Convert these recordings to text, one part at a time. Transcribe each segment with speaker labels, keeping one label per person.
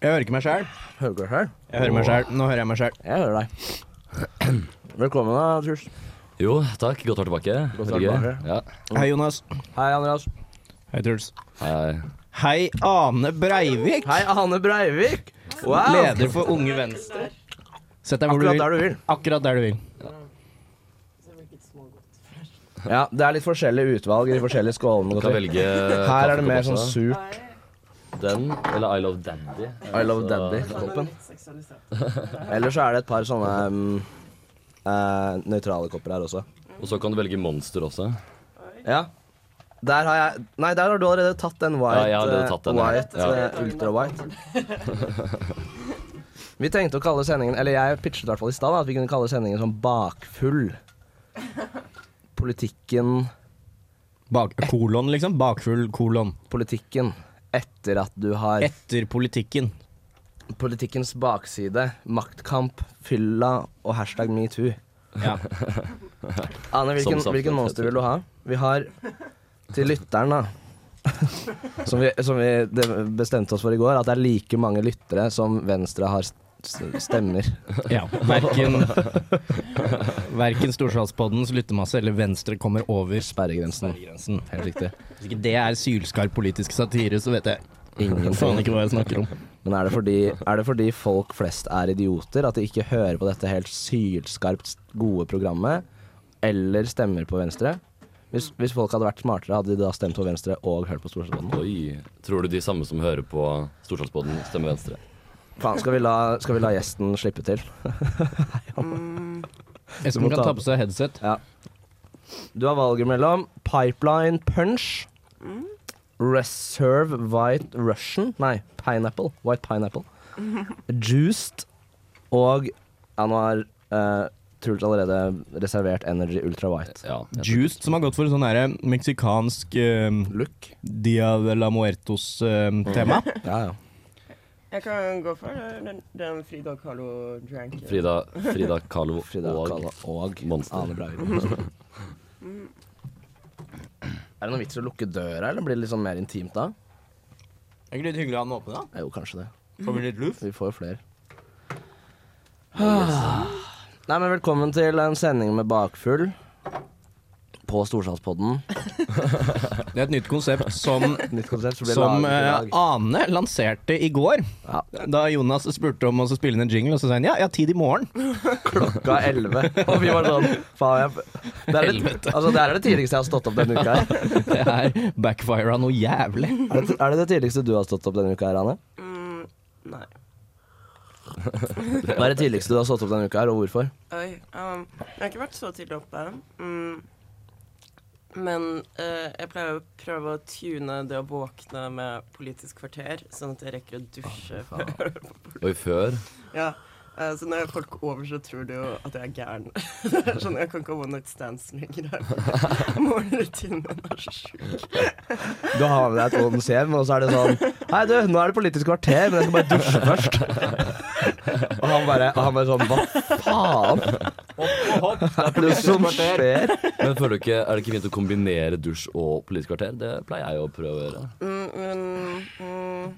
Speaker 1: Jeg hører ikke meg sjæl.
Speaker 2: Hører du her?
Speaker 1: Jeg hører meg selv. Nå hører jeg meg sjæl.
Speaker 2: Jeg hører deg. Velkommen, da, Truls.
Speaker 3: Jo, takk. Godt å være tilbake.
Speaker 2: Godt å være
Speaker 3: Veldig gøy.
Speaker 2: tilbake.
Speaker 3: Ja.
Speaker 1: Hei, Jonas.
Speaker 2: Hei, Andreas.
Speaker 1: Hei, Truls.
Speaker 3: Hei.
Speaker 1: Hei, Ane Breivik.
Speaker 2: Hei, Ane Breivik. Wow.
Speaker 1: Leder for Unge Venstre. Sett deg hvor
Speaker 2: Akkurat
Speaker 1: du
Speaker 2: der
Speaker 1: vil.
Speaker 2: du vil.
Speaker 1: Akkurat der du vil.
Speaker 2: Ja, Det er litt forskjellige utvalg i de forskjellige skålene.
Speaker 3: Du kan velge
Speaker 2: Her er det mer
Speaker 3: kaffekopper
Speaker 2: sånn
Speaker 3: også.
Speaker 2: surt
Speaker 3: Den eller I Love Dandy.
Speaker 2: I love daddy-koppen. Eller så er det et par sånne um, eh, nøytrale kopper her også.
Speaker 3: Og så kan du velge Monster også.
Speaker 2: Ja. Der har jeg Nei, der har du allerede tatt den white.
Speaker 3: Ja, jeg har allerede
Speaker 2: eh,
Speaker 3: tatt den, ja.
Speaker 2: white
Speaker 3: Ja.
Speaker 2: eh, Ultra white. Vi tenkte å kalle sendingen Eller jeg pitchet i hvert fall i stad da, at vi kunne kalle sendingen sånn bakfull. Politikken
Speaker 1: Bak, kolon, liksom. Bakfull kolon.
Speaker 2: Politikken. Etter at du har
Speaker 1: Etter politikken.
Speaker 2: politikkens bakside, maktkamp, fylla og hashtag metoo.
Speaker 1: Ja.
Speaker 2: Ane, hvilken,
Speaker 3: Som samfunn,
Speaker 2: hvilken monster vil du ha? Vi har til lytteren, da. Som vi, som vi det- bestemte oss for i går, at det er like mange lyttere som Venstre har s- s- stemmer.
Speaker 1: ja. Verken, verken Storsalspoddens lyttemasse eller Venstre kommer over
Speaker 2: Sperregrensen.
Speaker 1: sperregrensen.
Speaker 2: Helt riktig.
Speaker 1: Hvis ikke det er sylskarp politisk satire, så vet jeg faen
Speaker 2: Ingenting.
Speaker 1: ikke hva jeg snakker om.
Speaker 2: Men er det, fordi, er det fordi folk flest er idioter, at de ikke hører på dette helt sylskarpt gode programmet, eller stemmer på Venstre? Hvis, hvis folk hadde vært smartere, hadde de da stemt på Venstre og hørt på Storsalspodden?
Speaker 3: Oi. Tror du de samme som hører på Storsalspodden, stemmer Venstre?
Speaker 2: Faen, skal, vi la- skal vi la gjesten slippe til?
Speaker 4: Mm,
Speaker 1: Espen kan ta på seg headset.
Speaker 2: Ja. Du har valget mellom Pipeline Punch, Reserve White Russian Nei, Pineapple. White Pineapple. Juiced og Ja, nå har eh, Truls allerede reservert Energy Ultra White.
Speaker 3: Ja. jeg-
Speaker 1: Juiced, som har gått for sånn her meksikansk eh,
Speaker 2: Look.
Speaker 1: Dia de la ehm, Muertos-tema.
Speaker 2: Ja, ja.
Speaker 4: Jeg kan gå for den, den Frida Kahlo drank.
Speaker 3: Frida, Frida Kahlo
Speaker 2: Frida
Speaker 3: og
Speaker 2: Kahlo og
Speaker 3: Monster.
Speaker 2: Ane Breivik.
Speaker 1: Mm.
Speaker 2: Er det noen vits i å lukke døra, eller blir det litt sånn mer intimt da?
Speaker 1: Er ikke litt hyggelig å ha den åpen, da?
Speaker 2: Jo, kanskje det.
Speaker 1: Får vi litt luft?
Speaker 2: Vi får jo flere. Nei, men velkommen til en sending med bakfull på Storsalspodden.
Speaker 1: Det er et nytt konsept som,
Speaker 2: Nytt konsept som blir
Speaker 1: som eh,
Speaker 2: laget i dag.
Speaker 1: Ane lanserte i går.
Speaker 2: Ja.
Speaker 1: Da Jonas spurte om å spille inn en jingle, og så sa han ja, jeg har tid i morgen.
Speaker 2: Klokka er elleve, og vi var sånn Faen, jeg det er, det,
Speaker 1: Helvete.
Speaker 2: altså, det er det tidligste jeg har stått opp denne uka. her.
Speaker 1: Det er backfira noe jævlig.
Speaker 2: Er det, er det det tidligste du har stått opp denne uka, her, Anne?
Speaker 4: Mm, nei.
Speaker 2: Hva er det tidligste du har stått opp denne uka, her, og hvorfor?
Speaker 4: Oi. Um, jeg har ikke vært så tidlig oppe. Mm. Men eh, jeg pleier å prøve å tune det å våkne med Politisk kvarter, sånn at jeg rekker å dusje før.
Speaker 3: Oi, før?
Speaker 4: ja. eh, så når folk over, så tror de jo at jeg er gæren. Det er sånn, Jeg kan ikke ha one night stands lenger. Morgenrutinen min er så sjuk.
Speaker 2: Du har med deg et Odens hjem, og så er det sånn Hei, du, nå er det Politisk kvarter, men jeg skal bare dusje først. Og han bare, og han bare sånn Hva faen?
Speaker 1: Hopp, hopp.
Speaker 2: Er det som skjer?
Speaker 3: Men føler du ikke, er det ikke fint å kombinere dusj og politisk kvarter? Det pleier jeg jo å prøve å gjøre.
Speaker 4: Mm, men mm,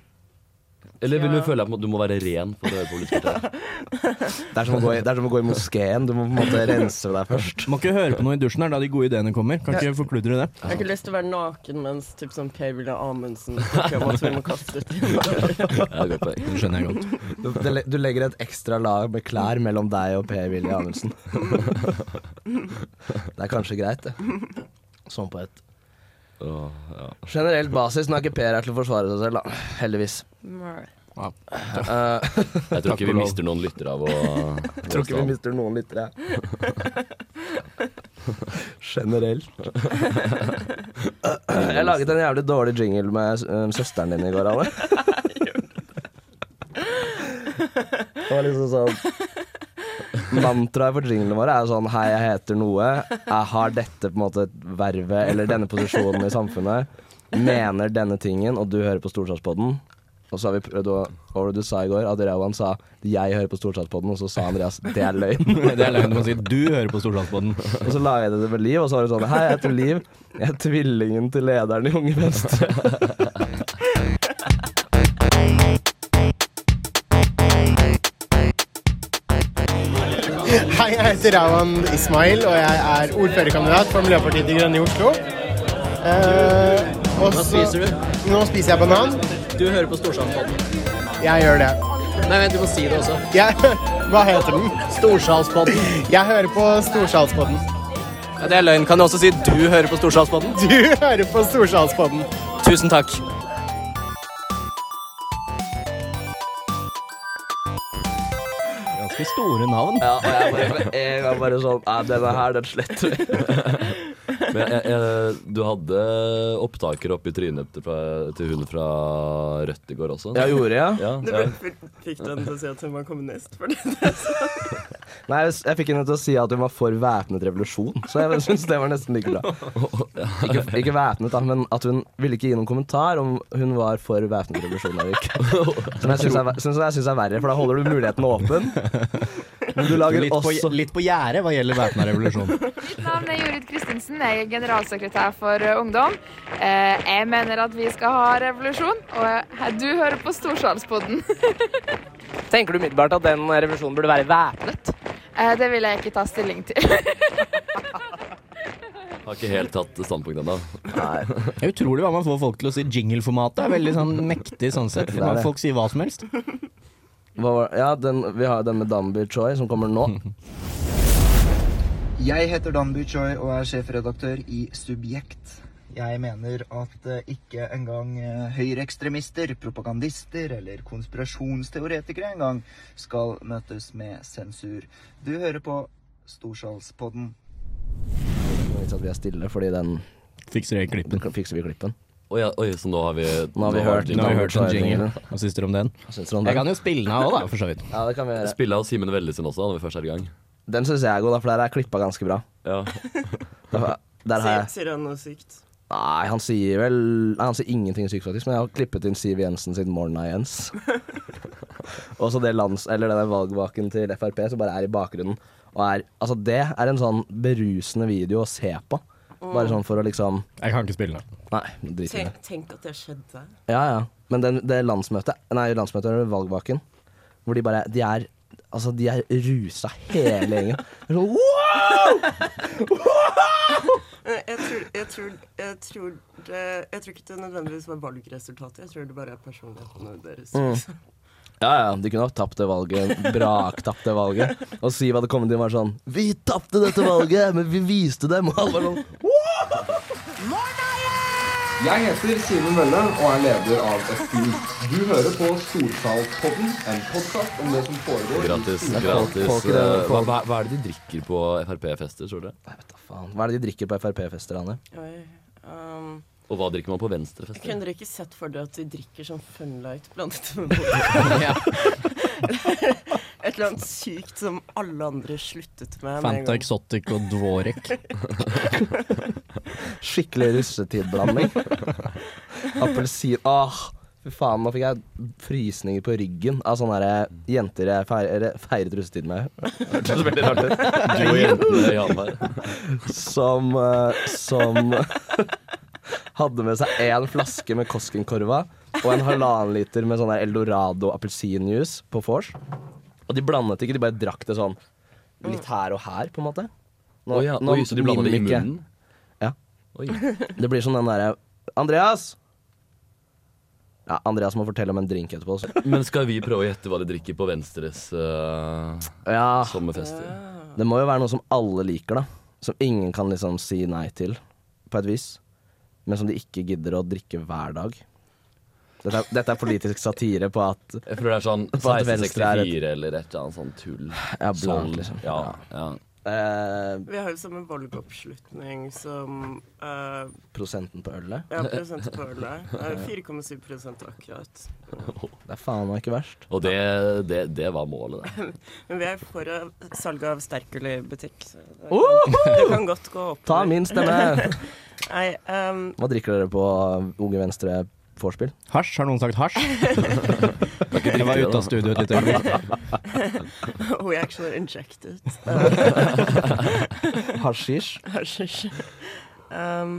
Speaker 3: Eller vil du
Speaker 4: Ja.
Speaker 3: føle at du må være ren for å høre politisk kvarter?
Speaker 2: Det er som å gå i, det er som å gå i moskeen. Du må på en måte rense deg først.
Speaker 1: Må ikke høre på noe i dusjen, er da de gode ideene kommer. Kan ikke forkludre det.
Speaker 4: Jeg har ikke lyst til å være naken mens typ sånn Per-Willy Amundsen snakker om at vi må kaste ut innvandrere.
Speaker 3: Ja, godt poeng.
Speaker 1: Det skjønner jeg godt.
Speaker 2: Du, det- du legger et ekstra lag med klær mellom deg og Per-Willy Amundsen. Det er kanskje greit, det. Sånn på et
Speaker 3: Åh, ja.
Speaker 2: generelt basis. Nå er ikke Per her til å forsvare seg selv, da. Heldigvis. Eh,
Speaker 3: Jeg tror
Speaker 1: Takk
Speaker 3: ikke
Speaker 1: og
Speaker 3: vi
Speaker 1: lov.
Speaker 3: mister noen lyttere av å
Speaker 2: jeg tror ikke vi mister noen lyttere. Generelt. Jeg laget en jævlig dårlig jingle med eh, søsteren din i går, Anne. Det var liksom sånn Mantraet for jinglene våre er jo sånn Hei, jeg heter noe. Jeg har dette på en måte vervet eller denne posisjonen i samfunnet. Mener denne tingen, og du hører på Storsalspodden. Og så har vi prøvd å Hva var det du sa i går? At Rauan sa 'jeg hører på Storsalspodden', og så sa Andreas 'det er løgn'.
Speaker 1: Det er løgn å si du hører på Storsalspodden.
Speaker 2: Og så la jeg det med Liv, og så var det sånn Hei, jeg heter Liv. Jeg er tvillingen til lederen i Unge Venstre.
Speaker 5: Hei, jeg heter Rawan Ismail, og jeg er ordførerkandidat for Miljøpartiet De Grønne i Oslo. Eh,
Speaker 6: Hva
Speaker 5: og så-
Speaker 6: spiser du?
Speaker 5: Nå spiser jeg banan.
Speaker 6: Du hører på Storsalspodden.
Speaker 5: Jeg gjør det.
Speaker 6: Nei, vent, du må si det også.
Speaker 5: Jeg, hva heter den?
Speaker 6: Storsalspodden.
Speaker 5: Jeg hører på Storsalspodden.
Speaker 6: Ja, det er løgn. Kan du også si du hører på Storsalspodden?
Speaker 5: Du hører på Storsalspodden.
Speaker 6: Tusen takk.
Speaker 1: Ganske store navn.
Speaker 2: Ja, og jeg bare, med en gang bare sånn Nei, denne her, den sletter vi.
Speaker 3: Men jeg, jeg, du hadde opptaker opp i trynet til, fra- til hun fra Rødt i går også?
Speaker 2: Ja, gjorde jeg?
Speaker 3: Ja,
Speaker 4: Du
Speaker 3: ja.
Speaker 4: ble- fikk du henne til å si at hun var kommunist? For det.
Speaker 2: Nei, jeg jeg fikk henne til å si at hun var for væpnet revolusjon, så jeg syns det var nesten like bra. Ikke, ikke væpnet, da, men at hun ville ikke gi noen kommentar om hun var for væpnet revolusjon eller ikke. Som jeg syns er, ver- som jeg synes er verre, for da holder du muligheten åpen. Men du lager
Speaker 1: Litt på,
Speaker 2: også
Speaker 1: litt på gjerdet hva gjelder væpna revolusjon.
Speaker 7: Mitt navn er Jorid Kristinsen, jeg er generalsekretær for eh, Ungdom. Eh, Jeg mener at vi skal ha revolusjon, og jeg- du hører på Storsalspodden.
Speaker 8: Tenker du umiddelbart at den revolusjonen burde være væpnet?
Speaker 7: Eh, Det vil jeg ikke ta stilling til.
Speaker 3: Har ikke helt tatt standpunkt ennå.
Speaker 1: Det er utrolig hva man får folk til å si. Jingleformatet er veldig sånn mektig sånn sett.
Speaker 2: Det er det.
Speaker 1: Folk sier hva som helst.
Speaker 2: hva var, Ja, den, vi har jo den med Danby Choi som kommer nå.
Speaker 9: Jeg heter Dan Buchoy og er sjefredaktør i Subjekt. Jeg mener at eh, ikke engang eh, høyreekstremister, propagandister eller konspirasjonsteoretikere engang skal møtes med sensur. Du hører på Storsalspodden.
Speaker 2: Hvis at vi er stille, fordi den
Speaker 1: Fikser det i klippen.
Speaker 2: fikser vi klippen.
Speaker 3: Oi, ja, oi, så nå har vi
Speaker 2: Nå har vi hørt
Speaker 1: Nå har vi
Speaker 2: Danby
Speaker 1: hørt en jingle.
Speaker 2: Choi-jinglen.
Speaker 1: Hva syns dere om den?
Speaker 2: Hva syns dere om
Speaker 1: Jeg
Speaker 2: den?
Speaker 1: kan jo spille den av òg, da, for så vidt.
Speaker 2: Ja, det kan vi gjøre.
Speaker 3: Spille av Simen Velle sin også, når vi først er i gang.
Speaker 2: Den syns jeg er god, da, for der er klippa ganske bra.
Speaker 3: Ja.
Speaker 2: Der- Der har
Speaker 4: Sier,
Speaker 2: jeg
Speaker 4: sier han noe sykt?
Speaker 2: Nei, han sier vel Nei, han sier ingenting sykt, faktisk, men jeg har klippet inn Siv Jensen sin 'Morna, Jens'. Og så det lands... Eller den der valgvaken til Frp som bare er i bakgrunnen. Og er Altså, det er en sånn berusende video å se på. Bare sånn for å liksom
Speaker 1: Jeg kan ikke spille den.
Speaker 2: Nei, drit i det.
Speaker 4: Tenk, tenk at det skjedde.
Speaker 2: Ja, ja. Men den, det landsmøtet Nei, landsmøtet eller valgvaken, hvor de bare De er Altså, de er rusa hele gjengen. Det er Sånn, wow!
Speaker 4: Eh, Jeg tror, jeg, tror, jeg, tror det, jeg tror ikke det nødvendigvis var valgresultatet. Jeg tror det bare er personlighetene deres. liksom.
Speaker 2: Ja, ja, de kunne ha tapt det valget. Braktapt det valget. Og Siv hadde kommet inn og vært sånn Vi tapte dette valget, men vi viste dem! Og alle var sånn
Speaker 10: Jeg heter Simen Mølle og er leder av FPU. Du hører på Storsalspodden, en podkast om det som foregår i
Speaker 3: Gratis.
Speaker 10: skolen.
Speaker 3: gratis
Speaker 2: folk i det-
Speaker 3: eh, hva,
Speaker 2: folk-
Speaker 3: hva hva er det de drikker på Frp-fester, tror dere?
Speaker 2: Nei, vet da faen. Hva er det de drikker på Frp-fester, Anne?
Speaker 4: Oi. Um,
Speaker 3: Og hva drikker man på
Speaker 4: jeg
Speaker 3: Venstre-fester?
Speaker 4: kunne dere ikke sett for dere at de drikker sånn funlight blandet med vodka? Et eller annet sykt som alle andre sluttet med. med en
Speaker 1: Fanta
Speaker 4: gang.
Speaker 1: Exotic og Dvorek.
Speaker 2: Skikkelig russetidblanding. Appelsin Åh! Fy faen, nå fikk jeg frysninger på ryggen av sånne her jenter jeg feiret, feiret russetid med. Hørtes veldig rart ut.
Speaker 3: Du og jentene i Hamar.
Speaker 2: som, eh, som hadde med seg én flaske med Koskenkorva og en halvannen liter med sånn der Eldorado appelsinjuice på vors. Og de blandet ikke, de bare drakk det sånn litt her og her, på en måte. Nå-
Speaker 3: Oi, ja.
Speaker 2: nå
Speaker 3: Oi, så de blander det i
Speaker 2: mimikker jeg.
Speaker 3: munnen?
Speaker 2: Ja.
Speaker 3: Oi.
Speaker 2: Det blir sånn den derre Andreas! Ja, Andreas må fortelle om en drink etterpå. Så.
Speaker 3: Men skal vi prøve å gjette hva de drikker på Venstres eh,
Speaker 2: Ja,
Speaker 3: sommerfester?
Speaker 2: det må jo være noe som alle liker, da. Som ingen kan liksom si nei til, på et vis. Men som de ikke gidder å drikke hver dag. Dette er, dette er politisk satire på at
Speaker 3: Jeg tror det er sånn
Speaker 2: På at Venstre er et-
Speaker 3: 1664 eller et eller annet sånt tull.
Speaker 2: Ja, blant,
Speaker 3: Sånn,
Speaker 2: liksom.
Speaker 3: Ja, ja.
Speaker 2: eh,
Speaker 4: Vi har jo samme valgoppslutning som eh,
Speaker 2: prosenten på ølet
Speaker 4: ja, prosent på ølet. Eh, 4,7 prosent akkurat.
Speaker 2: Det er faen meg ikke verst.
Speaker 3: Og det, det, det var målet, det.
Speaker 4: Men vi er for eh, salg av sterkøl i butikk. Så det, kan, det kan godt gå opp.
Speaker 2: Ta min stemme!
Speaker 4: Nei, ehm,
Speaker 2: Hva drikker dere på Unge Venstre vorspiel?
Speaker 1: Hasj? Har noen sagt hasj? Jeg var ute av studio et lite øyeblikk.
Speaker 4: we actually injected.
Speaker 2: Hasjisj?
Speaker 4: Hasj. Um,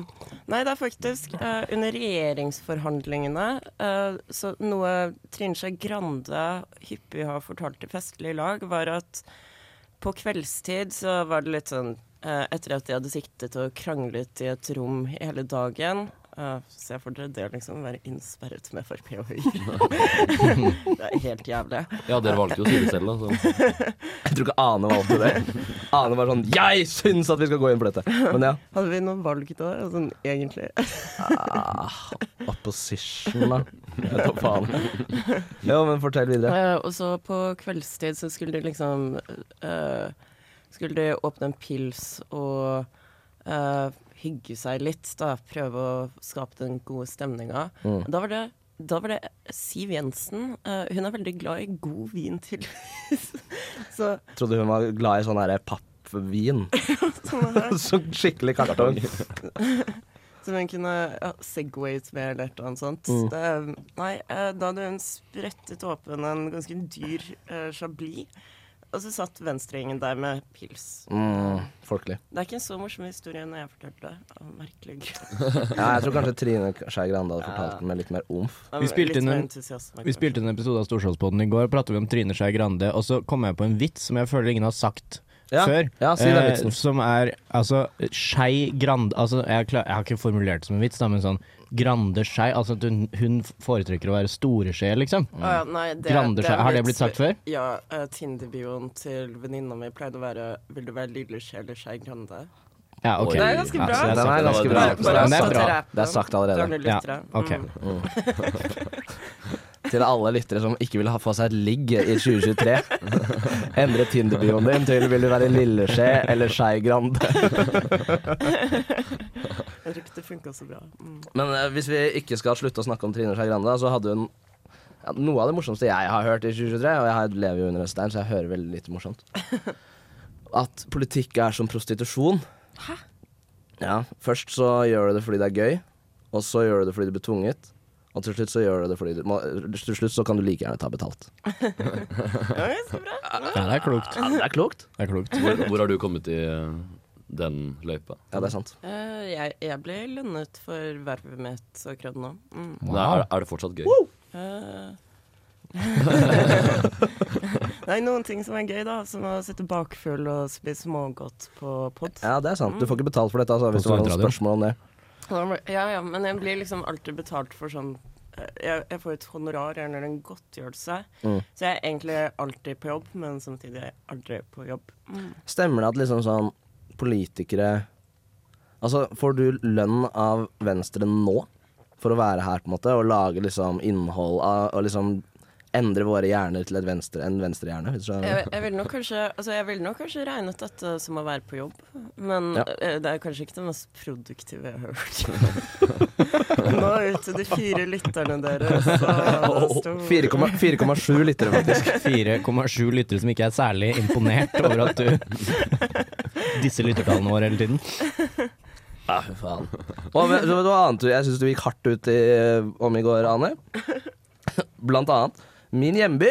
Speaker 4: nei, det er faktisk eh, under regjeringsforhandlingene eh, Så noe Trine Skei Grande hyppig har fortalt til festlig lag, var at på kveldstid så var det litt sånn eh, Etter at de hadde siktet og kranglet i et rom hele dagen eh, Se for dere det, liksom. Være innsperret med Frp og Høyre. det er helt jævlig.
Speaker 3: Ja, dere valgte jo å si det selv, da. Så.
Speaker 2: Jeg tror ikke Ane valgte det. Ane var sånn Jeg syns at vi skal gå inn på dette! Men ja.
Speaker 4: Hadde vi noen valg da, sånn egentlig?
Speaker 2: Opposition, da. Jeg tar faen. Jo, men fortell videre.
Speaker 4: Eh, og så på kveldstid så skulle de liksom eh, Skulle de åpne en pils og eh, hygge seg litt, da. Prøve å skape den gode stemninga.
Speaker 11: Mm.
Speaker 4: Da var det da var det Siv Jensen. Eh, hun er veldig glad i god vin til Så
Speaker 2: Trodde hun var glad i sånn herre pappvin.
Speaker 4: sånn her.
Speaker 2: Sånn skikkelig kartong.
Speaker 4: Som hun kunne ja, segwayet med eller et eller annet sånt.
Speaker 2: Mm.
Speaker 4: Det, nei, eh, da hadde hun sprettet åpen en ganske dyr eh, chablis, og så satt venstregjengen der med pils.
Speaker 2: Mm, folkelig.
Speaker 4: Det er ikke en så morsom historie når jeg fortalte det, av merkelig
Speaker 2: Ja, jeg tror kanskje Trine Skei Grande hadde fortalt den med litt mer omf.
Speaker 1: Vi spilte, inn en,
Speaker 4: entusiasme,
Speaker 1: vi spilte inn en episode av Storsalspodden i går, pratet vi om Trine Skei Grande, og så kom jeg på en vits som jeg føler ingen har sagt
Speaker 2: Ja,
Speaker 1: før.
Speaker 2: ja, si den
Speaker 1: eh,
Speaker 2: vitsen.
Speaker 1: som er altså Skei Grande altså, jeg, er klar, jeg har ikke formulert det som en vits, da, men sånn Grande Skei Altså at hun, hun foretrekker å være store skje, liksom.
Speaker 4: Å ja, nei, det-
Speaker 1: grande
Speaker 4: det er
Speaker 1: skje. Har det
Speaker 4: litt-
Speaker 1: blitt sagt før?
Speaker 4: Ja. eh, Tinder-bioen til venninna mi pleide å være 'Vil du være lille skje eller skei grande'?
Speaker 1: Ja, ok.
Speaker 4: Det er ganske bra.
Speaker 1: Ja, så det
Speaker 2: Den er
Speaker 1: sagt
Speaker 2: ganske bra.
Speaker 1: allerede.
Speaker 4: Bare
Speaker 1: Den er
Speaker 4: satt
Speaker 1: bra.
Speaker 4: i rappen.
Speaker 2: Det er sagt allerede.
Speaker 4: Gamle lyttere. Mm.
Speaker 1: Ja, ok.
Speaker 2: Til alle lyttere som ikke vil ha få seg et ligg i 2023. Endre Tinder-bioen din til 'Vil du være Lilleskje eller Skei Grande'?
Speaker 4: Jeg tror ikke det funka så bra. Mm.
Speaker 2: Men eh, hvis vi ikke skal slutte å snakke om Trine Skei Grande, da, så hadde hun ja, noe av det morsomste jeg har hørt i 2023, og jeg har- lever jo under en stein, så jeg hører veldig lite morsomt. At politikk er som prostitusjon. Hæ? Ja, først så gjør du det fordi det er gøy, og så gjør du det fordi du blir tvunget. Og til slutt så gjør du det fordi du må, Til slutt så kan du like gjerne ta betalt.
Speaker 4: Ja, så bra.
Speaker 1: Ja, det er klokt.
Speaker 2: Ja, det er klokt.
Speaker 1: Det er klokt.
Speaker 3: Hvor, hvor har du kommet i eh, den løypa?
Speaker 2: Ja, det er sant.
Speaker 4: Eh, jeg, jeg ble lønnet for vervet mitt akkurat nå. Mm.
Speaker 3: Nei, er, er det fortsatt gøy?
Speaker 4: Eh. Nei, noen ting som er gøy, da. Som å sitte bakfull og spise smågodt på pod.
Speaker 2: Ja, det er sant. Du får ikke betalt for dette, altså, hvis
Speaker 1: På
Speaker 2: du har noen
Speaker 1: studentradioen.
Speaker 2: spørsmål om det.
Speaker 4: Ja, men- Ja, ja, men jeg blir liksom alltid betalt for sånn eh, jeg, jeg får et honorar eller en godtgjørelse.
Speaker 2: Mm.
Speaker 4: Så jeg er egentlig alltid på jobb, men samtidig er jeg aldri på jobb. Mm.
Speaker 2: Stemmer det at liksom sånn politikere Altså, får du lønn av Venstre nå for å være her, på en måte, og lage liksom innhold av Og liksom endre våre hjerner til et venstre, en venstrehjerne? Hvis du
Speaker 4: Jeg,
Speaker 2: skjønner?
Speaker 4: jeg ville nok kanskje altså jeg ville nok kanskje regnet dette som å være på jobb, men
Speaker 2: Ja.
Speaker 4: eh, det er kanskje ikke det mest produktive jeg har hørt. Nå er ute de fire lytterne deres.
Speaker 2: Åh, 4,7 4,7 lyttere, faktisk.
Speaker 1: 4,7 lyttere som ikke er særlig imponert over at du Disse lyttertallene våre hele tiden.
Speaker 2: Ja, fy faen. Og vet du hva annet du- jeg syns du gikk hardt ut i, om i går, Ane? Blant annet min hjemby.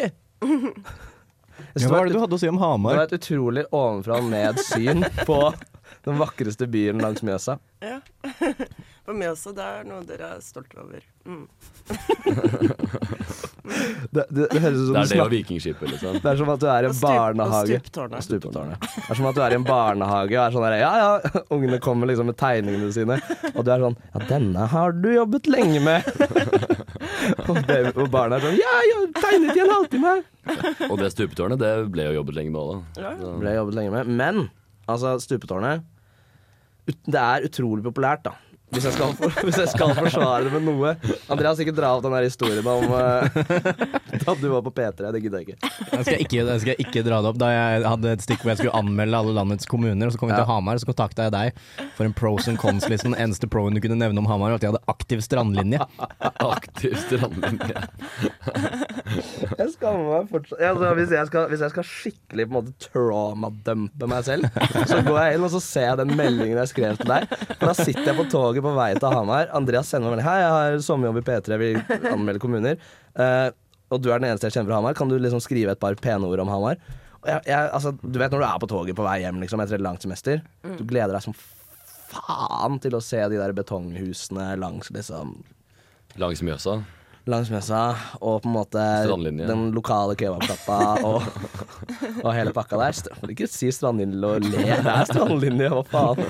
Speaker 1: Ja, hva var det du hadde å si om Hamar?
Speaker 2: Det var et utrolig ovenfra og ned-syn på den vakreste byen langs Mjøsa.
Speaker 4: Ja. For meg også, det er noe dere er stolte over. Mm.
Speaker 2: Det, det, det høres ut som du
Speaker 3: Det er det og
Speaker 2: snakker-
Speaker 3: vikingskipet, liksom.
Speaker 2: Det er som at du er i
Speaker 3: Og
Speaker 2: en
Speaker 3: stup-
Speaker 2: barnehage.
Speaker 3: og stuptårnet.
Speaker 2: Og stuptårnet. Det er som at du er i en barnehage og er sånn der, ja ja, ungene kommer liksom med tegningene sine, og du er sånn ja, denne har du jobbet lenge med. og, baby, og barna er sånn ja, jeg har tegnet i en halvtime her.
Speaker 3: Og det stupetårnet, det ble jo jobbet lenge med òg, da.
Speaker 4: Ja.
Speaker 2: Ble jobbet lenge med. Men altså, stupetårnet ut- Det er utrolig populært, da. Hvis jeg, skal for, hvis jeg skal forsvare det med noe. Andreas, ikke dra opp den der historien om eh, da du var på P3. Det gidder jeg ikke.
Speaker 1: Jeg skal, ikke, jeg skal ikke dra det opp. Da jeg hadde et stikk hvor jeg skulle anmelde alle landets kommuner, og så kom vi til Hamar, så kontakta jeg deg for en pros and cons-liste. Den eneste proen du kunne nevne om Hamar, var at de hadde aktiv strandlinje.
Speaker 3: Aktiv strandlinje.
Speaker 2: Jeg skammer meg fortsatt. Ja, Altså, hvis, jeg skal, hvis jeg skal skikkelig på en måte traumadumpe meg selv, så går jeg inn og så ser jeg den meldingen jeg skrev til deg. For da sitter jeg på toget på vei til Hamar. Andreas sender meg melding. Hei, jeg har sommerjobb i P3, vi anmelder kommuner. Eh, og du er den eneste jeg kjenner fra Hamar. Kan du liksom skrive et par pene ord om Hamar? Og jeg, jeg, altså, du vet når du er på toget på vei hjem liksom, etter et langt semester.
Speaker 12: Mm.
Speaker 2: Du gleder deg som faen til å se de der betonghusene langs liksom
Speaker 3: Langs Mjøsa.
Speaker 2: langs messa, og på en måte
Speaker 3: Strandlinje.
Speaker 2: den lokale kebabsjappa og, og hele pakka der. Str- Vil ikke si strandlinje og le, det er strandlinje, hva faen?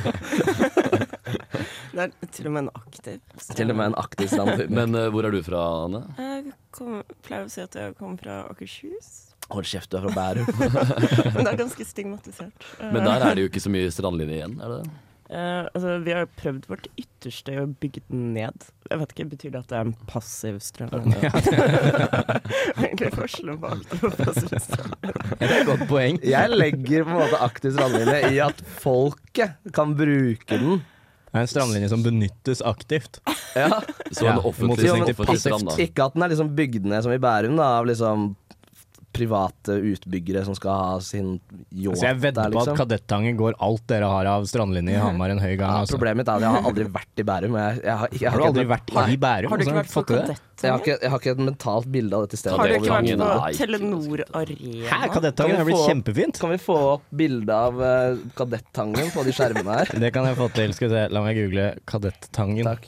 Speaker 4: Det er til og med en aktiv.
Speaker 2: Til og med en aktiv strandlinje.
Speaker 3: Men eh, hvor er du fra, Anne?
Speaker 4: Jeg kom, pleier å si at jeg kommer fra Akershus.
Speaker 2: Hold kjeft, du er fra Bærum.
Speaker 4: Men det er ganske stigmatisert.
Speaker 3: Men der er det jo ikke så mye strandlinje igjen, er det det?
Speaker 4: Eh, altså, vi har prøvd vårt ytterste å bygge den ned. Jeg vet ikke, Betyr det at det er en passiv strøm?
Speaker 1: Ja.
Speaker 4: Egentlig forskjellen på aktiv og passiv strøm.
Speaker 2: Jeg legger på en måte aktiv strandlinje i at folket kan bruke den.
Speaker 1: Det er en strandlinje som benyttes aktivt.
Speaker 2: Ja.
Speaker 3: Så en
Speaker 1: Ja,
Speaker 3: offentlig
Speaker 1: mot-
Speaker 2: Jo, men
Speaker 3: offentlig
Speaker 2: passivt.
Speaker 3: strand, da.
Speaker 2: Ikke at den er liksom bygd ned som i Bærum, da, av liksom private utbyggere som skal ha sin yacht liksom.
Speaker 1: Så Altså, jeg vedder på at Kadettangen går alt dere har av strandlinje i Hamar en høy gang.
Speaker 2: Ja,
Speaker 1: altså.
Speaker 2: problemet mitt er at jeg har aldri vært i Bærum. og Jeg, jeg, har- jeg
Speaker 1: Har du
Speaker 2: ikke
Speaker 1: aldri
Speaker 2: et-
Speaker 1: vært i
Speaker 2: Nei.
Speaker 1: Bærum? Har du ikke Hvordan vært på fått du det? Kadettangen?
Speaker 2: Jeg har, ikke, jeg har ikke et mentalt bilde av dette stedet.
Speaker 4: Har du ikke vært
Speaker 2: overhodet.
Speaker 4: på Telenor Arena?
Speaker 1: Kadettangen
Speaker 2: Kan vi
Speaker 1: er blitt
Speaker 2: få-
Speaker 1: kjempefint.
Speaker 2: Kan vi få opp bilde av eh, Kadettangen på de skjermene her?
Speaker 1: Det kan jeg få til. Skal vi se, la meg google Kadettangen.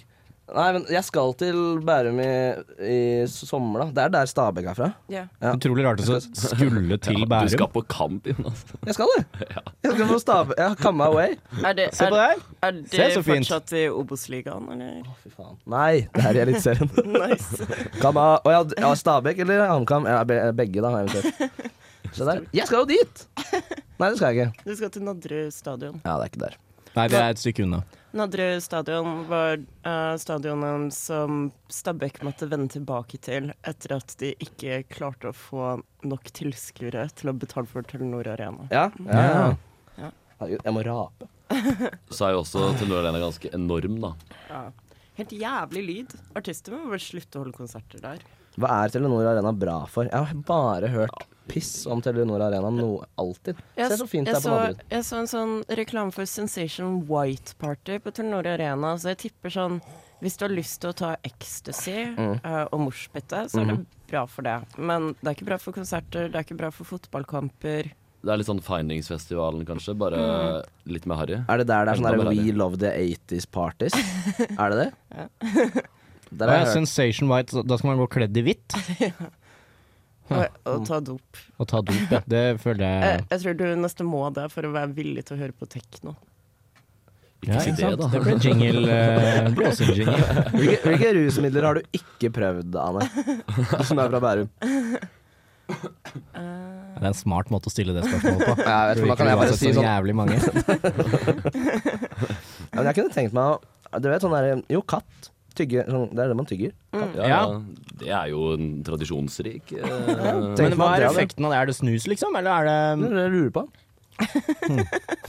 Speaker 2: Nei, men jeg skal til Bærum i, i sommer, da. Det er der Stabæk er fra.
Speaker 4: Ja.
Speaker 1: Utrolig rart å skulle til
Speaker 3: Ja,
Speaker 1: Bærum.
Speaker 3: Du skal på kamp, Jonas.
Speaker 2: Jeg skal det. Jeg skal på Stabæk. Jeg har come my way.
Speaker 4: Er det,
Speaker 2: Se på
Speaker 4: er-
Speaker 2: det
Speaker 4: Er
Speaker 2: Se,
Speaker 4: det
Speaker 2: så fint.
Speaker 4: fortsatt i Obos-ligaen, eller? Å,
Speaker 2: fy faen. Nei, det her er Eliteserien.
Speaker 4: nice.
Speaker 2: Kan ha og jeg, jeg har Stabæk eller HamKam. Jeg har be- Begge, da, eventuelt. Se der. Jeg skal jo dit! Nei, det skal jeg ikke.
Speaker 4: Du skal til Nadderud stadion.
Speaker 2: Ja, det er ikke der.
Speaker 1: Nei, det er et stykke unna.
Speaker 4: Nadderud stadion var eh, stadionet som Stabæk måtte vende tilbake til etter at de ikke klarte å få nok tilskuere til å betale for Telenor Arena.
Speaker 2: Ja, ja, ja.
Speaker 4: Ja.
Speaker 2: Herregud, jeg må rape.
Speaker 3: Så er jo også Telenor Arena ganske enorm, da.
Speaker 4: Ja. Helt jævlig lyd. Artister må bare slutte å holde konserter der.
Speaker 2: Hva er Telenor Arena bra for? Jeg har bare hørt piss om Telenor Arena noe, alltid. Se så fint det
Speaker 4: jeg,
Speaker 2: er på Nadderud.
Speaker 4: så, jeg så en sånn reklame for Sensation White Party på Telenor Arena, så jeg tipper sånn Hvis du har lyst til å ta ecstasy
Speaker 2: Mm.
Speaker 4: eh, og morsbitte, så er det
Speaker 3: Mhm.
Speaker 4: bra for det. Men det er ikke bra for konserter, det er ikke bra for fotballkamper.
Speaker 3: Det er litt sånn Findingsfestivalen, kanskje, bare
Speaker 4: Mm.
Speaker 3: litt mer harry.
Speaker 2: Er det der det er sånn der
Speaker 3: Enda mer harry.
Speaker 2: We love the 80s parties? Er det det? Der
Speaker 1: Å
Speaker 2: har
Speaker 1: ja,
Speaker 2: jeg hørt.
Speaker 1: sensation white, så da skal man gå kledd i hvitt
Speaker 4: Og, og ta
Speaker 2: Mm.
Speaker 4: dop.
Speaker 1: og ta dop. Ja. Det føler jeg
Speaker 4: Eh, Jeg, jeg tror du nesten må det for å være villig til å høre på tekno.
Speaker 1: Ja,
Speaker 3: si
Speaker 1: ikke sant?
Speaker 3: det, da.
Speaker 1: Det blir jingle. eh, det blir også en jingle.
Speaker 2: Hvilke, hvilke rusmidler har du ikke prøvd, Anne? Du som er fra Bærum.
Speaker 1: Det er en smart måte å stille det spørsmålet på.
Speaker 2: Ja, jeg vet ikke, da kan jeg bare si
Speaker 1: så
Speaker 2: sånn-
Speaker 1: jævlig mange.
Speaker 2: Ja, men jeg kunne tenkt meg å Du vet sånn der Jo, katt. Tygge. Sånn, det er det man tygger. Katt.
Speaker 3: Ja,
Speaker 1: Mm. Ja.
Speaker 3: Det er jo en tradisjonsrik eh,
Speaker 1: Men
Speaker 2: Tenk
Speaker 1: hva er
Speaker 2: meg det, da.
Speaker 1: effekten av det? Er det snus, liksom? Eller er
Speaker 2: Det
Speaker 1: det
Speaker 2: er det jeg lurer på.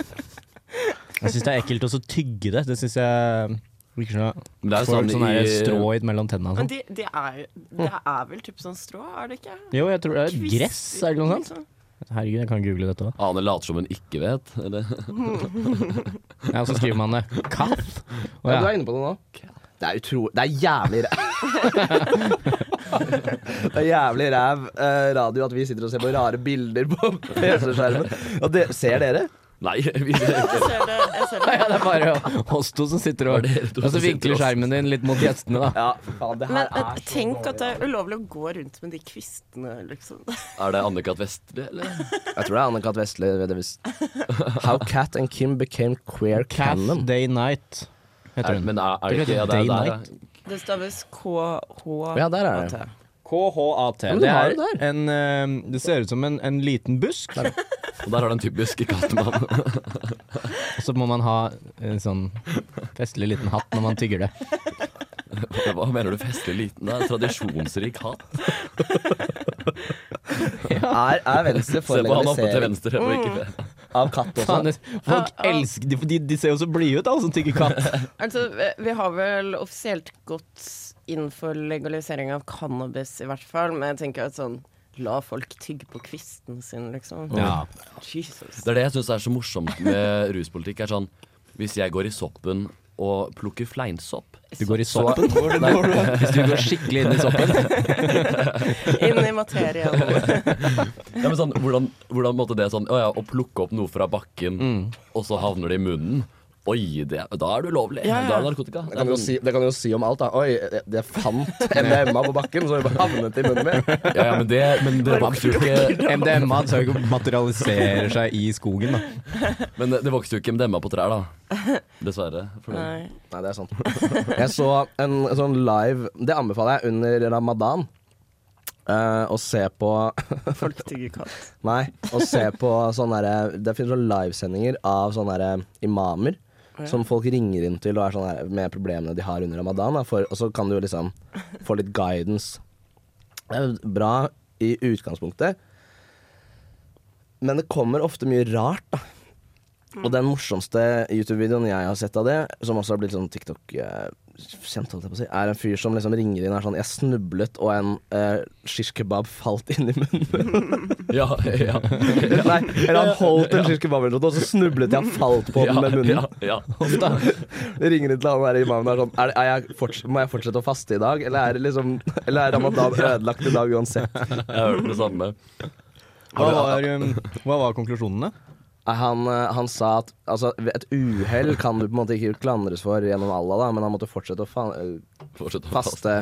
Speaker 1: Jeg syns det er ekkelt å så tygge det. Det syns jeg virker som
Speaker 3: Men det er jo
Speaker 1: Får
Speaker 3: sånn
Speaker 1: sånn der
Speaker 3: i-
Speaker 1: strå i mellom tennene og
Speaker 4: Men
Speaker 1: sånn.
Speaker 4: det de er, det er vel typ sånn strå, er det ikke?
Speaker 1: Jo, jeg tror det er Eh, gress, er det noe sånt?
Speaker 4: Liksom.
Speaker 1: Herregud, jeg kan google dette òg.
Speaker 3: Ane later som hun ikke vet. Eller?
Speaker 1: Ja, så skriver man det. Kaff. Å
Speaker 2: Ja, du
Speaker 1: ja.
Speaker 2: er inne på det nå. Det er utro... Det er jævlig ræv. det er jævlig ræv eh, radio at vi sitter og ser på rare bilder på PC-skjermen. Og det, ser dere?
Speaker 3: Nei, vi vet ikke.
Speaker 4: Jeg ser det. Jeg ser
Speaker 1: Ja,
Speaker 4: det.
Speaker 1: det er bare oss to som sitter og
Speaker 3: Det er dere to
Speaker 1: Og så
Speaker 3: som sitter
Speaker 1: vinkler
Speaker 3: og-
Speaker 1: skjermen din litt mot gjestene, da.
Speaker 2: Ja, fy faen, det
Speaker 4: Men eh,
Speaker 2: her er så
Speaker 4: tenk at
Speaker 2: dårlig.
Speaker 4: det er ulovlig å gå rundt med de kvistene, liksom.
Speaker 3: Er det Anne-Kat. Vestli, eller?
Speaker 2: Jeg tror det er Anne-Kat. Vestli. ved det vis- How Cat and Kim became queer
Speaker 1: Cath
Speaker 2: canon.
Speaker 1: Day Night heter
Speaker 3: Er,
Speaker 1: hun.
Speaker 3: men er, er
Speaker 1: Det
Speaker 3: det ikke ja,
Speaker 1: heter
Speaker 3: det er
Speaker 1: Day
Speaker 3: der,
Speaker 1: Night.
Speaker 3: ja.
Speaker 4: Det staves KH
Speaker 2: Ja, der er det.
Speaker 1: KHAT. Det
Speaker 2: men du har
Speaker 1: er
Speaker 2: det der.
Speaker 1: en eh, Det ser ut som en, en liten busk.
Speaker 3: Og der har du en typisk kattemann.
Speaker 1: Og så må man ha en sånn festlig liten hatt når man tygger det.
Speaker 3: Hva mener du festlig liten? Det er en tradisjonsrik hatt.
Speaker 2: Er, er Venstre for
Speaker 3: Se på han oppe til
Speaker 2: legalisering
Speaker 3: venstre. og
Speaker 1: Mm.
Speaker 3: ikke-
Speaker 2: av katt også?
Speaker 1: Faen, det- folk elsker de, de, de ser jo så blide ut, alle som tygger katt.
Speaker 4: Altså, vi- vi har vel offisielt gått inn for legalisering av cannabis, i hvert fall, men jeg tenker at sånn La folk tygge på kvisten sin, liksom.
Speaker 1: Ja.
Speaker 4: Jesus.
Speaker 3: Det er det jeg syns er så morsomt med ruspolitikk. er sånn, Hvis jeg går i soppen og plukker fleinsopp
Speaker 1: Du går i soppen. Nei, Hvis du går skikkelig inn i soppen.
Speaker 4: Inn i materien.
Speaker 3: ja, men sånn,
Speaker 2: Mm.
Speaker 3: Hvordan, hvordan måtte det sånn Å ja, å plukke opp noe fra bakken, og så havner det i munnen. Oi, det, da er det ulovlig.
Speaker 2: Ja, ja.
Speaker 3: Da er sånn- det narkotika.
Speaker 2: Det kan, jo si, det kan jo si om alt, da. Oi, jeg, jeg fant MDMA på bakken, så det bare havnet i munnen min.
Speaker 3: Ja, ja, men det, men det vokste jo ikke
Speaker 1: MDMA så jo ikke materialiserer seg i skogen, da.
Speaker 3: Men det, det vokste jo ikke MDMA på trær, da. Dessverre. For det.
Speaker 4: Nei.
Speaker 2: Nei, det er sant. Jeg så en sånn live Det anbefaler jeg under ramadan. eh, å se på
Speaker 4: Folk tygger katt.
Speaker 2: Nei, å se på sånne derre- Det finnes sånne livesendinger av sånne derre imamer. Som folk ringer inn til og er sånn her, med problemene de har under ramadan. Da, for, og så kan du jo liksom få litt guidance. Det er jo bra i utgangspunktet, men det kommer ofte mye rart, da. Og den morsomste YouTube-videoen jeg har sett av det, som også har blitt sånn TikTok-kjent, holdt jeg på å si, er en fyr som liksom ringer inn og er sånn Jeg snublet, og en eh, shish kebab falt inn i munnen.
Speaker 3: Ja, ja,
Speaker 2: Nei, eller han holdt en shish kebab, eller noe, og så snublet jeg og falt på den
Speaker 3: ja,
Speaker 2: med munnen.
Speaker 3: ja, ja.
Speaker 2: Da ringer de til han der imamen og er sånn er, det- er jeg forts Må jeg fortsette å faste i dag, eller er, det liksom, eller er ramadan ødelagt i dag uansett?
Speaker 3: Jeg har hørt det samme.
Speaker 1: Hva var, um, hva var konklusjonene?
Speaker 2: Nei, Han, eh, han sa at altså, et uhell kan du på en måte ikke klandres for gjennom Allah, da, men han måtte fortsette å fa eh,
Speaker 3: Fortsett å passe.
Speaker 2: faste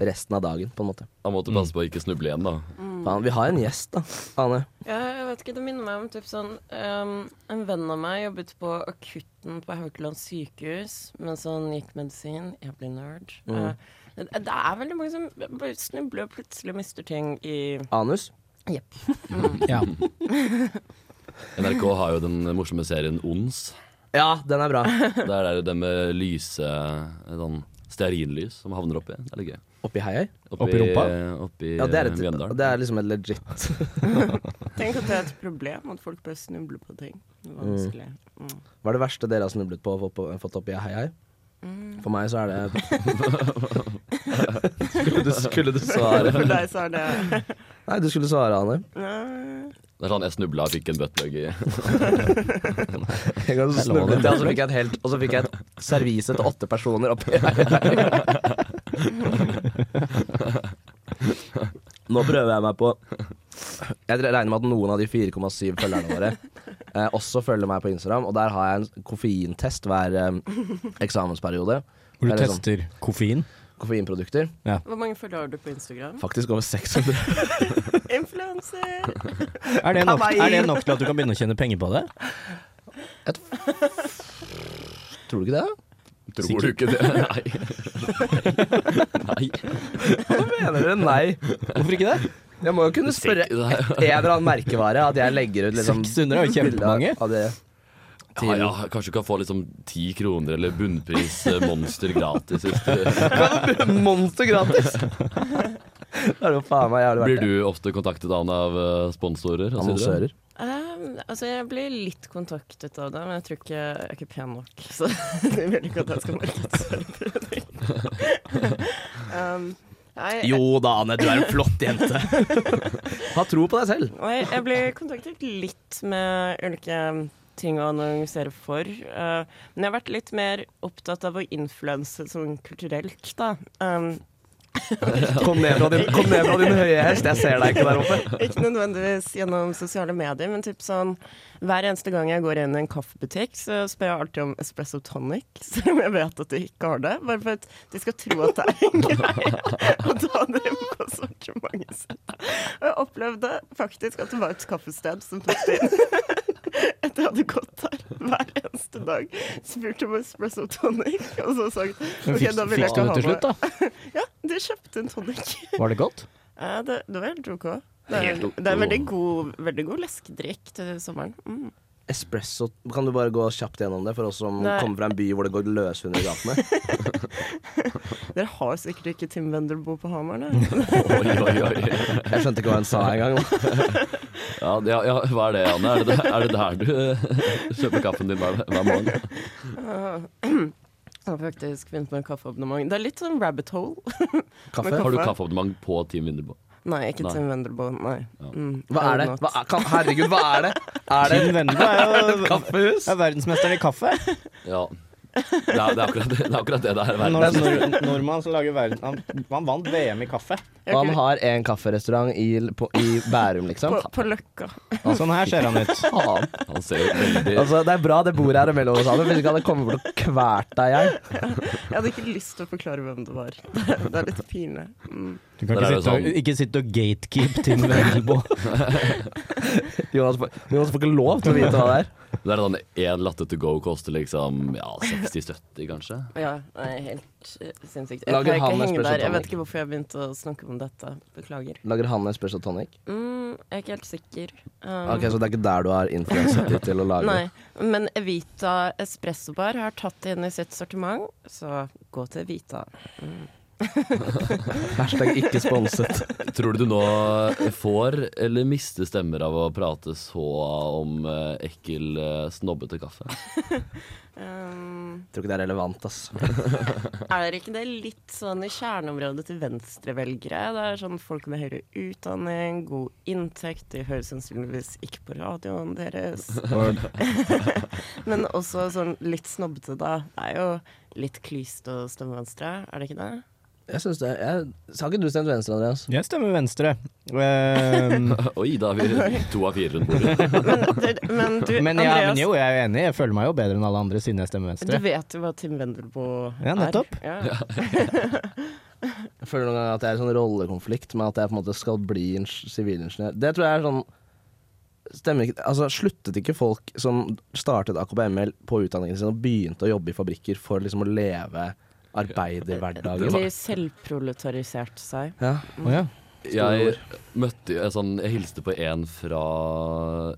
Speaker 2: resten av dagen, på en måte.
Speaker 3: Han måtte passe på å ikke snuble igjen, da.
Speaker 2: Faen, vi har en gjest, da. Ane.
Speaker 4: Ja, jeg vet ikke, det minner meg om typ sånn ehm, En venn av meg jobbet på akutten på Haukeland sykehus mens han gikk medisin. Jeg blir nerd. Eh, det, det er veldig mange som bare snubler og plutselig mister ting i
Speaker 2: Anus.
Speaker 1: Ja.
Speaker 3: NRK har jo den morsomme serien Ons.
Speaker 2: Ja, den er bra.
Speaker 3: Det er der det med lyse sånn stearinlys som havner oppi. Det er litt gøy.
Speaker 2: Oppi heier.
Speaker 1: Oppi rumpa?
Speaker 3: Oppi
Speaker 2: Ja, det er, et,
Speaker 3: Mjøndalen.
Speaker 2: det er liksom et legit
Speaker 4: Tenk at det er et problem at folk bare snubler på ting. Det er Vanskelig. Mm.
Speaker 2: Hva er det verste dere har snublet på og fått på- fått oppi heier? For meg så er det skulle, du, skulle du svare?
Speaker 4: For deg så er det
Speaker 2: Nei, du skulle svare, Ane.
Speaker 4: Nei.
Speaker 3: Det er sånn jeg snubla og fikk en buttplug i
Speaker 2: En gang så snublet jeg, og så altså, fikk jeg et helt Og så fikk jeg et servise til åtte personer oppi Nå prøver jeg meg på Jeg regner med at noen av de 4,7 følgerne våre eh, også følger meg på Instagram, og der har jeg en koffeintest hver eh, eksamensperiode.
Speaker 1: Hvor du
Speaker 2: Det er liksom
Speaker 1: tester koffein?
Speaker 2: koffeinprodukter.
Speaker 4: Hvor mange følgere har du på Instagram?
Speaker 2: Faktisk over 600.
Speaker 4: Influenser!
Speaker 1: Er det, nok, er det nok til at du kan begynne å tjene penger på det?
Speaker 2: Tror du ikke det?
Speaker 3: Tror du ikke det? Nei. Nei.
Speaker 2: Mener du nei?
Speaker 1: Hvorfor ikke det?
Speaker 2: Jeg må jo kunne spørre en eller annen merkevare at jeg legger ut
Speaker 1: 600
Speaker 2: liksom
Speaker 1: er jo
Speaker 2: bilder
Speaker 1: kjempemange.
Speaker 2: Av det.
Speaker 3: Ja, ja, kanskje du kan få liksom ti kroner eller bunnpris eh, monster gratis. Hvis du,
Speaker 2: Monster gratis! Det er jo faen meg jævlig
Speaker 3: blir
Speaker 2: verdt det.
Speaker 3: du ofte kontaktet Anne, av eh, sponsorer? og så videre?
Speaker 2: Annonsører.
Speaker 4: Ehm, altså, jeg blir litt kontaktet av det, men jeg tror ikke jeg er ikke pen nok. Så de vil ikke at jeg skal markedsføre produkter. um, nei, jeg,
Speaker 2: da, Anne, du er en flott jente. Ha tro på deg selv.
Speaker 4: nei, jeg blir kontaktet litt med ulike um, ting å annonsere for. eh, men jeg har vært litt mer opptatt av å influense sånn kulturelt, da. Um,
Speaker 2: Kom ned fra din, kom ned fra din høye hest, jeg ser deg ikke der oppe.
Speaker 4: Ikke nødvendigvis gjennom sosiale medier, men typ sånn Hver eneste gang jeg går inn i en kaffebutikk, så spør jeg alltid om espresso tonic, selv om jeg vet at de ikke har det. Bare for at de skal tro at det er en greie å ta det på sortimentet sitt. Og jeg opplevde faktisk at det var et kaffested som tok det inn. Etter jeg hadde gått der hver eneste dag, spurt om espresso tonic, og så sagt
Speaker 1: Men
Speaker 4: OK,
Speaker 1: fikk,
Speaker 4: da
Speaker 1: fikk
Speaker 4: vil jeg
Speaker 1: du
Speaker 4: ikke
Speaker 1: det
Speaker 4: ha
Speaker 1: til slutt,
Speaker 4: med
Speaker 1: da?
Speaker 4: Ja, de kjøpte en tonic.
Speaker 1: Var det godt?
Speaker 4: Ja, det, det var helt OK. Det er,
Speaker 3: Helt ok.
Speaker 4: det er veldig god, veldig god leskedrikk til sommeren. Mm.
Speaker 2: Espresso Kan du bare gå kjapt gjennom det for oss som
Speaker 4: Nei.
Speaker 2: kommer fra en by hvor det går løshunder i gatene?
Speaker 4: Dere har sikkert ikke Tim Wenderboe på Hamar, da.
Speaker 3: Oi, oi, oi.
Speaker 2: Jeg skjønte ikke hva hun sa engang.
Speaker 3: Ja, det- ja, ja, hva er det, Anne? Er det, er det der du eh, kjøper kaffen din hver, hver morgen?
Speaker 4: Jeg har faktisk begynt med kaffeabonnement. Det er litt sånn rabbit hole.
Speaker 2: Kaffe?
Speaker 4: Men
Speaker 3: Har du kaffeabonnement på Team Vinderbo?
Speaker 4: Nei, ikke
Speaker 3: Nei.
Speaker 4: Tim Wenderboe. Nei. Mm.
Speaker 2: Hva er det? Hva er, kan, herregud, hva er det? Er det
Speaker 1: Din venn er jo
Speaker 2: kaffehus?
Speaker 1: er verdensmesteren i kaffe.
Speaker 3: Ja. Det er, det er, akkurat, det er akkurat det det sånn- er. i verden.
Speaker 1: Nor nor nordmann som lager verden Han, han vant VM i kaffe.
Speaker 2: Og han har en kafferestaurant i, på, i Bærum, liksom.
Speaker 11: På, på Løkka.
Speaker 1: Sånn her ser han ut.
Speaker 2: Faen.
Speaker 3: Han ser jo veldig
Speaker 2: Altså, det er bra det bordet her er mellom oss alle, hvis ikke hadde jeg kommet bort og kvært deg, jeg.
Speaker 4: Jeg hadde ikke lyst til å forklare hvem det var. Det er litt pinlig. Mm.
Speaker 1: Du kan
Speaker 3: Der
Speaker 1: ikke
Speaker 3: er det
Speaker 1: sitte, og,
Speaker 3: sånn-
Speaker 1: ikke sitte og gatekeep Tim Wendelboe.
Speaker 2: Jonas, får- Jonas får ikke lov til å vite hva det er.
Speaker 3: Det er sånn én latte to go koster liksom ja, 60-70, kanskje.
Speaker 4: Ja, nei, helt eh, sinnssykt. Jeg
Speaker 2: Lager
Speaker 4: pleier ikke
Speaker 2: han
Speaker 4: å henge
Speaker 2: espresso
Speaker 4: der. Jeg
Speaker 2: tonic?
Speaker 4: vet ikke hvorfor jeg begynte å snakke om dette. Beklager.
Speaker 2: Lager han en special tonic?
Speaker 4: Mm, jeg er ikke helt sikker. Um,
Speaker 2: Ok, Så det er ikke der du har influenset ditt til å lage
Speaker 4: Nei, men Evita espressobar har tatt det inn i sitt sortiment, så gå til Evita. Mm.
Speaker 2: Hashtag ikke sponset.
Speaker 3: Tror du du nå får eller mister stemmer av å prate så om eh, ekkel, eh, snobbete kaffe?
Speaker 4: Um,
Speaker 2: Tror ikke det er relevant, ass.
Speaker 4: er ikke det litt sånn i kjerneområdet til venstrevelgere? Det er sånn folk med høyere utdanning, god inntekt, de hører sannsynligvis ikke på radioen deres. Men også sånn litt snobbete, da. Det er jo litt klyst å stemme venstre, er det ikke det?
Speaker 2: Jeg synes det jeg, Har ikke du stemt venstre, Andreas?
Speaker 1: Jeg stemmer venstre. Ehm,
Speaker 3: Oi, da er vi to av fire rundt bordet.
Speaker 4: Men, du- men du,
Speaker 1: men, jeg,
Speaker 4: Andreas,
Speaker 1: men jo, jeg er jo enig. Jeg føler meg jo bedre enn alle andre siden jeg stemmer
Speaker 4: du
Speaker 1: venstre.
Speaker 4: vet jo hva Tim Wendelboe
Speaker 1: Ja, nettopp.
Speaker 4: er. Ja.
Speaker 2: Jeg føler noen ganger at det er en sånn rollekonflikt med at jeg på en måte skal bli en s- sivilingeniør. Det tror jeg er sånn Stemmer ikke Altså, sluttet ikke folk som startet AKBML på utdanningen sin og begynte å jobbe i fabrikker for liksom å leve arbeiderhverdagen?
Speaker 4: De selvproletariserte seg.
Speaker 2: Ja.
Speaker 1: Å ja.
Speaker 3: Jeg møtte jeg, sånn, jeg hilste på en fra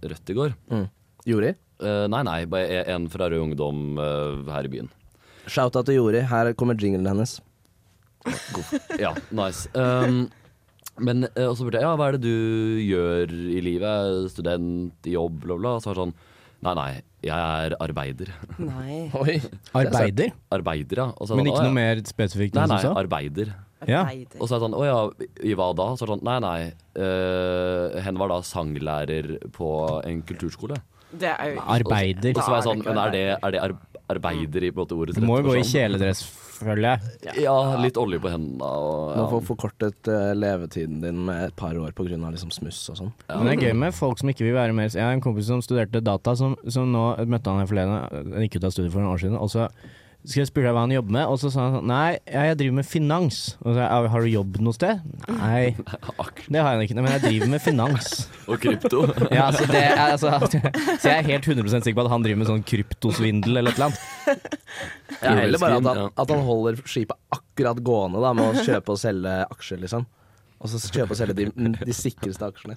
Speaker 3: Rødt i går.
Speaker 2: Mm. Jori?
Speaker 3: Eh, nei, nei, bare en fra Rød Ungdom eh, her i byen.
Speaker 2: Shout-out til Jori. Her kommer jinglen hennes.
Speaker 3: Ja, nice. Um, men eh, og så spurte jeg ja, hva er det du gjør i livet? Student, i jobb, bla, bla. Og så var det sånn nei, nei, jeg er arbeider.
Speaker 4: Nei.
Speaker 2: Oi.
Speaker 1: Arbeider,
Speaker 3: Arbeider, ja. Og så er jeg
Speaker 1: men
Speaker 3: sånn, «Å,
Speaker 1: ikke
Speaker 3: ja.
Speaker 1: noe mer spesifikt
Speaker 3: Nei,
Speaker 1: enn
Speaker 3: nei,
Speaker 1: som så?
Speaker 3: arbeider.
Speaker 1: Ja.
Speaker 4: Arbeider.
Speaker 3: Og så er det sånn, å ja, i hva da? Så er det sånn, nei, nei, eh, hen var da sanglærer på en kulturskole.
Speaker 4: Det er jo
Speaker 3: Og
Speaker 1: Arbeider.
Speaker 3: så var jeg sånn, men er det, er det ar arbeider i på en måte ordets
Speaker 1: Du må
Speaker 3: rette
Speaker 1: jo gå i
Speaker 3: forstand?»
Speaker 1: kjeledress, føler jeg.
Speaker 3: sånn?» Ja, litt olje på hendene og
Speaker 2: Man
Speaker 3: ja.
Speaker 2: får forkortet eh, levetiden din med et par år pga. Liksom smuss og sånn.
Speaker 1: Men det er gøy med folk som ikke vil være mer Jeg har en kompis som studerte data, som, som nå møtte han her forleden. Han gikk ut av studiet for noen år siden. Og så skal jeg spørre deg hva han jobber med, og så sa han sånn Nei, jeg jeg driver med finans. Og så sa jeg, Har du jobb noe sted? Nei, det har jeg ikke. Men jeg driver med finans.
Speaker 3: Og krypto.
Speaker 1: Ja, altså det, er- altså, så jeg er helt 100 sikker på at han driver med sånn kryptosvindel eller et eller annet.
Speaker 2: Ja, eller bare at
Speaker 3: Ja.
Speaker 2: han, at han holder skipet akkurat gående da, med å kjøpe og selge aksjer, liksom. Og så kjøpe og selge de, de sikreste aksjene.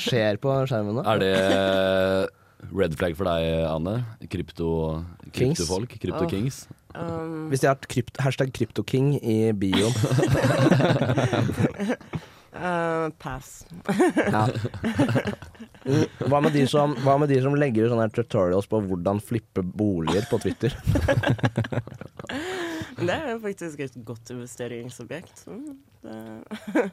Speaker 2: Skjer på skjermen nå.
Speaker 3: Er det red flag for deg, Anne? Krypto,
Speaker 2: Kings.
Speaker 3: kryptofolk? Krypto
Speaker 4: Åh.
Speaker 3: Kings?
Speaker 4: um,
Speaker 2: Hvis de har krypt, hashtag kryptoking i bioen.
Speaker 4: uh, Pass.
Speaker 2: Ja. Mm, Hva med de som, hva med de som legger ut sånne her tutorials på hvordan flippe boliger på Twitter?
Speaker 4: Men det er jo faktisk et godt investeringsobjekt. Mm, det,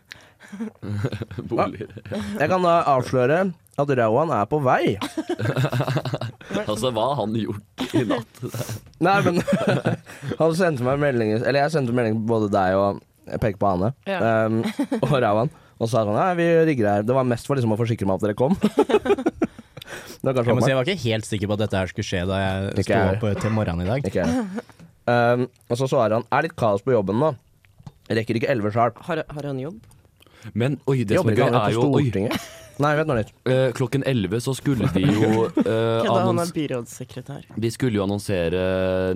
Speaker 3: Boliger.
Speaker 2: Jeg kan da avsløre at Rauan er på vei.
Speaker 3: Altså, hva har han gjort i natt?
Speaker 2: Nei, men han sendte meg melding Eller jeg sendte melding til både deg og Jeg peker på Ane
Speaker 4: Ja.
Speaker 2: um, og Ravan. Og sa sånn Nei, vi rigger her. Det var mest for liksom å forsikre meg om at dere kom. det var kanskje
Speaker 1: Jeg må si,
Speaker 2: håpløst.
Speaker 1: jeg var ikke helt sikker på at dette her skulle skje da jeg
Speaker 2: Ikke
Speaker 1: sto
Speaker 2: jeg.
Speaker 1: opp eh, til morgenen i dag.
Speaker 2: Ikke jeg. um, Og så svarer han Er litt kaos på jobben nå. Rekker ikke 11 sharp.
Speaker 4: har, har han jobb?
Speaker 3: Men oi, det som
Speaker 2: Jobber
Speaker 3: er gøy,
Speaker 2: ikke han
Speaker 3: er
Speaker 2: på
Speaker 3: jo oi,
Speaker 2: Stortinget? Nei, vent nå litt.
Speaker 3: eh, Klokken 11 så skulle de jo eh,
Speaker 4: Kødda, han er
Speaker 3: annons
Speaker 4: byrådssekretær.
Speaker 3: De skulle jo annonsere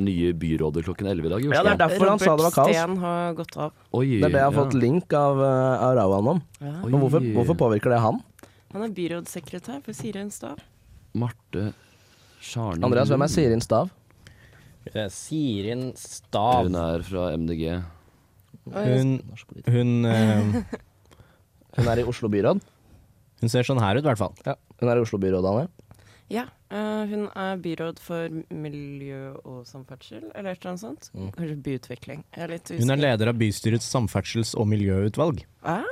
Speaker 3: nye byråder klokken 11 i dag. i Oslo.
Speaker 2: Ja, det er derfor han sa det var kaos.
Speaker 4: Steen har gått av.
Speaker 3: Oi,
Speaker 2: Det er det jeg har fått
Speaker 3: ja.
Speaker 2: link av, uh, av Ravan om.
Speaker 4: Ja.
Speaker 2: Men hvorfor,
Speaker 3: Oi.
Speaker 2: hvorfor påvirker det han?
Speaker 4: Han er byrådssekretær for Siren Stav.
Speaker 3: Marte Sjarne
Speaker 2: Andreas, hvem er Sirin Stav?
Speaker 1: Sirin
Speaker 3: Hun
Speaker 1: Stav.
Speaker 3: er fra MDG.
Speaker 1: Hun, hun, eh,
Speaker 2: Hun er i Oslo byråd.
Speaker 1: hun ser sånn her ut, i hvert fall.
Speaker 2: Hun er i Oslo byråd, Anne.
Speaker 4: Ja, eh, hun er byråd for miljø og samferdsel, eller et eller annet sånt.
Speaker 2: Mm.
Speaker 4: Kanskje byutvikling. Jeg er litt usikker.
Speaker 1: Hun er leder av bystyrets samferdsels- og miljøutvalg.
Speaker 4: Ah,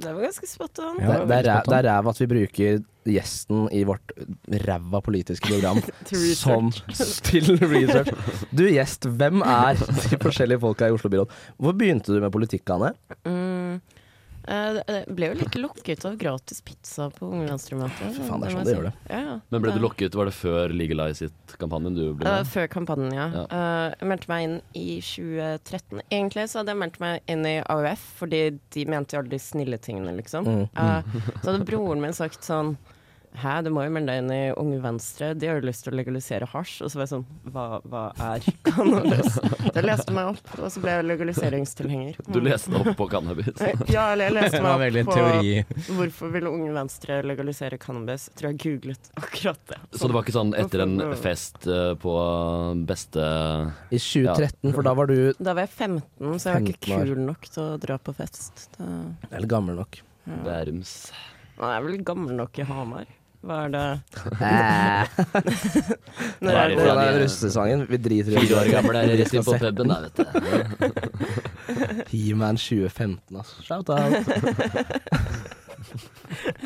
Speaker 4: Det var ganske spot on.
Speaker 2: det, det, er, ræ- det er ræv at vi bruker gjesten i vårt ræva politiske program
Speaker 4: Til
Speaker 2: som til research. Du gjest, hvem er de forskjellige folka i Oslo byråd? Hvor begynte du med politikk, Anne?
Speaker 4: Mm. Eh, det- det ble jo litt lokket av gratis pizza på ungdomsstreamet.
Speaker 3: Fy faen, det er sånn
Speaker 4: må jeg
Speaker 3: det gjør det.
Speaker 4: si. Ja, ja.
Speaker 3: Men ble du
Speaker 4: Ja.
Speaker 3: lokket, var det før Legalize It-kampanjen du ble
Speaker 4: Eh,
Speaker 3: med?
Speaker 4: før kampanjen, ja.
Speaker 3: Ja.
Speaker 4: Eh, jeg meldte meg inn i 2013. Egentlig så hadde jeg meldt meg inn i AUF, fordi de mente jo alle de snille tingene, liksom.
Speaker 11: Mm.
Speaker 4: Eh, så hadde broren min sagt sånn Hæ, du må jo melde deg inn i Unge Venstre, de har jo lyst til å legalisere hasj. Og så var jeg sånn Hva, hva er cannabis? Så jeg leste meg opp, og så ble jeg legaliseringstilhenger. Mm. Eh,
Speaker 3: Du leste opp på cannabis?
Speaker 4: Ja, eller jeg leste
Speaker 1: Det var
Speaker 4: meg
Speaker 1: veldig
Speaker 4: opp på
Speaker 1: teori.
Speaker 4: hvorfor ville Unge Venstre legalisere cannabis. Jeg tror jeg googlet akkurat det.
Speaker 3: Så det var ikke sånn etter en
Speaker 4: Hvorfor-
Speaker 3: fest eh, på beste
Speaker 2: I 2013, for da var du
Speaker 4: Da var jeg 15, så jeg var
Speaker 2: 15
Speaker 4: ikke
Speaker 2: år.
Speaker 4: kul nok til å dra på fest. Da...
Speaker 2: Eller gammel nok.
Speaker 3: Bærums.
Speaker 4: Nei, jeg er vel gammel nok i Hamar. Hva er det
Speaker 2: Eh.
Speaker 4: Når er det?
Speaker 2: Hvordan er russesangen? Vi driter i
Speaker 3: Fire år gammel er rett inn
Speaker 2: resten av
Speaker 3: på puben, da, vet du.
Speaker 2: He-Man 2015, altså. Shout out.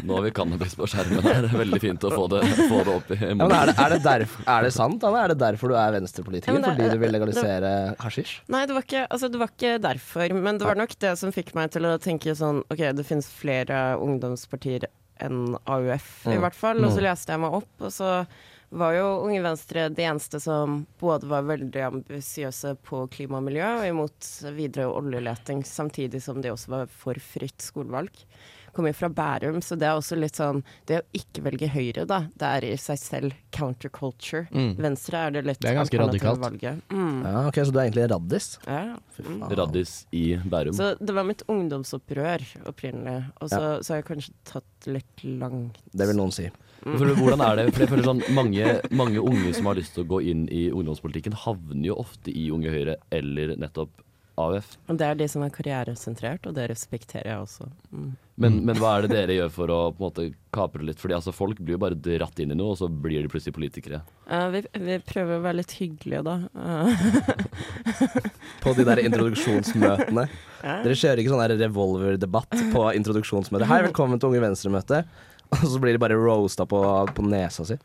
Speaker 3: Nå har vi cannabis på skjermen her. Veldig fint å få det, få det opp i
Speaker 2: Ja, men
Speaker 3: munnen.
Speaker 2: er, det, er, det derf, er det sant, Anne? Er det derfor du er
Speaker 4: Ja,
Speaker 2: venstrepolitiker?
Speaker 4: men det-
Speaker 2: Fordi du vil
Speaker 4: det-
Speaker 2: legalisere hasjisj?
Speaker 4: Nei, det var, ikke, altså, det var ikke derfor, men det var nok det som fikk meg til å tenke sånn OK, det finnes flere ungdomspartier enn AUF, i
Speaker 11: Mm.
Speaker 4: hvert fall. Og så
Speaker 11: Mm.
Speaker 4: leste jeg meg opp, og så var jo Unge Venstre de eneste som både var veldig ambisiøse på klima og miljø, og imot videre oljeleting, samtidig som de også var for fritt skolevalg. Kommer fra Bærum, så det er også litt sånn Det å ikke velge Høyre, da, det er i seg selv counterculture.
Speaker 2: Mm.
Speaker 4: Venstre er det litt
Speaker 2: Det er ganske
Speaker 4: alternative
Speaker 2: radikalt.
Speaker 4: valget. Mm.
Speaker 2: Ja, ok, Så du er egentlig raddis?
Speaker 4: Ja. Mm.
Speaker 3: Raddis i Bærum.
Speaker 4: Så det var mitt ungdomsopprør opprinnelig, og så,
Speaker 3: Ja.
Speaker 4: så har jeg kanskje tatt litt langt.
Speaker 2: Det vil noen si.
Speaker 3: Jeg føler, hvordan er det? For jeg føler sånn, mange, mange unge som har lyst til å gå inn i ungdomspolitikken, havner jo ofte i Unge Høyre eller nettopp AUF.
Speaker 4: Og det er de som er karrieresentrert, og det respekterer jeg også. Mm.
Speaker 3: Men, men hva er det dere gjør for å på en måte kapre litt? Fordi altså, folk blir jo bare dratt inn i noe, og så blir de plutselig politikere.
Speaker 4: Eh, vi, vi prøver å være litt hyggelige, da. Eh.
Speaker 2: På de der introduksjonsmøtene.
Speaker 4: Ja.
Speaker 2: Dere kjører ikke sånn der revolverdebatt på introduksjonsmøtet. Hei, velkommen til Unge Venstre-møte. Og så blir de bare roasta på, på nesa si.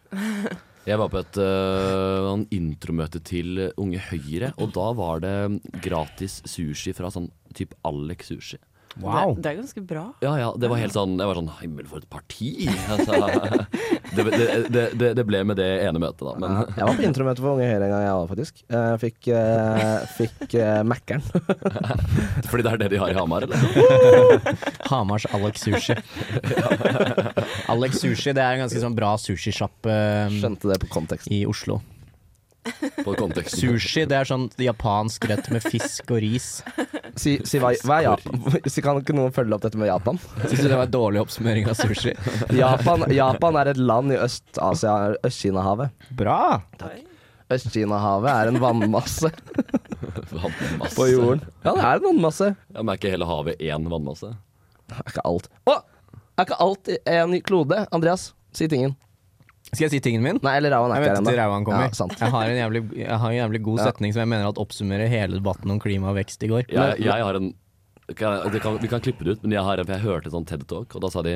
Speaker 3: Jeg var på et øh, sånn intromøte til Unge Høyre, og da var det gratis sushi fra sånn type Alex Sushi.
Speaker 4: Det, det er ganske bra.
Speaker 3: Ja, ja, det var helt sånn Jeg var sånn Himmel, for et parti! Altså, det, det, det, det, det ble med det ene møtet, da. Men
Speaker 2: Jeg var på intromøte for Unge Høyre en gang, jeg òg, faktisk. Jeg fikk eh, fikk eh, Mækkern.
Speaker 3: Fordi det er det de har i Hamar, eller?
Speaker 1: Hamars Alex Sushi. Alex Sushi det er en ganske sånn bra sushisjappe
Speaker 2: Skjønte det på konteksten.
Speaker 1: i Oslo.
Speaker 3: På konteksten.
Speaker 1: Sushi det er sånn japansk rett med fisk og ris.
Speaker 2: Si, si hva, hva er Japan? Si, kan ikke noen følge opp dette med Japan?
Speaker 1: Syns du det var en dårlig oppsummering av sushi?
Speaker 2: Japan, Japan er et land i Øst-Asia, Øst-Kina-havet.
Speaker 1: Bra!
Speaker 2: Øst-Kina-havet er en vannmasse
Speaker 3: Vannmasse.
Speaker 2: på jorden. Ja, det er en vannmasse.
Speaker 3: Ja, men er ikke hele havet én vannmasse?
Speaker 2: Det er ikke alt. Å! Er ikke alt i en klode? Andreas, si tingen.
Speaker 1: Skal jeg si tingen min?
Speaker 2: Nei, eller Rauan er
Speaker 1: Jeg
Speaker 2: ikke her
Speaker 1: venter til Rauan kommer.
Speaker 2: Ja, sant.
Speaker 1: jeg, har en jævlig, jeg har en jævlig god
Speaker 2: Ja.
Speaker 1: setning som jeg mener at oppsummerer hele debatten om klima og vekst i går.
Speaker 3: Jeg, jeg har en kan, jeg- det kan, Vi kan klippe det ut, men jeg, har, en- for jeg hørte et sånt TED Talk, og da sa de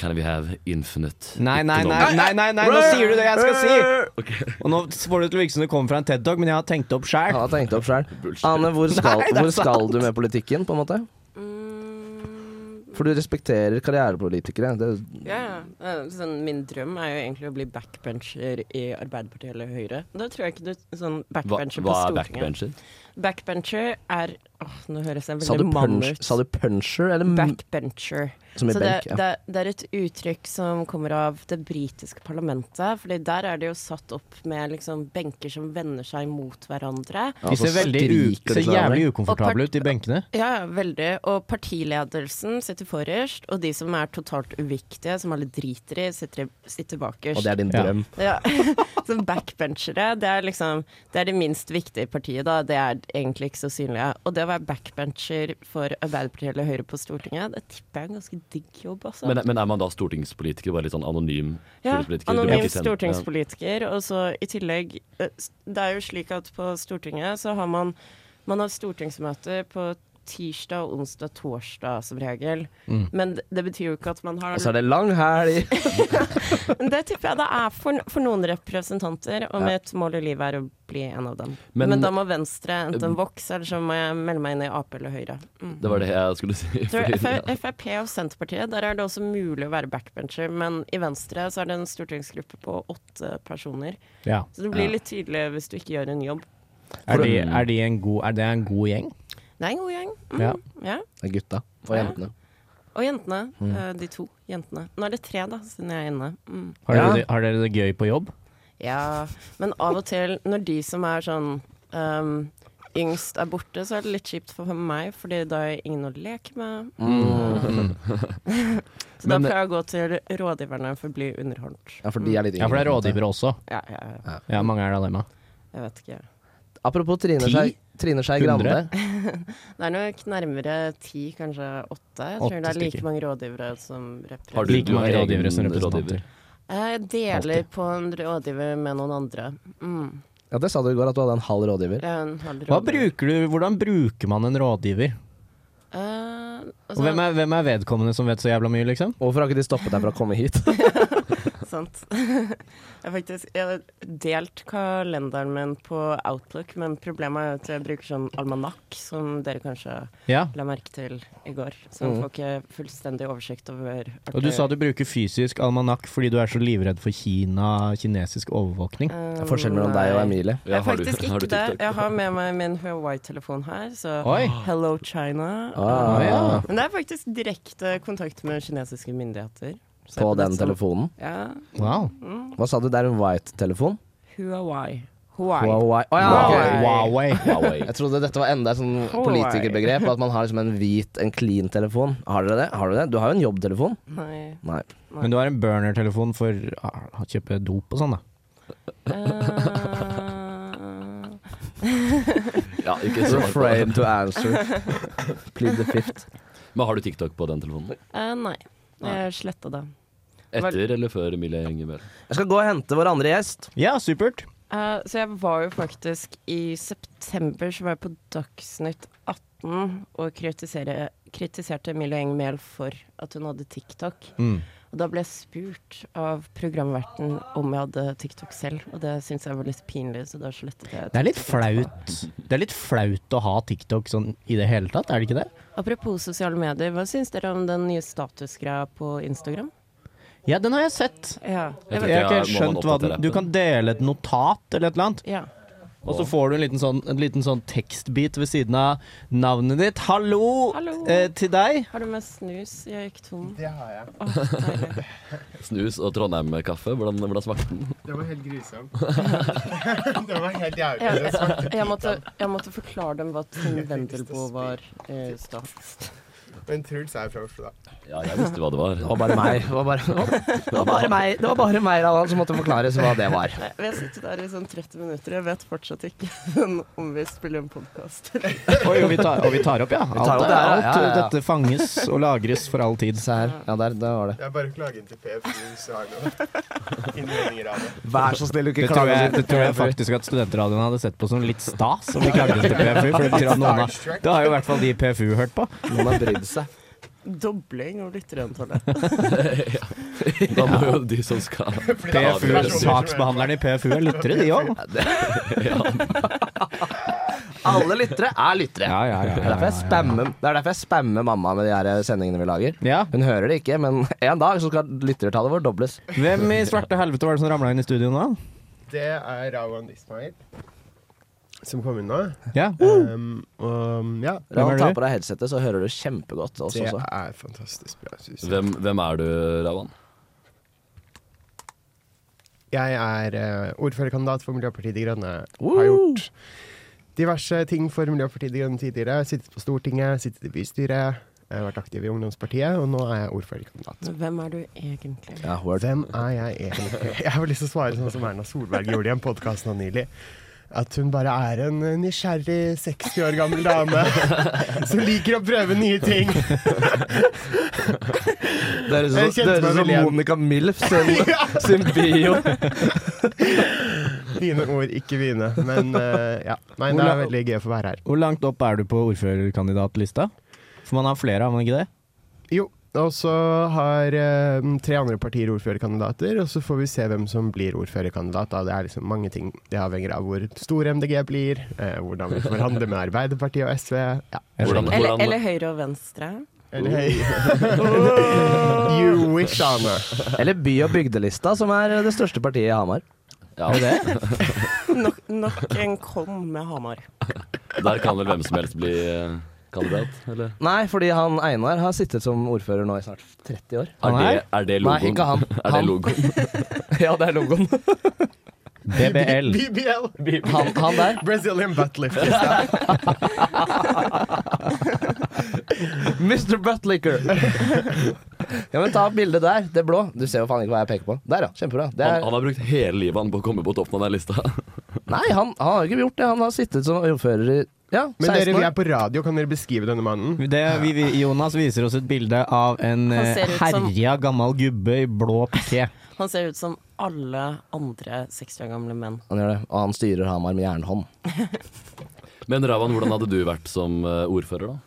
Speaker 3: Can we have infinite
Speaker 1: Nei, nei, nei,
Speaker 3: economic-"
Speaker 1: nei, nei, nei, nå sier du det jeg skal si! Og nå får det til å virke som det kommer fra en TED Talk, men jeg har tenkt det opp sjæl.
Speaker 2: Han har tenkt opp sjøl. Ane, hvor skal,
Speaker 1: Nei, det er
Speaker 2: hvor
Speaker 1: sant.
Speaker 2: skal du med politikken, på en måte? For du respekterer karrierepolitikere. Det,
Speaker 4: Mm, Ja, ja. Eh, Sånn, min drøm er jo egentlig å bli backbencher i Arbeiderpartiet eller Høyre. Da tror jeg ikke du sånn backbencher
Speaker 3: Hva- hva er
Speaker 4: på Stortinget.
Speaker 3: backbencher?
Speaker 4: Backbencher er Åh, nå høres jeg
Speaker 2: sa, du
Speaker 4: veldig mann
Speaker 2: punch,
Speaker 4: ut.
Speaker 2: sa du puncher, eller m-
Speaker 4: Backbencher.
Speaker 2: Som i
Speaker 4: så
Speaker 2: benk,
Speaker 4: det,
Speaker 2: ja.
Speaker 4: det, det er et uttrykk som kommer av det britiske parlamentet. Fordi der er det jo satt opp med liksom benker som vender seg mot hverandre.
Speaker 1: De ser, veldig u
Speaker 2: skriker de
Speaker 1: ser
Speaker 2: til hverandre.
Speaker 1: jævlig ukomfortable ut i benkene.
Speaker 4: Ja, ja, veldig. Og partiledelsen sitter forrest, og de som er totalt uviktige, som alle driter i, sitter, sitter
Speaker 2: Og
Speaker 4: bakerst.
Speaker 2: det er din drøm.
Speaker 4: Ja. Som backbenchere, det er liksom Det er det minst viktige partiet, da. Det er egentlig ikke så synlige. Og det å være backbencher for Arbeiderpartiet eller Høyre på Stortinget, det tipper jeg er en ganske digg jobb, altså.
Speaker 3: Men, men er man da stortingspolitiker, bare litt sånn anonym
Speaker 4: Ja,
Speaker 3: stortingspolitiker? Du blir
Speaker 4: anonym
Speaker 3: ikke sendt-
Speaker 4: stortingspolitiker. Og så i tillegg eh, s- Det er jo slik at på Stortinget så har man Man har stortingsmøter på tirsdag, onsdag, torsdag som regel.
Speaker 2: Mm.
Speaker 4: Men det, det betyr jo ikke at man har
Speaker 2: Og så er det lang helg.
Speaker 4: Men det tipper jeg det er for, for noen representanter, og
Speaker 2: Ja.
Speaker 4: mitt mål i livet er å bli en av dem.
Speaker 3: Men-
Speaker 4: Men, da må Venstre enten vokse, eller så må jeg melde meg inn i Ap eller Høyre. Mm.
Speaker 3: Det var det jeg skulle si.
Speaker 4: Tror
Speaker 3: fordi-
Speaker 4: jeg F- Frp og Senterpartiet, der er det også mulig å være backbencher, men i Venstre så er det en stortingsgruppe på åtte personer.
Speaker 1: Ja.
Speaker 4: Så det blir
Speaker 1: Ja.
Speaker 4: litt tydelig hvis du ikke gjør en jobb.
Speaker 1: Er, de, er, de en god, er det en god gjeng?
Speaker 4: Det er en god gjeng. Mm.
Speaker 1: Ja.
Speaker 4: Ja.
Speaker 2: Det er gutta og
Speaker 4: Ja.
Speaker 2: jentene.
Speaker 4: Og jentene.
Speaker 1: Mm.
Speaker 4: eh, De to jentene. Nå er det tre, da, siden jeg er inne. Mm.
Speaker 1: Har, dere, har dere det gøy på jobb?
Speaker 4: Ja, men av og til når de som er sånn ehm, yngst er borte, så er det litt kjipt for meg, fordi da har jeg ingen å leke med.
Speaker 2: Mm.
Speaker 4: Så da
Speaker 2: Men- eh,
Speaker 4: pleier jeg å gå til rådgiverne for å bli underholdt. Mm.
Speaker 2: Ja, for de er litt
Speaker 1: Ja, for det er
Speaker 2: yngre.
Speaker 1: rådgivere også.
Speaker 4: Ja, ja, ja.
Speaker 1: Ja, mange er det av dem, ja.
Speaker 4: Jeg vet ikke.
Speaker 2: Apropos Trine
Speaker 1: Ti?
Speaker 2: Skei- Trine Skei Grande.
Speaker 1: Hundre?
Speaker 4: det er nok nærmere ti, kanskje åtte. Jeg
Speaker 2: Åtte
Speaker 4: tror det er like
Speaker 2: stykker.
Speaker 4: mange rådgivere som representanter.
Speaker 3: Har du- Like du mange har egen rådgivere som representanter. rådgiver?
Speaker 4: Jeg Eh, deler på en rådgiver med noen andre. Mm.
Speaker 2: Ja, det sa du i går, at du hadde en halv rådgiver.
Speaker 4: Jeg er en halv
Speaker 1: Hva
Speaker 4: rådgiver.
Speaker 1: bruker du, hvordan bruker man en rådgiver?
Speaker 4: Eh,
Speaker 1: Og hvem er, hvem er vedkommende som vet så jævla mye, liksom?
Speaker 2: Hvorfor har ikke de stoppet deg fra å komme hit?
Speaker 4: Sant. Jeg, har faktisk, jeg har delt kalenderen min på Outlook, men problemet er jo at jeg bruker sånn almanakk, som dere kanskje
Speaker 1: Ja.
Speaker 4: la merke til i går. Så man
Speaker 1: Mm.
Speaker 4: får ikke fullstendig oversikt over
Speaker 1: Og du sa du bruker fysisk almanakk fordi du er så livredd for Kina, kinesisk overvåkning.
Speaker 4: Um, Forskjellen mellom deg og Emilie. Jeg har faktisk ikke det. Jeg har med meg min Huawei-telefon her, så
Speaker 1: Oi.
Speaker 4: Hello China.
Speaker 2: Ah, ja.
Speaker 4: Men det er faktisk direkte kontakt med kinesiske myndigheter. Så
Speaker 2: På
Speaker 4: jeg
Speaker 2: den
Speaker 4: nett som-
Speaker 2: telefonen?
Speaker 4: Ja.
Speaker 1: Wow.
Speaker 4: Mm.
Speaker 2: Hva sa du, det er en white-telefon?
Speaker 4: Huawei. Huawei.
Speaker 2: Huawei. Å ja, ok.
Speaker 1: Huawei.
Speaker 3: Huawei.
Speaker 2: Jeg trodde dette var enda et sånn
Speaker 4: Huawei.
Speaker 2: politikerbegrep, at man har liksom en hvit, en clean telefon. Har dere det? Har du det? Du har jo en jobbtelefon.
Speaker 4: Nei.
Speaker 2: Nei.
Speaker 1: Men du har en burner-telefon for ah, å kjøpe dop og sånn, da.
Speaker 4: Eh,
Speaker 3: Ja, ikke så
Speaker 2: Refrain to answer. Plead the fifth.
Speaker 3: Men har du TikTok på den telefonen?
Speaker 4: Eh, nei. Jeg sletta det.
Speaker 3: Etter eller før Emilie henger med?
Speaker 2: Jeg skal gå og hente vår andre gjest.
Speaker 1: Ja, supert.
Speaker 4: Eh, så jeg var jo faktisk i september så var jeg på Dagsnytt 18 og kritisere, kritiserte Emilie Enger Mehl for at hun hadde TikTok.
Speaker 1: Mm.
Speaker 4: Og da ble jeg spurt av programverten om jeg hadde TikTok selv, og det syntes jeg var litt pinlig, så da slettet jeg
Speaker 1: Det er litt flaut. Det er litt flaut å ha TikTok sånn i det hele tatt, er det ikke det?
Speaker 4: Apropos sosiale medier, hva syns dere om den nye statusgreia på Instagram?
Speaker 1: Ja, den har jeg sett.
Speaker 4: Ja.
Speaker 1: Jeg har ikke helt skjønt hva den Du kan dele et notat eller et eller annet.
Speaker 4: Ja.
Speaker 1: Og så får du en liten sånn, en liten sånn tekstbit ved siden av navnet ditt. Hallo, eh, til deg.
Speaker 4: Har du med snus? Jeg gikk tom.
Speaker 5: Det har jeg.
Speaker 4: Åh, deilig.
Speaker 3: Snus og Trondheim-kaffe, hvordan, hvordan smakte den?
Speaker 5: Det var helt grusom. det var helt jævlig.
Speaker 4: jeg,
Speaker 5: Det smakte
Speaker 4: jeg,
Speaker 5: dritt,
Speaker 4: måtte, jeg måtte forklare dem hva Tim Wendelboe var eh, i stad.
Speaker 5: altså. Men Truls er fra Oslo, da.
Speaker 3: Ja, jeg visste hva det var.
Speaker 2: Det var bare meg. Det var bare, det var bare meg Det var bare meg da, som måtte forklares hva det var.
Speaker 4: Nei, Vi har sittet der i sånn 30 minutter, jeg vet fortsatt ikke om vi spiller en podkast.
Speaker 1: Oi, og vi tar, og vi tar opp, ja.
Speaker 2: Vi
Speaker 1: Alt,
Speaker 2: tar opp
Speaker 1: er-
Speaker 2: det her,
Speaker 1: alt
Speaker 2: ja, ja, ja.
Speaker 1: dette fanges og lagres for all tid.
Speaker 2: Se her. Ja, der, der var det.
Speaker 5: Det er bare å klage inn til PF hvis du har noe innvendinger av det.
Speaker 2: Vær så snill,
Speaker 1: Det tror, jeg, det tror jeg faktisk at studentradioen hadde sett på som litt stas om de klagde til PFU. For det betyr at noen har, det har jo i hvert fall de i PFU hørt på.
Speaker 2: Noen har brydd seg.
Speaker 4: Dobling av lytterantallet.
Speaker 3: Da må jo de som skal
Speaker 1: PFU, Saksbehandlerne i PFU er lyttere, de òg.
Speaker 2: Alle lyttere er lyttere.
Speaker 1: Ja, ja, ja,
Speaker 2: Det er derfor jeg spammer, det er derfor jeg spammer mamma med de her sendingene vi lager.
Speaker 1: Ja.
Speaker 2: Hun hører det ikke, men en dag så skal lyttertallet vårt dobles.
Speaker 1: Hvem i svarte helvete var det som ramla inn i studio nå?
Speaker 5: Det er Rawan Ismail som kom inn nå.
Speaker 1: Ja.
Speaker 5: Um, og ja,
Speaker 1: er
Speaker 2: Når du tar
Speaker 1: du?
Speaker 2: på deg headsetet, så hører du kjempegodt oss
Speaker 5: det
Speaker 2: også.
Speaker 5: er fantastisk bra. Synes jeg.
Speaker 3: Hvem, hvem er du, Ravan?
Speaker 5: Jeg er eh, ordførerkandidat for Miljøpartiet De Grønne. Har gjort diverse ting for Miljøpartiet De Grønne tidligere. Sittet på Stortinget, sittet i bystyret. eh, vært aktiv i ungdomspartiet, og nå er jeg ordførerkandidat.
Speaker 4: Hvem er du egentlig?
Speaker 2: Ja, word.
Speaker 5: Hvem er jeg egentlig? Jeg har lyst til å svare sånn som Erna Solberg gjorde i en podkast nå nylig. At hun bare er en eh, nysgjerrig 60 år gammel dame som liker å prøve nye ting.
Speaker 2: Det
Speaker 1: liksom
Speaker 2: høres
Speaker 5: Jeg
Speaker 2: ut som,
Speaker 5: kjente meg veldig igjen.
Speaker 2: Monica Milf sin, sin bio.
Speaker 5: Dine ord, ikke mine. Men eh, ja. Nei, det er veldig gøy å få være her.
Speaker 1: Hvor langt opp er du på ordførerkandidatlista? For man har flere, har man ikke det?
Speaker 5: Jo, og så har eh, tre andre partier ordførerkandidater, og så får vi se hvem som blir ordførerkandidat. Da. Det er liksom mange ting. Det avhenger av hvor stor MDG blir, eh, hvordan vi forhandler med Arbeiderpartiet og SV. Ja.
Speaker 4: Eller, eller høyre og venstre.
Speaker 5: Eller høy- You wish, Anne.
Speaker 2: Eller By- og bygdelista, som er det største partiet i Hamar.
Speaker 3: Ja.
Speaker 4: Nok, nok en kom med Hamar.
Speaker 3: Der kan vel hvem som helst bli eh, kandidat, eller?
Speaker 2: Nei, fordi han Einar har sittet som ordfører nå i snart 30 år.
Speaker 3: Er det, er det logoen?
Speaker 2: Nei, ikke han.
Speaker 3: Er det
Speaker 2: Han.
Speaker 3: logoen?
Speaker 2: ja, det er logoen.
Speaker 1: BBL.
Speaker 5: BBL.
Speaker 2: Han, han der.
Speaker 5: Brazilian buttlift.
Speaker 2: Mr. Buttlicker. ja, men ta et bilde der. Det blå. Du ser jo faen ikke hva jeg peker på. Der, ja. Kjempebra. Det
Speaker 3: Han,
Speaker 2: er,
Speaker 3: han har brukt hele livet han på å komme på toppen av den lista.
Speaker 2: nei, han, han har jo ikke gjort det. Han har sittet som ordfører i ja,
Speaker 5: Men
Speaker 2: 16
Speaker 5: dere, vi
Speaker 2: år.
Speaker 5: er på radio, kan dere beskrive denne mannen?
Speaker 1: Det, vi, vi, Jonas viser oss et bilde av en
Speaker 4: Han ser
Speaker 1: eh,
Speaker 4: ut som-
Speaker 1: herja gammel gubbe i blå piké.
Speaker 4: Han ser ut som alle andre 60 år gamle menn.
Speaker 2: Han gjør det. Og han styrer Hamar med jernhånd.
Speaker 3: Men Ravan, hvordan hadde du vært som eh, ordfører, da?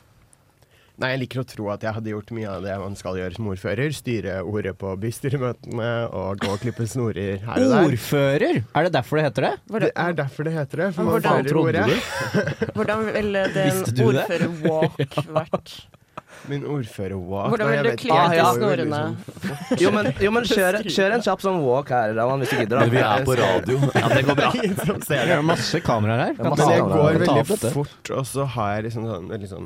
Speaker 5: Nei, jeg liker å tro at jeg hadde gjort mye av det man skal gjøre som ordfører. Styre ordet på bystyremøtene og gå og klippe snorer her og der.
Speaker 1: Ordfører! Er det derfor det heter det?
Speaker 5: Det er derfor det heter det. For man
Speaker 4: Hvordan
Speaker 5: fører ordet.
Speaker 4: Hvordan ville den
Speaker 1: Visste du det?
Speaker 4: ordfører-walk vært?
Speaker 5: Min ordfører walk.
Speaker 4: Hvordan ville
Speaker 5: Nei, jeg
Speaker 4: du
Speaker 5: vet ikke.
Speaker 4: klippet
Speaker 5: Jeg var jo
Speaker 4: snorene?
Speaker 5: liksom-
Speaker 2: Jo, men, jo, men kjør, kjør en kjapp sånn walk her, Raman, hvis du gidder.
Speaker 3: Men vi
Speaker 2: Da.
Speaker 3: er på radio. Ja, det går bra.
Speaker 5: Ingen som ser
Speaker 1: Det
Speaker 5: det.
Speaker 1: er masse kameraer her.
Speaker 5: Men jeg går
Speaker 1: Ta opp
Speaker 5: veldig
Speaker 1: dette.
Speaker 5: fort, og så har jeg liksom sånn, veldig sånn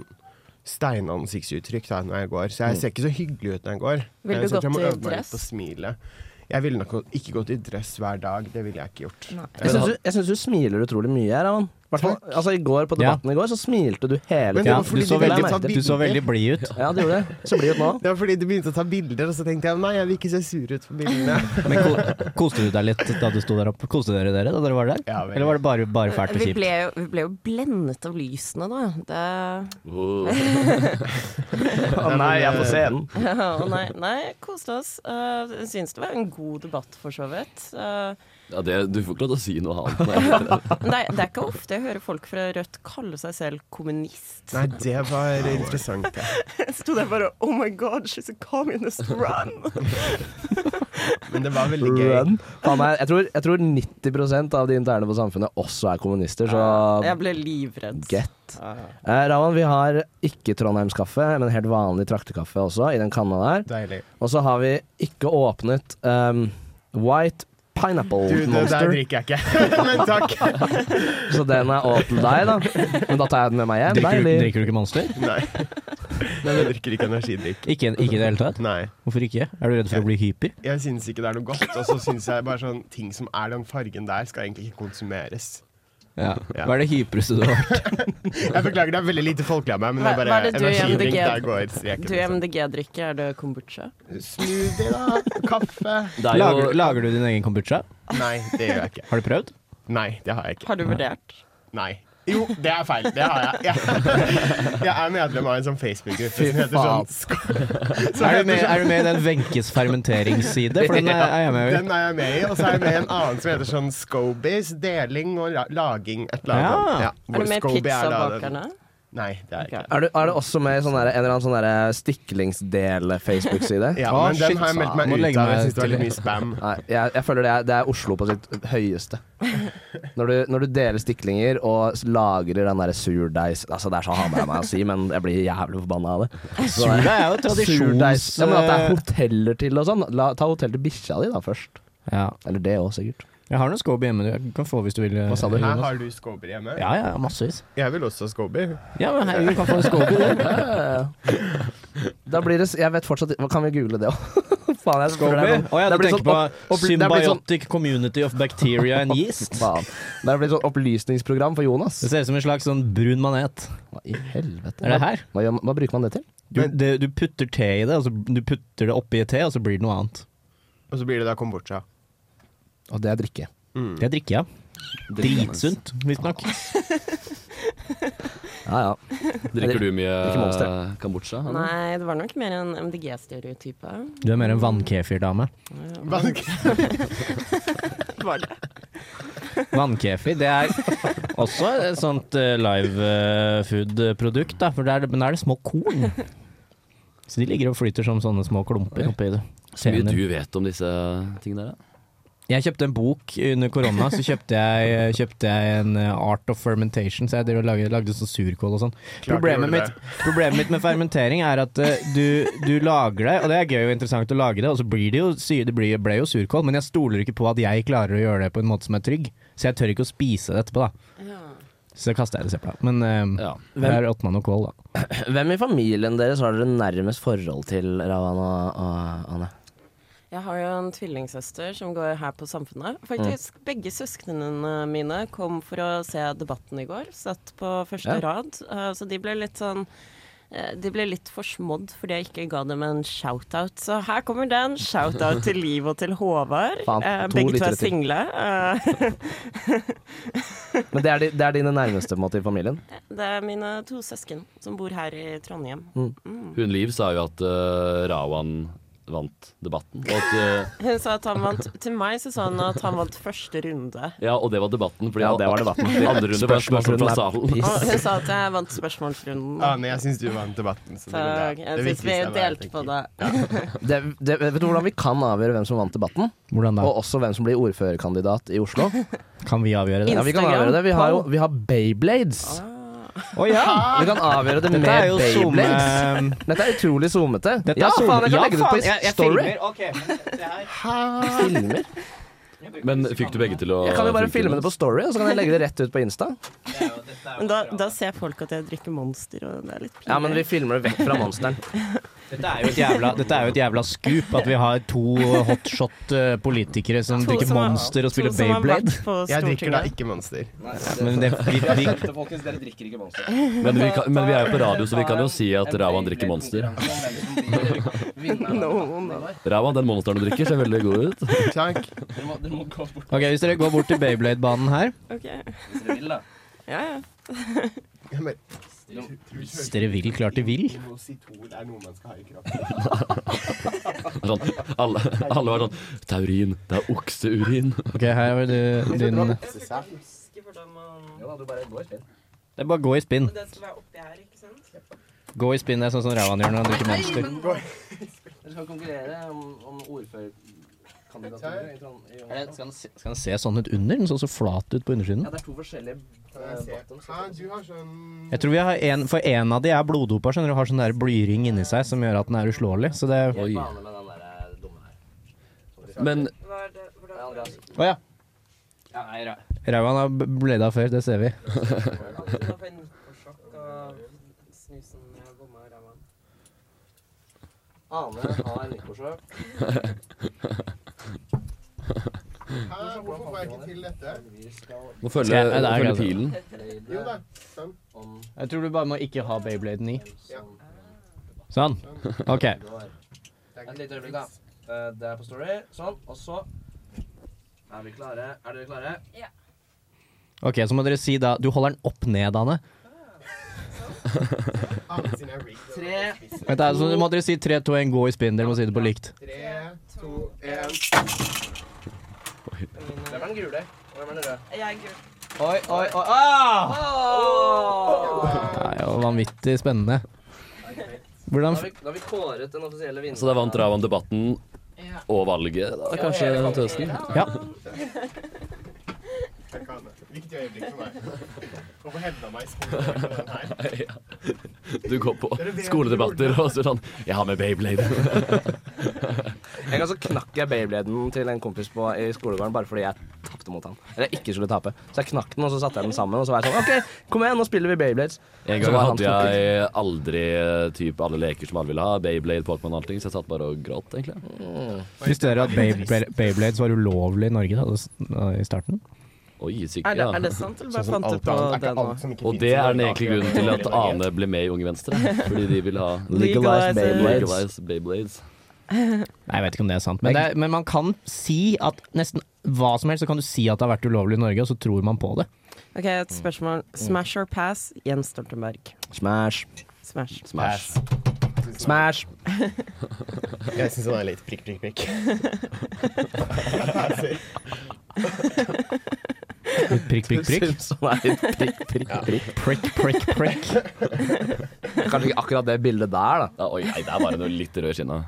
Speaker 5: steinansiktsuttrykk da, når jeg går. Så
Speaker 1: Mm.
Speaker 5: jeg ser ikke så hyggelig ut når jeg går.
Speaker 4: Ville du
Speaker 5: Eh, så jeg
Speaker 4: gått
Speaker 5: tror jeg må
Speaker 4: i
Speaker 5: øve meg litt
Speaker 4: dress?
Speaker 5: På smilet. Jeg ville nok ikke gått i dress hver dag. Det ville jeg ikke gjort.
Speaker 2: Jeg syns du, jeg synes du smiler utrolig mye her, Raman. Hvertfall- Altså, i går, på debatten i går, så smilte du hele
Speaker 5: Men
Speaker 2: tiden.
Speaker 1: Ja,
Speaker 5: var
Speaker 1: du,
Speaker 5: fordi
Speaker 1: så
Speaker 5: de ville
Speaker 1: veldig,
Speaker 5: ta
Speaker 1: du så
Speaker 5: bilder.
Speaker 1: veldig blid ut.
Speaker 2: Ja, det gjorde det. Så blir det ut nå.
Speaker 5: Det var fordi du begynte å ta bilder, og så tenkte jeg nei, jeg vil ikke se sur ut på bildene.
Speaker 1: Men ko koste du deg litt da du sto der oppe? Koste dere dere da dere var der?
Speaker 5: Ja, veldig.
Speaker 1: Eller var det bare, bare fælt og
Speaker 4: Vi
Speaker 1: kjipt?
Speaker 4: ble, jo, vi ble jo blendet av lysene, da. Det
Speaker 3: Oh.
Speaker 2: Å nei, jeg er på scenen.
Speaker 4: Å nei, nei, koste oss. Uh, Syns det var en god debatt, for så vidt. Eh,
Speaker 3: Ja, det, du får ikke lov til å si noe annet. Nei.
Speaker 4: men det, er, det er ikke ofte jeg hører folk fra Rødt kalle seg selv kommunist.
Speaker 5: Nei, det var interessant. Ja.
Speaker 4: Jeg sto der bare Oh my god, she's a communist, run!
Speaker 5: Men det var veldig gøy.
Speaker 2: Run. Faen meg, jeg, tror, jeg tror 90 av de interne på Samfunnet også er kommunister, så
Speaker 4: Jeg ble livredd.
Speaker 2: get. Eh, Raman, vi har ikke Trondheimskaffe, men helt vanlig traktekaffe også, i den kanna der.
Speaker 5: Deilig.
Speaker 2: Og så har vi ikke åpnet ehm, White Pineapple
Speaker 5: Du, det der
Speaker 2: Monster,
Speaker 5: drikker jeg ikke. Men takk.
Speaker 2: så den er åpen til deg, da. Men da tar jeg den med meg hjem.
Speaker 1: Drikker du,
Speaker 2: Deilig.
Speaker 1: drikker du ikke Monster?
Speaker 5: Nei. Nei, jeg drikker ikke energidrikk.
Speaker 1: Ikke, ikke i det hele tatt?
Speaker 5: Nei.
Speaker 1: Hvorfor ikke? Er du redd for å bli hyper?
Speaker 5: Jeg syns ikke det er noe godt. Og så syns jeg bare sånn ting som er den fargen der, skal egentlig ikke konsumeres.
Speaker 1: Ja.
Speaker 5: Ja.
Speaker 1: Hva er det hypreste du har vært?
Speaker 5: Jeg beklager, det er veldig lite folkelig av meg, men det er
Speaker 4: Hva- hva er
Speaker 5: bare
Speaker 4: det du i
Speaker 5: energidrikk
Speaker 4: MDG?
Speaker 5: der går streken.
Speaker 4: Du
Speaker 5: Liksom.
Speaker 4: MDG-drikker, er det kombucha?
Speaker 5: Smoothie, da. Kaffe.
Speaker 3: Det er
Speaker 1: Lager,
Speaker 3: jo
Speaker 1: lager du din egen kombucha?
Speaker 5: Nei, det gjør jeg ikke.
Speaker 1: Har du prøvd?
Speaker 5: Nei, det har jeg ikke.
Speaker 4: Har du vurdert?
Speaker 5: Nei. Jo, det er feil. Det har jeg. Jeg, jeg er medlem av en sånn Facebook-gruppe som heter
Speaker 2: faen.
Speaker 5: sånn Sk- som
Speaker 1: Er du, med,
Speaker 5: heter sånn-
Speaker 1: er du med i den Wenches fermenteringsside? For den er, er jeg med i.
Speaker 5: Den er jeg med i, og så er jeg med i en annen som heter sånn Scobies. Deling og la laging, et eller annet.
Speaker 1: Ja.
Speaker 4: Er
Speaker 5: hvor
Speaker 4: du med i
Speaker 5: Scobie er da den-
Speaker 4: pizzabakerne?
Speaker 5: Nei, det er jeg ikke.
Speaker 4: Ok.
Speaker 2: Er du, er du også med i sånn der, en eller annen sånn der eh, stiklingsdel-Facebook-side?
Speaker 5: Ja,
Speaker 1: Å,
Speaker 5: men den
Speaker 1: shit,
Speaker 5: har jeg meldt meg
Speaker 1: må
Speaker 5: ut
Speaker 1: legge
Speaker 5: av. Jeg
Speaker 1: meg
Speaker 5: syns det var
Speaker 1: til-
Speaker 5: litt mye spam.
Speaker 2: Nei, jeg, jeg føler det er, det er Oslo på sitt høyeste. Når du, når du deler stiklinger og s- lagrer den derre surdeigs altså Det er så han er meg å si, men jeg blir jævlig forbanna av det. Så det er-
Speaker 1: Sula er jo tradisjons...
Speaker 2: Surdeigs- ja, men At det er hoteller til og sånn. La, ta hotell til bikkja di da først.
Speaker 1: eh, Ja.
Speaker 2: Eller det òg, sikkert.
Speaker 1: Jeg har noen scoby hjemme du kan få hvis du vil. eh,
Speaker 2: Hva sa du?
Speaker 5: Her har du Scobier hjemme.
Speaker 1: Ja, ja, massevis.
Speaker 5: Jeg vil også ha Scobier.
Speaker 1: Ja, men hei, du kan få en scoby, du.
Speaker 2: Da blir det s- Jeg vet fortsatt Hva Kan vi google det òg? Faen, jeg føler
Speaker 1: Scoby?
Speaker 2: det er
Speaker 1: Å ja,
Speaker 2: det
Speaker 1: du
Speaker 2: blir
Speaker 1: tenker
Speaker 2: sånn opp-
Speaker 1: på
Speaker 2: opp- det blir sånn-
Speaker 1: Symbiotic Community of Bacteria and Yeast?
Speaker 2: Faen. Det er blitt sånn opplysningsprogram for Jonas.
Speaker 1: Det ser ut som en slags sånn brun manet.
Speaker 2: Hva i helvete?
Speaker 1: Er det her?
Speaker 2: Hva, gjør- hva bruker man det til?
Speaker 1: Du, det, du putter te i det, og så du putter det oppi et te, og så blir det noe annet.
Speaker 5: Og så blir det da kombucha.
Speaker 2: Og det er drikke.
Speaker 1: Det drikker jeg. Dritsunt, visstnok.
Speaker 2: Ja, ja.
Speaker 3: Drikker du mye
Speaker 2: Drikker Monster.
Speaker 3: eh, kombucha? eller?
Speaker 4: Nei, det var nok mer en MDG-stereotype.
Speaker 1: Du er mer en vannkefir-dame.
Speaker 5: Vann-
Speaker 4: Var det?
Speaker 1: Vannkefi. Det er også et sånt eh, live eh, food-produkt, da, for der, men da er det små korn. Så de ligger og flyter som sånne små klumper oppi det.
Speaker 3: Så mye
Speaker 1: Senere.
Speaker 3: du vet om disse tingene der, da?
Speaker 1: Jeg kjøpte en bok under korona. Så kjøpte jeg, kjøpte jeg en eh, Art of Fermentation, så jeg drev og lagde, lagde sånn surkål og sånn.
Speaker 5: du gjorde
Speaker 1: Problemet, mitt-
Speaker 5: det.
Speaker 1: problemet mitt med fermentering er at eh, du, du lager det, og det er gøy og interessant å lage det, og så blir det jo, sy- det blir, ble jo surkål, men jeg stoler ikke på at jeg klarer å gjøre det på en måte som er trygg, så jeg tør ikke å spise det etterpå, da. Så kaster jeg det i søpla. Men eh, det er åttemann og kål, da.
Speaker 2: Hvem i familien deres har dere nærmest forhold til, Ravan og, og Anne?
Speaker 4: Jeg har jo en tvillingsøster som går her på Samfunnet. Faktisk,
Speaker 2: Mm.
Speaker 4: Begge søsknene mine kom for å se debatten i går. Satt på første
Speaker 2: Ja.
Speaker 4: rad. eh, Så de ble litt sånn eh, de ble litt forsmådd fordi jeg ikke ga dem en shout-out. Så her kommer den. Shout-out til Liv og til Håvard.
Speaker 2: Faen,
Speaker 4: Eh,
Speaker 2: to
Speaker 4: Begge to
Speaker 2: lyttere
Speaker 4: er
Speaker 2: til.
Speaker 4: single. Eh,
Speaker 2: Men det er, de, det er dine nærmeste på en måte, i familien?
Speaker 4: Det er mine to søsken som bor her i Trondheim. Mm.
Speaker 3: Hun Liv sa jo at eh, Rawan vant debatten. Og, at, eh,
Speaker 4: Hun sa at han vant Til meg så sa hun at han vant første runde.
Speaker 3: ja, og det var debatten. Fordi
Speaker 2: Ja, det var debatten.
Speaker 3: De andre runde var spørsmål
Speaker 2: Spørsmålsrunden
Speaker 3: fra
Speaker 2: er
Speaker 3: salen.
Speaker 2: piss.
Speaker 4: Og hun sa at jeg vant spørsmålsrunden.
Speaker 5: Ane, Ah, jeg syns du vant debatten. Så det
Speaker 4: Takk.
Speaker 5: vil jeg.
Speaker 4: Jeg
Speaker 5: Det
Speaker 4: syns vi
Speaker 5: viktigste er å være
Speaker 4: delte på det.
Speaker 2: Det, det, vet du hvordan vi kan avgjøre hvem som vant debatten?
Speaker 1: Hvordan da?
Speaker 2: Og også hvem som blir ordførerkandidat i Oslo?
Speaker 1: Kan vi avgjøre det?
Speaker 2: Ja, vi kan avgjøre det. Vi har jo vi har Beyblades.
Speaker 1: Å ja!
Speaker 2: Vi kan avgjøre det med
Speaker 1: Dette er jo
Speaker 2: Beyblades.
Speaker 1: zoome...
Speaker 2: Dette er utrolig zoomete.
Speaker 1: Dette er
Speaker 2: ja,
Speaker 1: zoome-
Speaker 2: faen, jeg kan
Speaker 1: Ja,
Speaker 2: legge det ut på
Speaker 1: faen, jeg- jeg
Speaker 2: Story. Ah.
Speaker 1: filmer.
Speaker 2: Filmer.
Speaker 3: Men fikk du begge til å
Speaker 2: Jeg kan jo bare
Speaker 3: funke
Speaker 2: filme det på Story, og så kan jeg legge det rett ut på Insta.
Speaker 4: Men da, da ser folk at jeg drikker Monster, og det er litt pinlig.
Speaker 2: Ja, men vi filmer det vekk fra monsteren.
Speaker 1: Dette er jo et jævla, dette er jo et jævla scoop, at vi har to hotshot-politikere som
Speaker 4: To
Speaker 1: drikker
Speaker 4: som har-
Speaker 1: Monster og spiller
Speaker 4: to som har
Speaker 1: Beyblade.
Speaker 4: vært på
Speaker 5: Jeg drikker da
Speaker 4: Stortinget.
Speaker 5: ikke Monster.
Speaker 1: Men det, vi, vi,
Speaker 6: Folkens, dere drikker ikke Monster.
Speaker 3: Men vi, kan, men vi er jo på radio, så vi kan jo si at Rawan drikker Monster. Rawan, den monsteren du drikker, ser veldig god ut.
Speaker 5: Takk.
Speaker 1: ok, Hvis dere går bort til Beyblade-banen her
Speaker 4: Ok. Ja, ja.
Speaker 5: Jeg bare-
Speaker 1: Hvis dere vil, klart de vil.
Speaker 5: Inositol er noe man skal ha i kroppen.
Speaker 3: Sånn, alle, alle var sånn Taurin, det er okseurin.
Speaker 1: Ok, her var du din Det
Speaker 5: Se seg.
Speaker 4: Husker hvordan man
Speaker 1: er bare å gå i spinn.
Speaker 4: uh, Det skal være oppi her, ikke sant?
Speaker 1: Gå i spinn det er sånn som Ravan gjør når han drikker Monster.
Speaker 2: Dere skal konkurrere om, om ordførerkandidaturer i Trondheim.
Speaker 1: Eller Skal han, se, skal han se sånn ut under? Den så så flat ut på undersiden.
Speaker 2: det er to forskjellige eh,
Speaker 5: Hæ, Ah, du har sånn
Speaker 1: Jeg tror vi har en, For en av de er bloddopa, skjønner du. Har sånn der blyring inni seg som gjør at den er uslåelig. Så det
Speaker 3: Oi.
Speaker 2: med den der eh, dumme her.
Speaker 3: Men
Speaker 4: Hva er det, hvordan er det?
Speaker 1: Å ja. Ravan har blada før, det ser vi.
Speaker 4: Da får jeg nikkersjokk av snusen jeg bomma i ræva.
Speaker 2: Ane har nikkorsøk.
Speaker 5: Hæ, Ah, hvorfor får jeg ikke til dette?
Speaker 3: nå følger,
Speaker 1: Ja, det er
Speaker 3: nå følger
Speaker 1: greit.
Speaker 3: pilen.
Speaker 5: Jo da.
Speaker 1: Jeg tror du bare må ikke ha Beybladen i. Sånn. Ok.
Speaker 2: Et lite øyeblikk, da. Eh, Det er på story. Sånn. Og så er vi klare. Er dere klare?
Speaker 1: Ok, Så må dere si da Du holder den opp ned, Anne.
Speaker 5: Ane sin er rigged.
Speaker 2: Tre,
Speaker 1: Vent da, Så må dere si 3, 2, 1, gå i spinn. Dere må si det på likt.
Speaker 5: Tre, to, en.
Speaker 2: Hvem er den gule? Og hvem er den røde?
Speaker 4: Jeg er gul.
Speaker 2: Oi, oi, oi. Ah!
Speaker 1: Det er jo vanvittig spennende.
Speaker 2: Da
Speaker 1: Hvordan
Speaker 2: har vi, da har vi kåret den offisielle vinneren.
Speaker 3: Så da vant Rawan debatten og valget. Da kanskje til høsten.
Speaker 1: Ja.
Speaker 5: Jeg kan det. Viktig øyeblikk for meg. Hvorfor hevna meg i skolen med den her?
Speaker 3: Du går på skoledebatter og så sånn Jeg har med Beyblade.
Speaker 2: En gang så knakk jeg Beybladen til en kompis på, i skolegården bare fordi jeg tapte mot han. Eller jeg ikke skulle tape. Så jeg knakk den, og så satte jeg den sammen, og så var jeg sånn OK, kom igjen, nå spiller vi Beyblades.
Speaker 3: En
Speaker 2: Så
Speaker 3: gang
Speaker 2: var han
Speaker 3: hadde jeg aldri eh, typ, alle leker som alle ville ha. Beyblade, Pokémon og allting. Så jeg satt bare og gråt, egentlig.
Speaker 1: Visste dere at Bey- Bey- Beyblades var ulovlig i Norge da, det s- da, i starten?
Speaker 3: Oi, sikkert.
Speaker 4: Er det, er
Speaker 3: Ja.
Speaker 4: det sant, eller bare
Speaker 5: Sånn
Speaker 4: fant
Speaker 5: som
Speaker 4: du
Speaker 5: alt annet.
Speaker 4: på
Speaker 5: Er
Speaker 4: det
Speaker 5: ikke
Speaker 4: nå?
Speaker 5: alt som ikke
Speaker 3: Og
Speaker 5: finnes
Speaker 3: det
Speaker 5: i
Speaker 3: er den
Speaker 5: Norge.
Speaker 3: egentlige grunnen til at Ane ble med i Unge Venstre. Fordi de vil ha
Speaker 2: Legalized Beyblades.
Speaker 3: legalized Beyblades.
Speaker 1: Nei, jeg vet ikke om det er sant. Men, det er, men man kan si at nesten hva som helst så kan du si at det har vært ulovlig i Norge, og så tror man på det.
Speaker 4: Ok, et spørsmål.
Speaker 5: Mm.
Speaker 4: Smash or pass? Jens Stoltenberg.
Speaker 2: Smash.
Speaker 4: Smash.
Speaker 3: Smash.
Speaker 2: Smash.
Speaker 5: Jeg syns han er litt prikk, prikk, prikk.
Speaker 1: Prikk, prikk, prikk.
Speaker 2: Simpson er litt prikk, prikk, prikk.
Speaker 1: Prikk, prikk, prikk.
Speaker 2: Kanskje ikke akkurat det bildet der, da.
Speaker 3: Ja, oi, nei, det er bare noe litt rød kinna.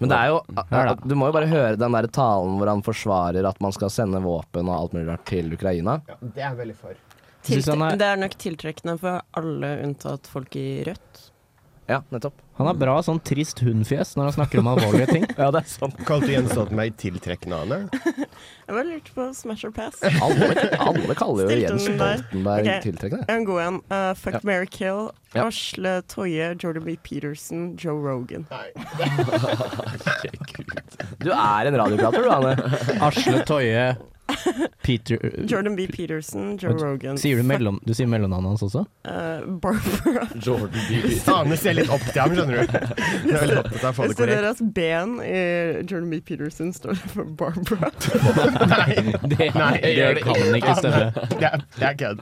Speaker 2: Men det er jo
Speaker 1: Her da.
Speaker 2: Du må jo bare høre den der talen hvor han forsvarer at man skal sende våpen og alt mulig rart til Ukraina.
Speaker 5: Ja, det er jeg veldig for.
Speaker 1: Jeg synes han er-
Speaker 4: Tiltre- Det er nok tiltrekkende for alle unntatt folk i rødt.
Speaker 2: Ja, nettopp.
Speaker 1: Han har bra sånn trist hundfjes når han snakker om alvorlige ting.
Speaker 2: Ja, det er sant.
Speaker 5: Kalte Jens Stoltenberg tiltrekkende av henne?
Speaker 4: Jeg bare lurte på smash or pass.
Speaker 2: Alle, alle kaller jo
Speaker 4: Stilte
Speaker 2: Jens
Speaker 4: den der.
Speaker 2: Stoltenberg
Speaker 4: Ok.
Speaker 2: tiltrekkende.
Speaker 4: En god en. Eh, fuck,
Speaker 2: Ja.
Speaker 4: Mary kill.
Speaker 2: Ja.
Speaker 4: Asle Toje, Jordan B. Peterson, Joe Rogan.
Speaker 2: Du er en radioprater, du, Anne.
Speaker 1: Asle Toje Peter
Speaker 4: Jordan B. Peterson, Joe
Speaker 1: Men
Speaker 4: Rogan.
Speaker 1: Sier du mellom, du sier mellomnavnet hans også?
Speaker 4: Eh, Barbara
Speaker 3: Jordan B.
Speaker 5: Arne ser litt opp til ham, skjønner du. Jeg er veldig opptatt av å få
Speaker 4: Hvis
Speaker 5: det
Speaker 4: det
Speaker 5: korrekt.
Speaker 4: deres ben i Jordan B. Peterson står det for Barbara.
Speaker 1: Det,
Speaker 5: Nei, jeg gjør det
Speaker 1: kan ikke stemme.
Speaker 5: Det er, det er kødd.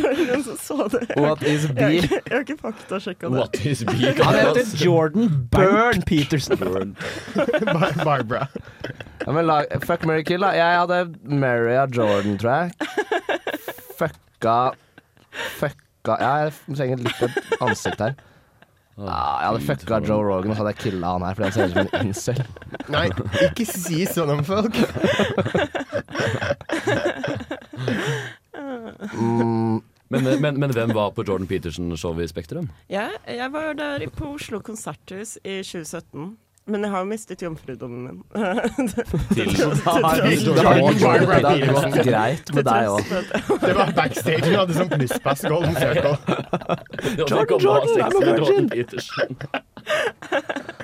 Speaker 4: Noen som så det.
Speaker 2: What is
Speaker 4: Jeg har
Speaker 2: B?
Speaker 4: ikke- jeg har ikke faktasjekka det.
Speaker 3: What is B?
Speaker 1: Han heter Jordan Bernt Peterson.
Speaker 5: Bar Barbara.
Speaker 2: Ja, men la, fuck Mary Kill, da. Jeg hadde Maria Jordan, tror jeg. Fucka Fucka Jeg trenger litt et ansikt her. Ja, jeg hadde fucka Joe Rogan, og så hadde jeg killa han her fordi han ser ut som en incel.
Speaker 5: Nei, ikke si sånn om folk.
Speaker 2: Mm,
Speaker 3: Men, men, men hvem var på Jordan Peterson-showet i Spektrum?
Speaker 4: Jeg, jeg var der på Oslo Konserthus i 2017. Men jeg har jo mistet jomfrudommen min.
Speaker 3: Til
Speaker 2: da har vi
Speaker 5: Jordan
Speaker 2: da har vi-
Speaker 5: Barbara
Speaker 2: da har det gått
Speaker 5: Peterson.
Speaker 2: greit med deg òg.
Speaker 5: Det var backstage. Hun hadde sånn plusspass Golden Circle.
Speaker 3: Jordan, Jordan, Jordan Peterson.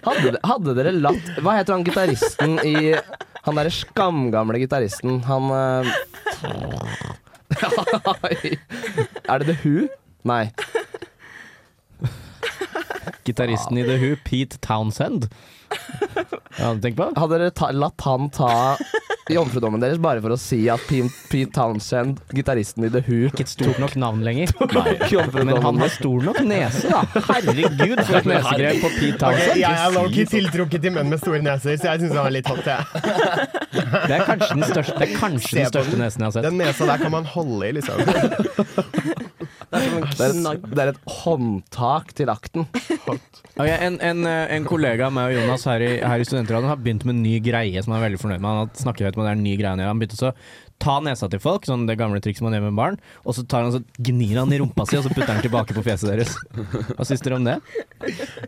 Speaker 2: Hadde, hadde dere latt Hva heter han gitaristen i Han derre skamgamle gitaristen, han eh, Er det The Who? Nei.
Speaker 1: Gitaristen i The Who, Pete Townsend. Ja, tenk på det.
Speaker 2: Hadde dere ta, latt han ta jomfrudommen deres bare for å si at Pete, Pete Townsend, gitaristen i The Who
Speaker 1: Ikke et stort nok navn lenger. Men han
Speaker 2: Jomfrudommen
Speaker 1: har stor nok nese, da. Herregud, for et nesegrep på Pete
Speaker 5: Ok,
Speaker 1: Townsend.
Speaker 5: jeg er low-key tiltrukket til menn med store neser, så jeg syns han var litt hot. jeg.
Speaker 1: Det er kanskje den største, det er kanskje den største nesen jeg har sett.
Speaker 5: Den nesa der kan man holde i, liksom.
Speaker 2: Det er et, det er et håndtak til akten.
Speaker 1: Ok, en, en, eh, en kollega av meg og Jonas her i, her i Studentradioen har begynt med en ny greie som jeg er veldig fornøyd med. Han snakker høyt om at det er en ny greie han gjør. Han begynte så å ta nesa til folk, sånn det gamle trikset man gjør med barn, og så tar han så gnir han i rumpa si, og så putter han tilbake på fjeset deres. Hva syns dere om det?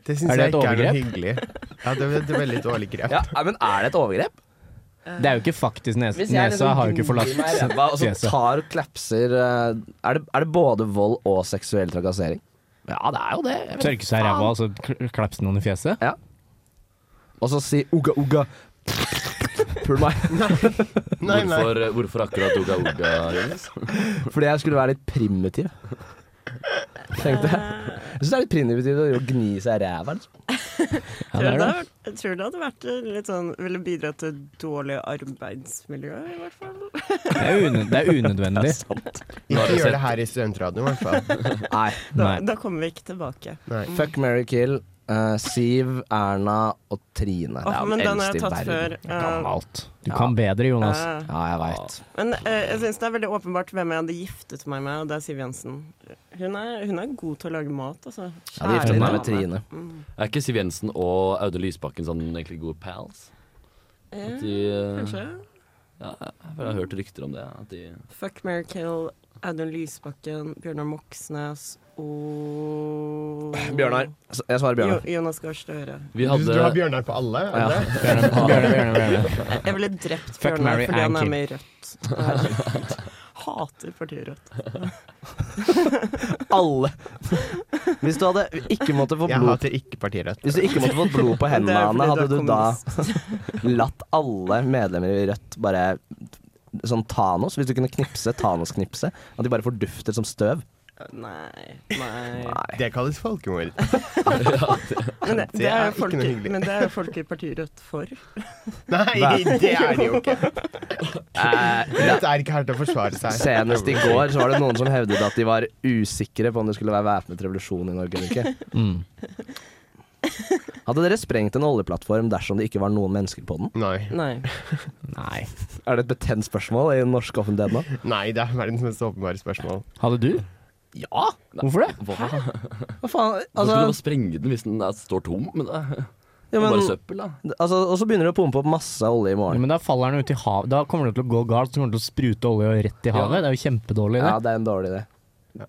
Speaker 5: Det syns
Speaker 1: Er det et
Speaker 5: jeg ikke er noe
Speaker 1: overgrep?
Speaker 5: hyggelig. Ja, det er et veldig dårlig grep.
Speaker 2: Ja, men er det et overgrep?
Speaker 1: Det er jo ikke faktisk nese.
Speaker 2: Hvis jeg liksom
Speaker 1: Nesa har jo ikke forlatt
Speaker 2: gnir meg i ræva, Og så
Speaker 1: fjeset.
Speaker 2: tar og klapser eh, er det, er det både vold og seksuell trakassering? Ja, det er jo det. Jeg vet
Speaker 1: Tørke seg i ræva og så kl- klapse noen i fjeset.
Speaker 2: ikke. Og så si ugga ugga. Pull meg.
Speaker 5: Nei, nei.
Speaker 3: Hvorfor, eh, hvorfor akkurat Oga Oga, Jonas?
Speaker 2: Fordi jeg skulle være litt primitiv. Tenkte jeg. Jeg syns det er litt primitivt å gni seg i ræva. liksom.
Speaker 1: Ja, det
Speaker 4: tror,
Speaker 1: er
Speaker 4: det
Speaker 1: det.
Speaker 4: hadde vært- jeg tror det hadde vært litt sånn Ville bidratt til dårlig arbeidsmiljø, i hvert fall.
Speaker 1: Det er, une, det er unødvendig.
Speaker 5: Ikke gjør det her i studentradioen, i hvert fall.
Speaker 2: Nei.
Speaker 4: Da,
Speaker 1: Nei.
Speaker 4: da kommer vi ikke tilbake.
Speaker 5: Nei.
Speaker 2: Fuck, Mary kill. eh, Siv, Erna og Trine.
Speaker 4: Åh, men den har
Speaker 2: eldste i
Speaker 4: jeg tatt
Speaker 2: verden.
Speaker 4: før. Eh,
Speaker 1: Alt. Du kan bedre, Jonas.
Speaker 4: eh,
Speaker 2: Ja, jeg veit.
Speaker 4: men eh, jeg syns det er veldig åpenbart hvem jeg hadde giftet meg med, og det er Siv Jensen. Hun er, hun er god til å lage mat, altså. Mm.
Speaker 2: Ja, de gifter
Speaker 1: Erna.
Speaker 2: seg med Trine.
Speaker 3: Er ikke Siv Jensen og Audun Lysbakken sånn egentlig gode pals? At de,
Speaker 4: Eh,
Speaker 3: eh,
Speaker 4: kanskje.
Speaker 3: ja, jeg har hørt rykter om det. At de
Speaker 4: Fuck, Mary Kill, Audun Lysbakken, Bjørnar Moxnes og
Speaker 2: Bjørnar. Så Jeg svarer Bjørnar.
Speaker 4: Jo, Jonas Gahr Støre.
Speaker 3: Vi
Speaker 5: Du, du har
Speaker 3: hadde
Speaker 5: Bjørnar på alle? er det det?
Speaker 1: Bjørne, bjørne, bjørne, bjørne.
Speaker 4: Jeg ville drept
Speaker 1: Fuck,
Speaker 4: Bjørnar
Speaker 1: marry,
Speaker 4: fordi
Speaker 1: and
Speaker 4: han er
Speaker 1: kill.
Speaker 4: med i Rødt. Herregud. Hater partiet Rødt.
Speaker 2: Alle. Hvis du hadde ikke måtte få
Speaker 5: Jeg
Speaker 2: blod
Speaker 5: hater ikke Partirødt.
Speaker 2: Hvis du ikke måtte fått blod på
Speaker 4: Det
Speaker 2: hendene,
Speaker 4: er fordi
Speaker 2: Anne, hadde
Speaker 4: er
Speaker 2: du da
Speaker 4: kommunist.
Speaker 2: latt alle medlemmer i Rødt bare Sånn Thanos, hvis du kunne knipse Thanos-knipset. At de bare fordufter som støv.
Speaker 4: Nei, nei.
Speaker 2: Nei.
Speaker 5: Det kalles folkemord.
Speaker 4: Men det,
Speaker 5: Det
Speaker 4: det
Speaker 5: er
Speaker 4: er jo
Speaker 5: ikke
Speaker 4: folk,
Speaker 5: noe hyggelig.
Speaker 4: men det er jo folk i partiet Rødt for.
Speaker 5: Nei, det er det jo ikke.
Speaker 2: Eh,
Speaker 5: Rødt er ikke her til å forsvare seg.
Speaker 2: Senest i går så var det noen som hevdet at de var usikre på om det skulle være væpnet revolusjon i Norge eller ikke.
Speaker 1: Mm.
Speaker 2: Hadde dere sprengt en oljeplattform dersom det ikke var noen mennesker på den?
Speaker 5: Nei.
Speaker 4: Nei.
Speaker 1: Nei.
Speaker 2: Er det et betent spørsmål i den norske offentligheten nå?
Speaker 5: Nei, det er verdens mest åpenbare spørsmål.
Speaker 1: Hadde du?
Speaker 3: Ja!
Speaker 1: Hvorfor det?
Speaker 3: Hva?
Speaker 2: Hva faen?
Speaker 3: Altså, skulle
Speaker 2: Altså,
Speaker 3: du bare sprenge den hvis den er, står tom? Men det er
Speaker 2: Ja, men-
Speaker 3: bare søppel, da.
Speaker 2: altså, og så begynner det å pumpe opp masse olje
Speaker 1: Ja,
Speaker 2: i morgen.
Speaker 1: men da faller den ut i havet. Da kommer det til å gå galt. Så kommer det til å sprute olje rett i havet. Det er jo kjempedårlig, det.
Speaker 2: Ja, det er en dårlig idé.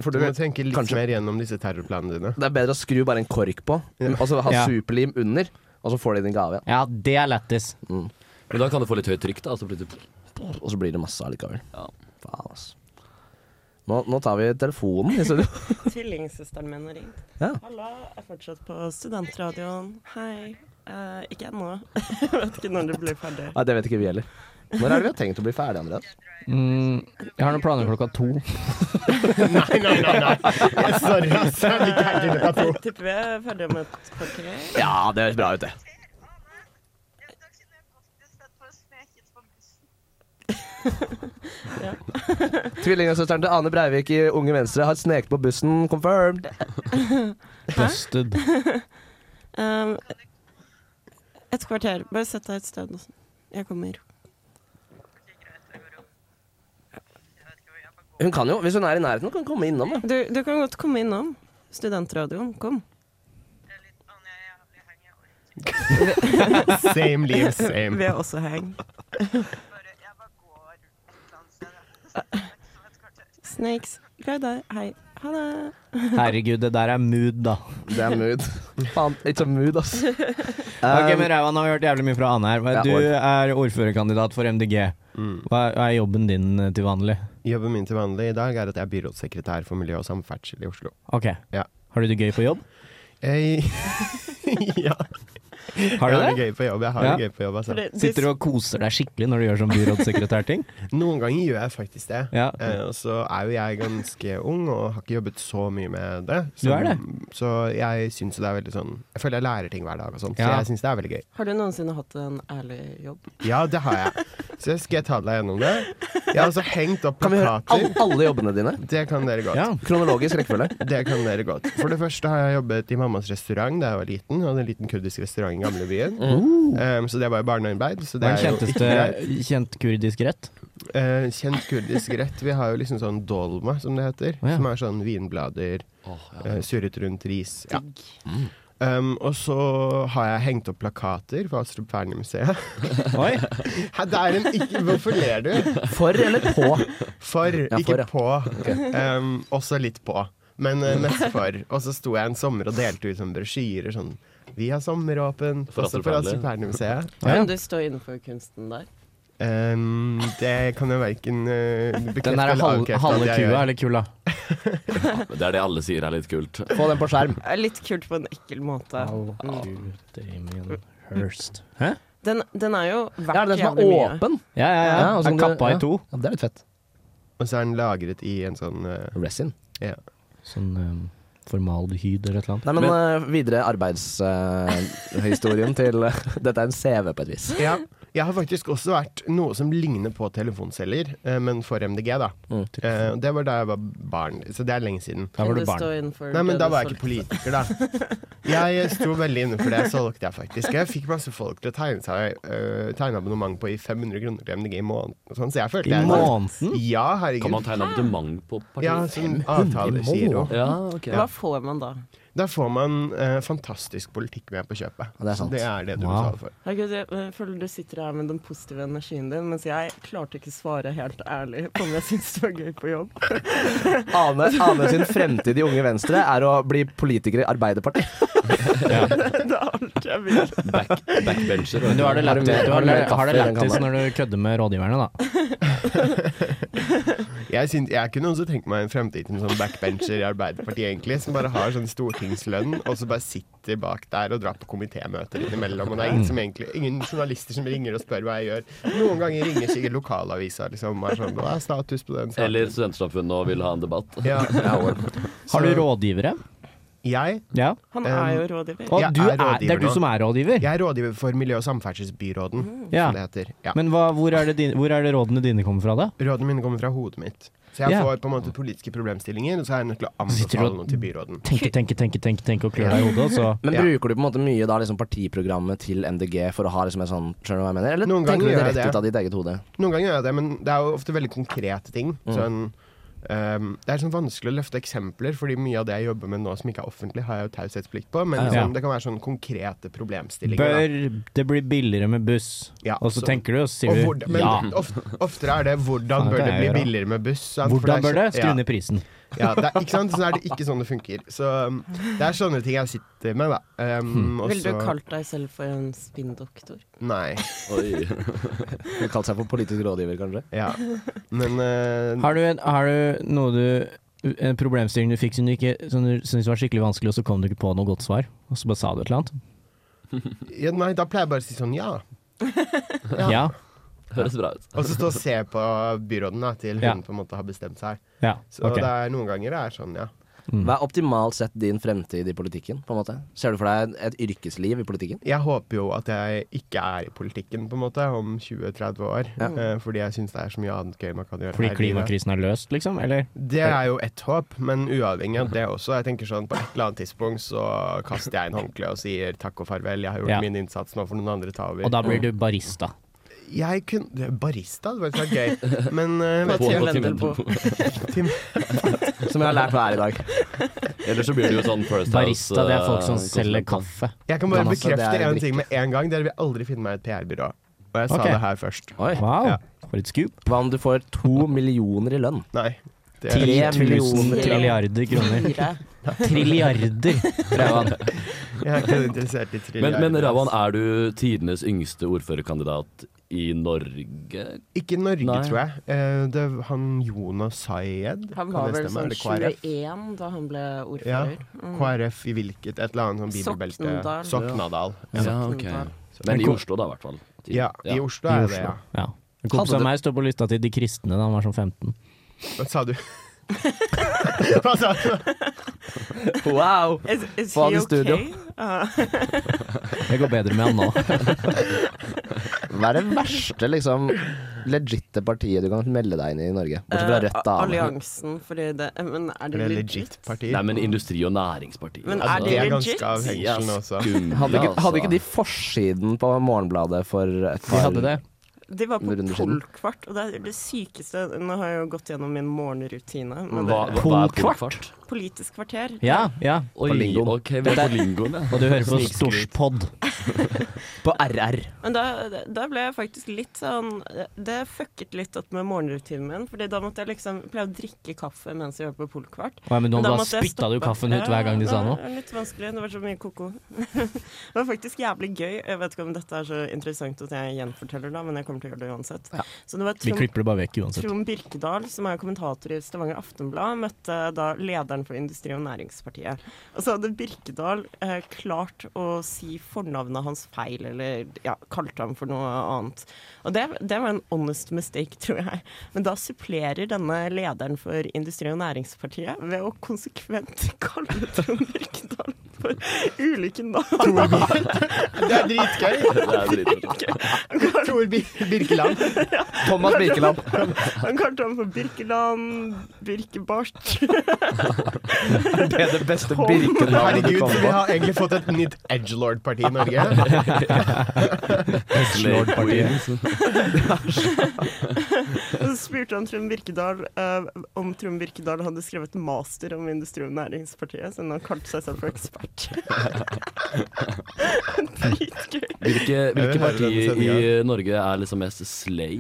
Speaker 5: For du må tenke litt
Speaker 2: Kanskje.
Speaker 5: mer gjennom disse terrorplanene dine.
Speaker 2: Det er bedre å skru bare en kork på, og så ha
Speaker 1: Ja.
Speaker 2: superlim under, og så får de den gave igjen.
Speaker 1: Ja, det er lættis.
Speaker 3: Men da kan det få litt høyt trykk, da. altså, og Så blir det
Speaker 2: Og så blir det masse allikevel.
Speaker 3: Ja.
Speaker 2: Faen, ass. Nå, nå tar vi telefonen i studio.
Speaker 4: Tvillingsøsteren min har ringt.
Speaker 2: Ja.
Speaker 4: Halla, jeg er fortsatt på studentradioen. Hei. Eh, ikke ennå. jeg vet ikke når det blir ferdig.
Speaker 2: Nei, det vet ikke vi heller. Når er det vi har tenkt å bli ferdig, Andreas?
Speaker 1: Mm, jeg har noen planer klokka to.
Speaker 5: Nei, nei, nei! nei. Sorry. så er vi ikke her til klokka to.
Speaker 4: Jeg tipper vi er ferdige om et kvarter.
Speaker 2: Ja, det høres bra ut, det. Tvillingsøsteren til Ane Breivik i Unge Venstre har sneket på bussen, confirmed.
Speaker 1: Busted.
Speaker 4: Um, et kvarter. Bare sett deg et sted. og sånn. Jeg kommer.
Speaker 2: Hun kan jo, Hvis hun er i nærheten, kan hun komme innom. da
Speaker 4: Du, du kan godt komme innom studentradioen. Kom.
Speaker 5: Same liv,
Speaker 4: Vi
Speaker 5: same.
Speaker 4: er også hang. Snakes. Glad i deg. Hei. Ha det.
Speaker 1: Herregud, det der er mood, da.
Speaker 2: Det er mood. Faen, it's a mood, ass.
Speaker 1: Ok,
Speaker 2: Um,
Speaker 1: men Rauan, nå har vi hørt jævlig mye fra Ane her.
Speaker 2: Ja,
Speaker 1: Men Du er ordførerkandidat for MDG.
Speaker 5: Mm.
Speaker 1: Hva er, hva er jobben din eh, til vanlig?
Speaker 5: Jobben min til vanlig i dag er at jeg er byrådssekretær for miljø og samferdsel i Oslo.
Speaker 1: Ok.
Speaker 5: Ja.
Speaker 1: Har du det gøy på jobb?
Speaker 5: Jeg, ja,
Speaker 1: Har du
Speaker 5: jeg har
Speaker 1: det?
Speaker 5: det gøy på jobb. Jeg har
Speaker 1: Ja.
Speaker 5: det gøy på jobb altså.
Speaker 4: For det- de-
Speaker 1: Sitter du og koser deg skikkelig når du gjør sånn byrådssekretærting?
Speaker 5: Noen ganger gjør jeg faktisk det.
Speaker 1: Ja.
Speaker 5: Eh, og så er jo jeg ganske ung og har ikke jobbet så mye med det.
Speaker 1: Du er
Speaker 5: Så jeg syns jo det er veldig sånn Jeg føler jeg lærer ting hver dag og sånn, så
Speaker 1: Ja.
Speaker 5: jeg syns det er veldig gøy.
Speaker 4: Har du noensinne hatt en ærlig jobb?
Speaker 5: Ja, det har jeg. Så skal jeg ta deg gjennom det. Jeg har også hengt opp
Speaker 2: kan vi høre
Speaker 5: plakater.
Speaker 2: all, alle jobbene dine?
Speaker 5: Det kan dere godt.
Speaker 1: Ja.
Speaker 2: Kronologisk rekkefølge.
Speaker 5: Det kan dere godt. For det første har jeg jobbet i mammas restaurant da jeg var liten. Jeg hadde en liten kurdisk restaurant i gamlebyen. Um, så det var jo barnearbeid. Så det
Speaker 1: Mm. Hva er
Speaker 5: er
Speaker 1: den
Speaker 5: jo ikke
Speaker 1: kjenteste
Speaker 5: greit.
Speaker 1: kjent kurdisk rett?
Speaker 5: Eh, kjent kurdisk rett. Vi har jo liksom sånn dolma, som det heter.
Speaker 1: Å, ja.
Speaker 5: Som er sånn vinblader, eh, surret rundt ris. Ja.
Speaker 1: Mm.
Speaker 5: Um, og så har jeg hengt opp plakater for Astrup Fearnley-museet.
Speaker 1: Oi!
Speaker 5: Hæ, det er en ikke Hvorfor ler du?
Speaker 2: For eller på?
Speaker 5: For,
Speaker 2: for,
Speaker 5: ikke
Speaker 2: ja.
Speaker 5: på. Um, også litt på, men eh, mest for. Og så sto jeg en sommer og delte ut sånn brosjyrer sånn Vi har sommeråpent,
Speaker 3: For
Speaker 5: også
Speaker 3: Astrup
Speaker 5: for
Speaker 3: Fearnley.
Speaker 5: Astrup Fearnley-museet.
Speaker 4: Kan du stå innenfor kunsten der?
Speaker 5: Um, det kan jeg verken eh, bekrefte
Speaker 1: Den der
Speaker 5: eller
Speaker 1: halve
Speaker 5: avkrefte at
Speaker 1: halve
Speaker 5: jeg gjør.
Speaker 1: kua eller kula?
Speaker 3: Ja, men Det er det alle sier er litt kult.
Speaker 2: Få den på skjerm.
Speaker 4: Det er Litt kult på en ekkel måte.
Speaker 1: Damien Hirst. Hæ?
Speaker 4: Den, den er jo
Speaker 2: Ja,
Speaker 4: verdt
Speaker 2: er det den som
Speaker 4: jævlig
Speaker 2: er
Speaker 4: mye.
Speaker 2: åpen?
Speaker 1: Ja, ja, ja.
Speaker 2: Ja, og så
Speaker 1: er
Speaker 2: kan du-
Speaker 1: kappa
Speaker 2: ja.
Speaker 1: i to.
Speaker 2: Ja, det er litt fett.
Speaker 5: Og så er den lagret i en sånn eh,
Speaker 2: Resin.
Speaker 5: ja.
Speaker 1: Sånn um, formaldehyd eller et eller annet.
Speaker 2: Nei, men, eh, videre arbeidshistorien til eh, Dette er en CV på et vis.
Speaker 5: ja. Jeg har faktisk også vært noe som ligner på telefonceller, eh, men for MDG, da.
Speaker 2: Mm.
Speaker 5: Eh, det var da jeg var barn, så det er lenge siden.
Speaker 1: Da
Speaker 4: Kan
Speaker 1: var
Speaker 4: du
Speaker 1: du
Speaker 4: stå
Speaker 1: barn.
Speaker 4: innenfor
Speaker 5: Nei, men
Speaker 4: det
Speaker 5: da
Speaker 4: du
Speaker 5: var jeg
Speaker 4: solgte?
Speaker 5: ikke politiker, da. Jeg sto veldig innenfor det, så solgte jeg faktisk. Jeg fikk masse folk til å tegne, seg, øh, tegne abonnement på i 500 kroner til MDG i måneden. og Sånn, så jeg følte
Speaker 1: I
Speaker 5: jeg
Speaker 1: måneden?
Speaker 5: Ja,
Speaker 3: Kan man
Speaker 5: herregud.
Speaker 3: tegne abonnement på
Speaker 5: Ja,
Speaker 3: partiet?
Speaker 5: sånn avtalegiro.
Speaker 3: Ja, ok.
Speaker 4: Hva får man da?
Speaker 5: Da får man eh, fantastisk politikk med på kjøpet.
Speaker 2: Ja, det er sant.
Speaker 5: Så det er det du
Speaker 1: Wow.
Speaker 5: betaler for.
Speaker 4: Herregud, jeg eh, føler du sitter her med den positive energien din, mens jeg klarte ikke svare helt ærlig på om jeg syntes det var gøy på jobb.
Speaker 2: Ane, Ane sin fremtid i Unge Venstre er å bli politiker i Arbeiderpartiet.
Speaker 4: Det er alt jeg vil.
Speaker 3: Back, backbencher.
Speaker 1: Men du har det
Speaker 2: Har du mer-
Speaker 1: lættis du
Speaker 2: har
Speaker 1: har
Speaker 2: du mer
Speaker 1: det- har det
Speaker 2: kaffe enn
Speaker 1: lættis
Speaker 2: kaffe?
Speaker 1: når du kødder med rådgiverne, da.
Speaker 5: Jeg, syns- jeg kunne også tenkt meg en fremtid som sånn backbencher i Arbeiderpartiet, egentlig. Som bare har sånn stortingslønn, og så bare sitter bak der og drar på komitémøter innimellom. Og det er ingen, som egentlig, ingen journalister som ringer og spør hva jeg gjør. Noen ganger ringer sikkert lokalavisa liksom, og er sånn Hva er status på den saken?
Speaker 3: Eller Studentsamfunnet og vil ha en debatt.
Speaker 5: ja.
Speaker 1: Har du
Speaker 5: Så-
Speaker 1: rådgivere?
Speaker 5: Jeg
Speaker 4: Han er jo
Speaker 5: eh,
Speaker 4: rådgiver.
Speaker 1: Og
Speaker 5: jeg
Speaker 1: du er- det er du
Speaker 5: nå.
Speaker 1: som er rådgiver?
Speaker 5: Jeg er rådgiver for miljø- og samferdselsbyråden,
Speaker 1: Ja.
Speaker 5: som det heter. Ja.
Speaker 1: Men hva, hvor, er det din, hvor er det rådene dine kommer fra, da?
Speaker 5: Rådene mine kommer fra hodet mitt. Så jeg
Speaker 1: Ja.
Speaker 5: får på en måte politiske problemstillinger, og så er jeg nødt til å
Speaker 1: Sitter du
Speaker 5: anbefale
Speaker 1: og
Speaker 5: noe til byråden.
Speaker 1: tenker, tenker, tenker, tenker, tenker og klør deg i hodet, og så
Speaker 2: Men bruker du på en måte mye da liksom partiprogrammet til MDG for å ha liksom en sånn Skjønner du hva jeg mener? Eller
Speaker 5: Noen ganger
Speaker 2: tenker du det
Speaker 5: gjør jeg
Speaker 2: rett
Speaker 5: det.
Speaker 2: ut av ditt eget hode?
Speaker 5: Noen ganger gjør jeg det, men det er jo ofte veldig konkrete ting.
Speaker 2: Mm.
Speaker 5: Sånn, ehm, det er sånn vanskelig å løfte eksempler, fordi mye av det jeg jobber med nå som ikke er offentlig, har jeg jo taushetsplikt på. Men
Speaker 1: Ja.
Speaker 5: liksom, det kan være sånn konkrete problemstillinger. da.
Speaker 1: Bør det bli billigere med buss? og så
Speaker 5: så-
Speaker 1: tenker du, og så sier
Speaker 5: Og
Speaker 1: du
Speaker 5: hvordan- men
Speaker 1: ja.
Speaker 5: ofte, oftere er det 'hvordan
Speaker 1: Faen,
Speaker 5: bør
Speaker 1: det
Speaker 5: det
Speaker 1: er
Speaker 5: bli
Speaker 1: jo bra.
Speaker 5: billigere med buss'? sant? For
Speaker 1: Hvordan
Speaker 5: det er
Speaker 1: bør det?
Speaker 5: så-
Speaker 1: Skru
Speaker 5: ja.
Speaker 1: ned prisen.
Speaker 5: Ja, det er, ikke sant? Så er det ikke sånn det funker. Så um, det er sånne ting jeg sitter med, da.
Speaker 1: Hmm.
Speaker 5: Um, og
Speaker 4: Ville du
Speaker 5: så-
Speaker 4: kalt deg selv for en spinndoktor?
Speaker 5: Nei.
Speaker 2: Oi. Du kalte seg for politisk rådgiver, kanskje?
Speaker 5: Ja. Men eh,
Speaker 1: Har du, en, har du noe du En problemstilling du fikk som du ikke Som du syntes var skikkelig vanskelig, og så kom du ikke på noe godt svar? Og så bare sa du et eller annet?
Speaker 5: ja, Nei, da pleier jeg bare å si sånn ja.
Speaker 1: Ja.
Speaker 3: Høres bra ut.
Speaker 5: Og så stå og se på byråden da, til hun
Speaker 1: Ja.
Speaker 5: på en måte har bestemt seg.
Speaker 1: Ja,
Speaker 5: Så
Speaker 1: ok. Mm.
Speaker 5: det er noen ganger det er sånn, ja.
Speaker 2: Mm. Hva er optimalt sett din fremtid i politikken? på en måte? Ser du for deg et yrkesliv i politikken?
Speaker 5: Jeg håper jo at jeg ikke er i politikken på en måte om 20-30 år, eh, fordi jeg syns det er så mye annet gøy man kan gjøre.
Speaker 1: Fordi
Speaker 5: her i livet.
Speaker 1: klimakrisen er løst, liksom? Eller?
Speaker 5: Det er jo et håp, men uavhengig av det også. Jeg tenker sånn, På et eller annet tidspunkt så kaster jeg inn håndkleet og sier takk og farvel, jeg har gjort
Speaker 1: Ja.
Speaker 5: min innsats, nå får noen andre ta over.
Speaker 1: Og da blir du barista.
Speaker 5: Jeg kunne Barista hadde faktisk vært gøy, men eh, vet
Speaker 3: På-
Speaker 5: jeg-
Speaker 3: på Timbuktu.
Speaker 5: Tim-
Speaker 2: Som jeg har lært hver i dag.
Speaker 3: Eller så blir det jo sånn First House.
Speaker 1: Barista, det er folk som
Speaker 3: eh,
Speaker 1: selger
Speaker 3: konsulent.
Speaker 1: kaffe.
Speaker 5: Jeg kan bare
Speaker 2: Kan altså, det
Speaker 5: bekrefte
Speaker 2: er
Speaker 5: én
Speaker 2: drikke.
Speaker 5: ting med en gang. Dere vil aldri finne meg i et PR-byrå. Og jeg sa
Speaker 1: Ok.
Speaker 5: det her først.
Speaker 2: Oi.
Speaker 1: Wow,
Speaker 5: Ja.
Speaker 1: for et scoop.
Speaker 2: Hva om du får to millioner i lønn?
Speaker 5: Nei. Det,
Speaker 1: 10 000
Speaker 2: millioner.
Speaker 1: trilliarder kroner.
Speaker 4: Fire.
Speaker 1: Trilliarder, Rævan.
Speaker 5: jeg er ikke interessert i
Speaker 3: Men,
Speaker 5: trilliarder.
Speaker 3: men Ravan, er du tidenes yngste ordførerkandidat i Norge?
Speaker 5: Ikke i Norge,
Speaker 3: Nei.
Speaker 5: tror jeg. Eh, Det er han Jonas Sayed
Speaker 4: Han
Speaker 5: kan
Speaker 4: var
Speaker 5: det
Speaker 4: vel
Speaker 5: stemme?
Speaker 4: sånn
Speaker 5: Er det KrF?
Speaker 4: 21 da han ble
Speaker 5: Ja.
Speaker 4: ordfører. Mm.
Speaker 5: KrF i hvilket? Et eller annet sånn bibelbelte?
Speaker 4: Soknedal.
Speaker 5: Soknadal.
Speaker 3: Ja, ok. Men i Oslo, da, i hvert fall.
Speaker 5: Ja, i Oslo er det, ja.
Speaker 1: Ja. En kompis av
Speaker 2: Hadde det-
Speaker 1: meg står på lista til de kristne da han var sånn 15.
Speaker 5: Hva sa du? Hva sa du?
Speaker 2: Wow!
Speaker 4: Is, is
Speaker 2: Få han
Speaker 4: he
Speaker 2: i studio.
Speaker 4: okay? Ah.
Speaker 1: Det går bedre med han nå.
Speaker 2: Hva er det verste liksom, legitte partiet du kan melde deg inn i i Norge? Bortsett fra
Speaker 4: Eh,
Speaker 2: Rødt, da.
Speaker 4: Alliansen, fordi det eh, Men er
Speaker 5: Er
Speaker 4: det,
Speaker 5: det
Speaker 4: legit?
Speaker 5: legit parti?
Speaker 3: Nei, men Industri- og Næringspartiet.
Speaker 4: Men
Speaker 3: altså,
Speaker 4: er
Speaker 5: Det er
Speaker 4: legit?
Speaker 5: ganske av hengslene også.
Speaker 3: skumle,
Speaker 2: Hadde ikke,
Speaker 3: altså.
Speaker 2: hadde ikke de forsiden på Morgenbladet for et
Speaker 1: Vi
Speaker 2: par
Speaker 1: hadde det.
Speaker 4: De var på
Speaker 2: Runder siden.
Speaker 4: polkvart, og det er det sykeste Nå har jeg jo gått gjennom min morgenrutine.
Speaker 3: hva,
Speaker 4: Men det
Speaker 3: Altså, hva,
Speaker 4: er
Speaker 3: hva er
Speaker 1: Polkvart?
Speaker 3: polkvart?
Speaker 4: Politisk kvarter.
Speaker 1: Ja, ja.
Speaker 3: Oi,
Speaker 2: På lingoen.
Speaker 3: ok, vi er på lingoen, ja.
Speaker 1: Og du hører på Storspod.
Speaker 2: På RR.
Speaker 4: Men da, da ble jeg faktisk litt sånn Det fucket litt opp med morgenrutinen min. Fordi da måtte jeg liksom Jeg pleier å drikke kaffe mens jeg hørte på polkvart.
Speaker 1: Nei, men nå
Speaker 4: Men da
Speaker 1: bare
Speaker 4: måtte jeg
Speaker 1: spytta du
Speaker 4: stoppe.
Speaker 1: kaffen ut hver gang de sa
Speaker 4: Ja,
Speaker 1: noe.
Speaker 4: det var Litt vanskelig. Det var så mye koko. det var faktisk jævlig gøy. Jeg vet ikke om dette er så interessant at jeg gjenforteller det, men jeg kommer til å gjøre det uansett.
Speaker 2: Ja.
Speaker 4: Så det var
Speaker 1: Vi
Speaker 4: Trond,
Speaker 1: klipper det bare vekk uansett.
Speaker 4: Trond Birkedal, som er kommentator i Stavanger Aftenblad, møtte da lederen for Industri- og Næringspartiet. Og så hadde Birkedal eh, klart å si fornavnet hans feil, eller ja, kalte ham for noe annet. Og det, det var en honest mistake, tror jeg. Men da supplerer denne lederen for Industri- og Næringspartiet ved å konsekvent kalle Trond Birkedal for ulike navn.
Speaker 5: Det er dritgøy!
Speaker 3: Det er dritkult.
Speaker 5: Tor Bir Birkeland.
Speaker 2: Thomas Birkeland.
Speaker 4: Han kalte ham for Birkeland, Birkebart
Speaker 2: Det er det beste Birkelandet du
Speaker 5: Herregud,
Speaker 2: kommer
Speaker 5: vi
Speaker 2: på.
Speaker 5: har egentlig fått et nytt edgelord-parti i Norge.
Speaker 3: Slade Queens.
Speaker 4: Og så spurte han Trond Birkedal eh, om Trond Birkedal hadde skrevet master om Industri- og Næringspartiet, siden han kalte seg selv for ekspert. Dritgøy.
Speaker 3: Hvilke,
Speaker 5: Jeg
Speaker 3: hvilke
Speaker 5: vil høre den
Speaker 3: partier i
Speaker 5: sendingen.
Speaker 3: Norge er liksom mest slay?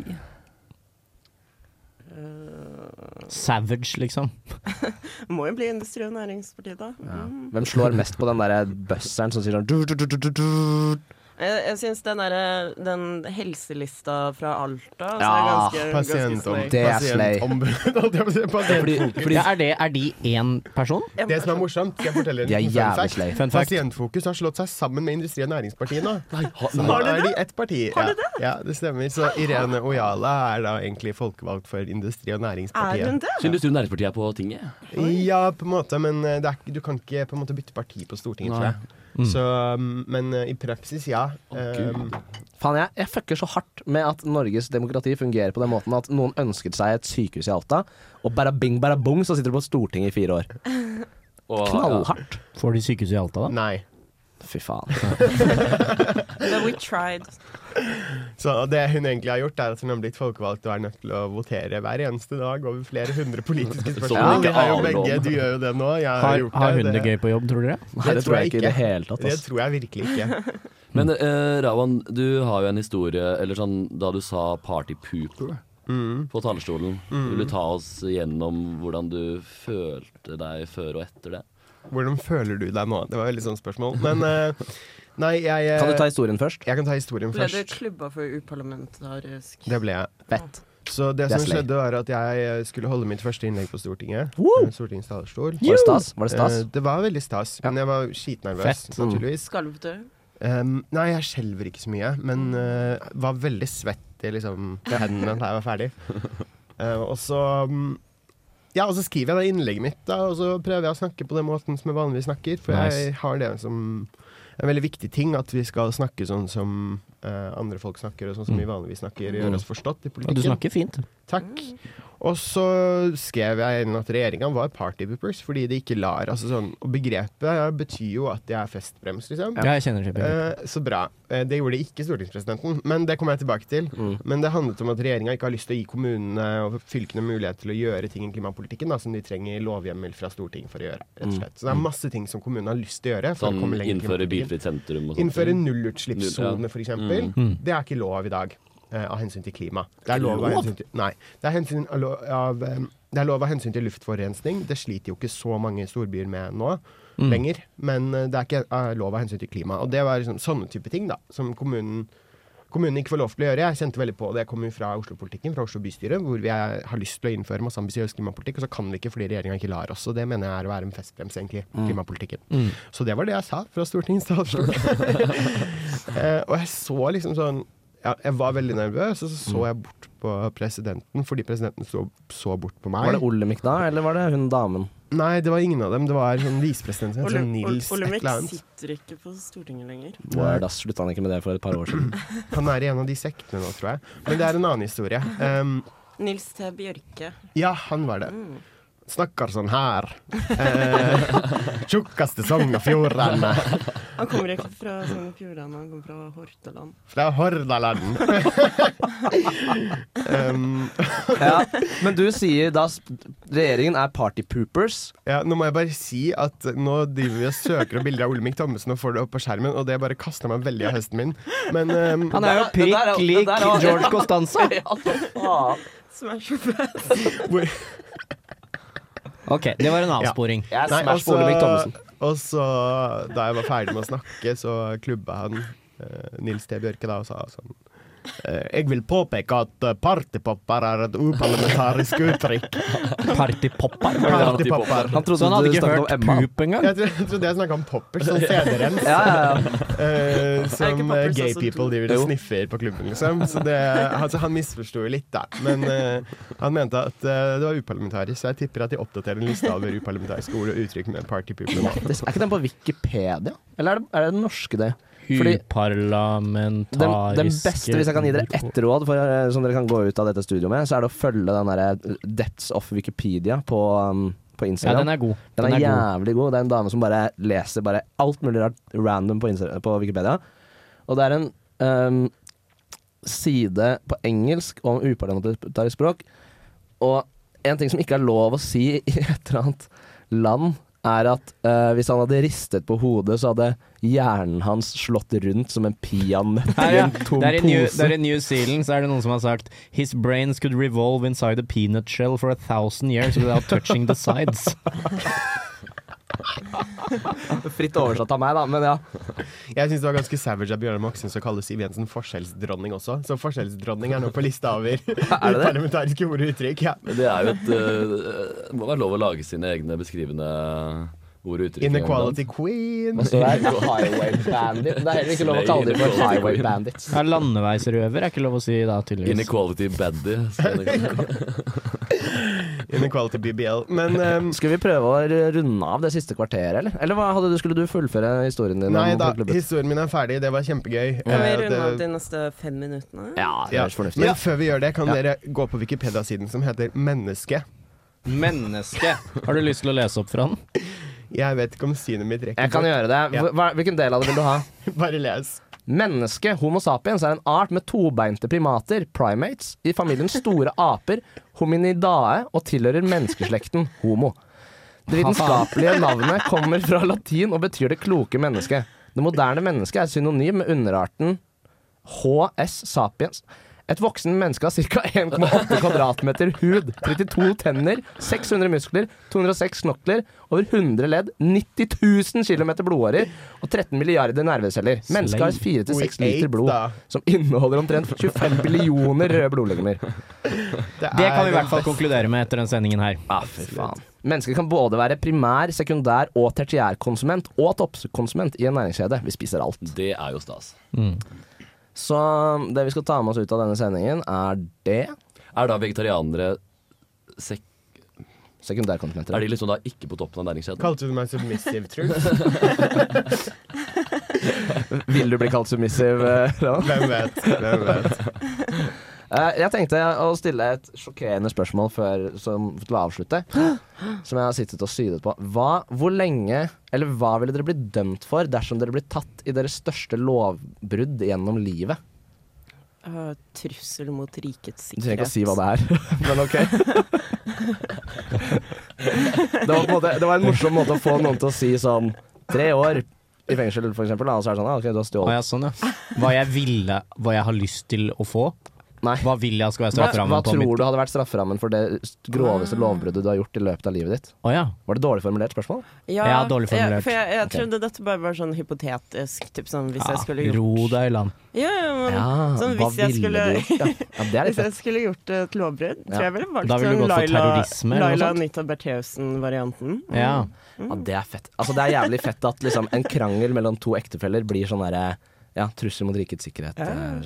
Speaker 1: Savage, liksom.
Speaker 4: Eh, Må jo bli Industri- og Næringspartiet, da. Mm.
Speaker 2: Hvem slår mest på den der buzzeren som sier sånn du, du, du, du, du, du.
Speaker 4: Jeg, jeg syns den, derre- den helselista fra Alta altså,
Speaker 5: Ja,
Speaker 4: er ganske,
Speaker 5: pasient om-
Speaker 4: ganske
Speaker 5: det er slay.
Speaker 1: ja, er, det, er de én person?
Speaker 5: Det som er morsomt, skal jeg fortelle en
Speaker 1: De er
Speaker 5: liten
Speaker 1: jævlig
Speaker 5: fact.
Speaker 1: slay. Fun fact.
Speaker 5: Pasientfokus har slått seg sammen med Industri- og Næringspartiene. Så nå
Speaker 11: har de
Speaker 5: er de
Speaker 11: det?
Speaker 5: ett parti.
Speaker 11: Har de
Speaker 5: ja. Ja, det stemmer. Så Irene Ojala er da egentlig folkevalgt for Industri- og Næringspartiet.
Speaker 4: Er hun det?
Speaker 3: Så Industri- og Næringspartiet er på tinget?
Speaker 5: Ja, på en måte, men eh, det er, ikke- du kan ikke på en måte bytte parti på Stortinget, tror
Speaker 3: Nei.
Speaker 5: jeg.
Speaker 1: Mm.
Speaker 5: Så, um, men eh, i praksis, ja. Um,
Speaker 2: Faen, jeg, jeg fucker så hardt med at Norges demokrati fungerer på den måten at noen ønsket seg et sykehus i Alta, og bada bing, bada bong, så sitter du på Stortinget i fire år. Knallhardt.
Speaker 1: Får de sykehuset i Alta, da?
Speaker 5: Nei.
Speaker 2: Fy faen.
Speaker 4: But we tried.
Speaker 5: Så det hun egentlig har gjort, er at hun har blitt folkevalgt og er nødt til å votere hver eneste dag over flere hundre politiske
Speaker 1: Som
Speaker 5: spørsmål.
Speaker 1: hun
Speaker 5: Vi
Speaker 1: ikke
Speaker 5: har jo
Speaker 1: aner om.
Speaker 5: begge, du gjør jo det nå. Jeg har,
Speaker 1: Har,
Speaker 5: gjort
Speaker 1: har
Speaker 5: det.
Speaker 1: hun det gøy på jobb, tror dere?
Speaker 5: Det tror jeg virkelig ikke.
Speaker 3: Men eh, Rawan, du har jo en historie Eller sånn, da du sa party pooper på talerstolen
Speaker 5: Mm.
Speaker 3: Vil du ta oss gjennom hvordan du følte deg før og etter det?
Speaker 5: Hvordan føler du deg nå? Det var et veldig sånn spørsmål. Men eh, nei, jeg eh,
Speaker 2: Kan du ta historien først?
Speaker 5: Jeg kan ta historien
Speaker 4: Ble du
Speaker 5: først.
Speaker 4: klubba for uparlamentarisk?
Speaker 5: Det ble jeg. Så
Speaker 2: Det
Speaker 5: det,
Speaker 2: er
Speaker 5: som
Speaker 2: slay.
Speaker 5: skjedde, var at jeg eh, skulle holde mitt første innlegg på Stortinget. eh, Stortingets talerstol.
Speaker 2: Var det stas? Var det stas?
Speaker 5: Eh, Det var veldig stas, men jeg var skitnervøs,
Speaker 2: Fett. Mm.
Speaker 5: naturligvis.
Speaker 4: Skalv du?
Speaker 5: Um, nei, jeg skjelver ikke så mye, men eh, var veldig svett i liksom, hendene da jeg var ferdig. Eh, og så mm, Ja, og så skriver jeg det innlegget mitt, da, og så prøver jeg å snakke på den måten som jeg vanligvis snakker, for jeg
Speaker 1: Nice.
Speaker 5: har det som en veldig viktig ting, at vi skal snakke sånn som eh, andre folk snakker, og sånn som
Speaker 1: Mm.
Speaker 5: vi vanligvis snakker,
Speaker 1: Mm.
Speaker 5: gjøre oss forstått i
Speaker 1: Ja,
Speaker 5: politikken.
Speaker 1: du snakker Mm. fint.
Speaker 5: Takk. Og så skrev jeg inn at regjeringa var partyboopers, fordi de ikke lar altså sånn, Og begrepet betyr jo at det er festbrems, liksom.
Speaker 1: Ja, jeg kjenner til begrepet.
Speaker 5: Eh, så bra. Eh, det gjorde ikke stortingspresidenten, men det kommer jeg tilbake til.
Speaker 3: Mm.
Speaker 5: Men det handlet om at regjeringa ikke har lyst til å gi kommunene og fylkene mulighet til å gjøre ting i klimapolitikken da, som de trenger lovhjemmel fra Stortinget for å gjøre. Rett og
Speaker 3: Mm.
Speaker 5: slett. Så det er masse ting som kommunene har lyst til å gjøre. For
Speaker 3: Sånn
Speaker 5: å komme lenger i
Speaker 3: innføre
Speaker 5: klimapolitikken.
Speaker 3: bilfritt sentrum og sånt?
Speaker 5: Innføre nullutslippssone,
Speaker 3: Null,
Speaker 5: for
Speaker 3: ja.
Speaker 5: eksempel.
Speaker 3: Mm.
Speaker 5: Det er ikke lov i dag. eh, av hensyn til klima. Det er
Speaker 3: Ikke
Speaker 5: lov av
Speaker 3: lov?
Speaker 5: hensyn til, nei, det er, hensyn av, lo- av, eh, det er lov av hensyn til luftforurensning. Det sliter jo ikke så mange storbyer med nå
Speaker 1: Mm.
Speaker 5: lenger. Men eh, det er ikke eh, lov av hensyn til klima. Og det var liksom, sånne type ting da, som kommunen, kommunen ikke får lov til å gjøre. Jeg kjente veldig på det. Jeg kommer jo fra Oslo-politikken, fra Oslo bystyre, hvor vi er, har lyst til å innføre masse ambisiøs klimapolitikk, og så kan vi ikke fordi regjeringa ikke lar oss. Og det mener jeg er å være en festbrems, egentlig.
Speaker 1: Mm.
Speaker 5: Klimapolitikken.
Speaker 1: Mm.
Speaker 5: Så det var det jeg sa fra Stortingets talerstol. Eh, og jeg så liksom sånn ja, Jeg var veldig nervøs, og så
Speaker 2: Mm.
Speaker 5: så jeg bort på presidenten, fordi presidenten så, så bort på meg.
Speaker 2: Var det Olemic da, eller var det hun damen?
Speaker 5: Nei, det var ingen av dem. Det var sånn visepresident som het
Speaker 4: Ole-
Speaker 5: sånn Nils
Speaker 4: Ole-
Speaker 5: et
Speaker 4: Olemic
Speaker 5: eller annet.
Speaker 4: sitter ikke på Stortinget lenger.
Speaker 2: Word, ass. Slutta han ikke med det for et par år siden?
Speaker 5: Han er i en av de sektene nå, tror jeg. Men det er en annen historie. Um,
Speaker 4: Nils T. Bjørke.
Speaker 5: ja, han var det.
Speaker 4: Mm.
Speaker 5: Snakker sånn her. Eh, Tjukkeste Sogn og Fjordane.
Speaker 4: Han kommer ikke fra Sogn og Fjordane, han kommer fra Hordaland.
Speaker 5: Fra Hordaland. um,
Speaker 2: ja. Men du sier da s- regjeringen er partypoopers.
Speaker 5: Ja, nå må jeg bare si at nå driver vi og søker opp bilder av Olemic Thommessen og får det opp på skjermen, og det bare kaster meg veldig av høsten min. Men ehm,
Speaker 1: Han er jo prikk lik George Costanza.
Speaker 4: Som er så best.
Speaker 1: Ok, det var en avsporing.
Speaker 5: Ja. Nei, altså, Og så, da jeg var ferdig med å snakke, så klubba han eh, Nils T. Bjørke da og sa sånn eh, jeg vil påpeke at eh, partypopper er et uparlamentarisk uttrykk.
Speaker 1: Partypopper?
Speaker 5: Partypopper.
Speaker 1: Han trodde Så han hadde du ikke snakket hørt om Emma. poop engang?
Speaker 5: Jeg tro- jeg trodde jeg snakka om poppers, sånn CD-rens.
Speaker 1: Ja, ja,
Speaker 5: Eh,
Speaker 1: Er ikke poppers
Speaker 5: som eh,
Speaker 4: sånn
Speaker 5: gay
Speaker 1: også
Speaker 5: people
Speaker 1: to?
Speaker 5: driver og
Speaker 1: Jo.
Speaker 5: sniffer på klubben, liksom. Så det, altså, han misforsto jo litt, da. Men eh, han mente at eh, det var uparlamentarisk, så jeg tipper at de oppdaterer en liste over uparlamentariske ord og uttrykk med partypooper nå.
Speaker 2: Er ikke den på Wikipedia? Eller er det, er det den norske, det? Fordi den,
Speaker 1: Uparlamentariske
Speaker 2: den beste, hvis jeg kan gi dere ett råd for, eh, som dere kan gå ut av dette studioet med, så er det å følge den derre Depths of Wikipedia på, um, på Instagram.
Speaker 1: Ja, den er god. Den
Speaker 2: Den er
Speaker 1: er god.
Speaker 2: jævlig god. Det er en dame som bare leser bare alt mulig rart random på, Insta på Wikipedia. Og det er en um, side på engelsk om uparlamentarisk språk. Og en ting som ikke er lov å si i et eller annet land, er at eh, hvis han hadde ristet på hodet, så hadde hjernen hans slått rundt som en peanøtt
Speaker 1: Her,
Speaker 2: i
Speaker 1: ja.
Speaker 2: en tom
Speaker 1: der, i New,
Speaker 2: pose.
Speaker 1: der i New Zealand så er det noen som har sagt His brains could revolve inside a peanut shell for a thousand years without touching the sides.
Speaker 2: Fritt oversatt av meg, da, men ja.
Speaker 5: Jeg syns det var ganske savage av Bjørnar Moxnes å kalle Siv Jensen forskjellsdronning også. Så forskjellsdronning er nå på lista over parlamentariske ord og uttrykk. Ja.
Speaker 3: Det er jo et eh, Det må være lov å lage sine egne beskrivende ord og uttrykk.
Speaker 5: Inequality queen.
Speaker 3: Hva står der? Highway bandit. Det er heller ikke lov å kalle dem for highway bandits.
Speaker 1: Ja, landeveisrøver er ikke lov å si da, tydeligvis.
Speaker 3: Inequality baddy. skal det
Speaker 5: Inequality BBL. Men eh,
Speaker 2: Skal vi prøve å runde av det siste kvarteret, eller? Eller hva hadde du, skulle du fullføre historien din?
Speaker 5: Nei
Speaker 2: om
Speaker 5: da,
Speaker 2: klubbet?
Speaker 5: historien min er ferdig. Det var kjempegøy.
Speaker 4: Kan vi
Speaker 5: Eh,
Speaker 4: runde av
Speaker 5: det-
Speaker 4: de neste fem minuttene?
Speaker 2: Ja,
Speaker 5: Ja. Men før vi gjør det, kan dere gå på Wikipedia-siden som heter Menneske.
Speaker 1: Menneske. Har du lyst til å lese opp fra den?
Speaker 5: Jeg vet ikke om synet mitt rekker
Speaker 2: Jeg kan gjøre det.
Speaker 5: Ja.
Speaker 2: Hva, hvilken del av det vil du ha?
Speaker 5: Bare les.
Speaker 2: Menneske, homo sapiens, er en art med tobeinte primater, primates, i familien store aper, hominidae, og tilhører menneskeslekten homo. Det vitenskapelige navnet kommer fra latin og betyr det kloke mennesket. Det moderne mennesket er synonym med underarten HS sapiens. Et voksen menneske har ca. 1,8 kvadratmeter hud, 32 tenner, 600 muskler, 206 knokler, over 100 ledd, 90 000 km blodårer og 13 milliarder nerveceller. Mennesket har 4-6
Speaker 5: We
Speaker 2: liter
Speaker 5: ate,
Speaker 2: blod,
Speaker 5: da.
Speaker 2: som inneholder omtrent 25 billioner røde blodlegemer.
Speaker 1: Det kan vi i hvert fall konkludere med etter den sendingen her.
Speaker 2: Ah, fy faen. Mennesker kan både være primær, sekundær og tertiærkonsument og toppkonsument i en næringskjede. Vi spiser alt.
Speaker 3: Det er jo stas.
Speaker 1: Mm.
Speaker 2: Så um, det vi skal ta med oss ut av denne sendingen, er det
Speaker 3: Er da vegetarianere sek
Speaker 2: Sekundærkonsumentere.
Speaker 3: Er de liksom da ikke på toppen av næringskjeden?
Speaker 5: Kalte du meg submissive truth?
Speaker 2: Vil du bli kalt submissiv? eh, Ronald?
Speaker 5: Hvem vet? Hvem vet?
Speaker 2: Eh, Jeg tenkte å stille et sjokkerende spørsmål før, som, til å avslutte. Som jeg har sittet og sydet på. Hva, hvor lenge, eller hva ville dere blitt dømt for dersom dere ble tatt i deres største lovbrudd gjennom livet?
Speaker 4: Øh, trussel mot rikets
Speaker 2: Du trenger
Speaker 4: sikkerhet.
Speaker 2: ikke å si hva det er, men ok. Det var, på en måte, det var en morsom måte å få noen til å si sånn tre år i fengsel, for eksempel. da, Og så er det sånn, ah, ok, du har
Speaker 1: Å ja,
Speaker 2: stjålet.
Speaker 1: sånn, ja. Hva jeg ville Hva jeg har lyst til å få?
Speaker 2: Nei.
Speaker 1: Hva vil jeg skal være
Speaker 2: Hva, hva
Speaker 1: strafferammen på?
Speaker 2: tror
Speaker 1: mitt-
Speaker 2: du hadde vært strafferammen for det groveste
Speaker 4: Ah.
Speaker 2: lovbruddet du har gjort i løpet av livet ditt?
Speaker 1: Å ja.
Speaker 2: Var det dårlig formulert spørsmål?
Speaker 4: Ja,
Speaker 1: Jeg er dårlig formulert.
Speaker 4: Jeg, for jeg, jeg
Speaker 2: Ok.
Speaker 4: trodde dette bare var sånn hypotetisk. Typ sånn hvis jeg skulle
Speaker 1: ja.
Speaker 4: gjort
Speaker 1: Ro deg i land.
Speaker 4: Ja, ja, men
Speaker 2: Ja,
Speaker 4: sånn,
Speaker 2: hva
Speaker 4: hvis, jeg
Speaker 2: ville
Speaker 4: skulle,
Speaker 2: du gjort? Ja. ja, det er
Speaker 4: hvis
Speaker 2: litt
Speaker 4: jeg
Speaker 2: fett.
Speaker 4: skulle gjort et lovbrudd, tror jeg ville valgt
Speaker 1: Da ville du
Speaker 4: sånn
Speaker 1: gått for
Speaker 4: Laila,
Speaker 1: terrorisme, eller noe
Speaker 4: Laila
Speaker 1: sånt?
Speaker 4: Anita Bertheussen-varianten.
Speaker 1: Ja.
Speaker 2: Ja, det er fett. Altså, det er jævlig fett at liksom, en krangel mellom to ektefeller blir sånn derre ja, trussel mot rikets sikkerhet. eh,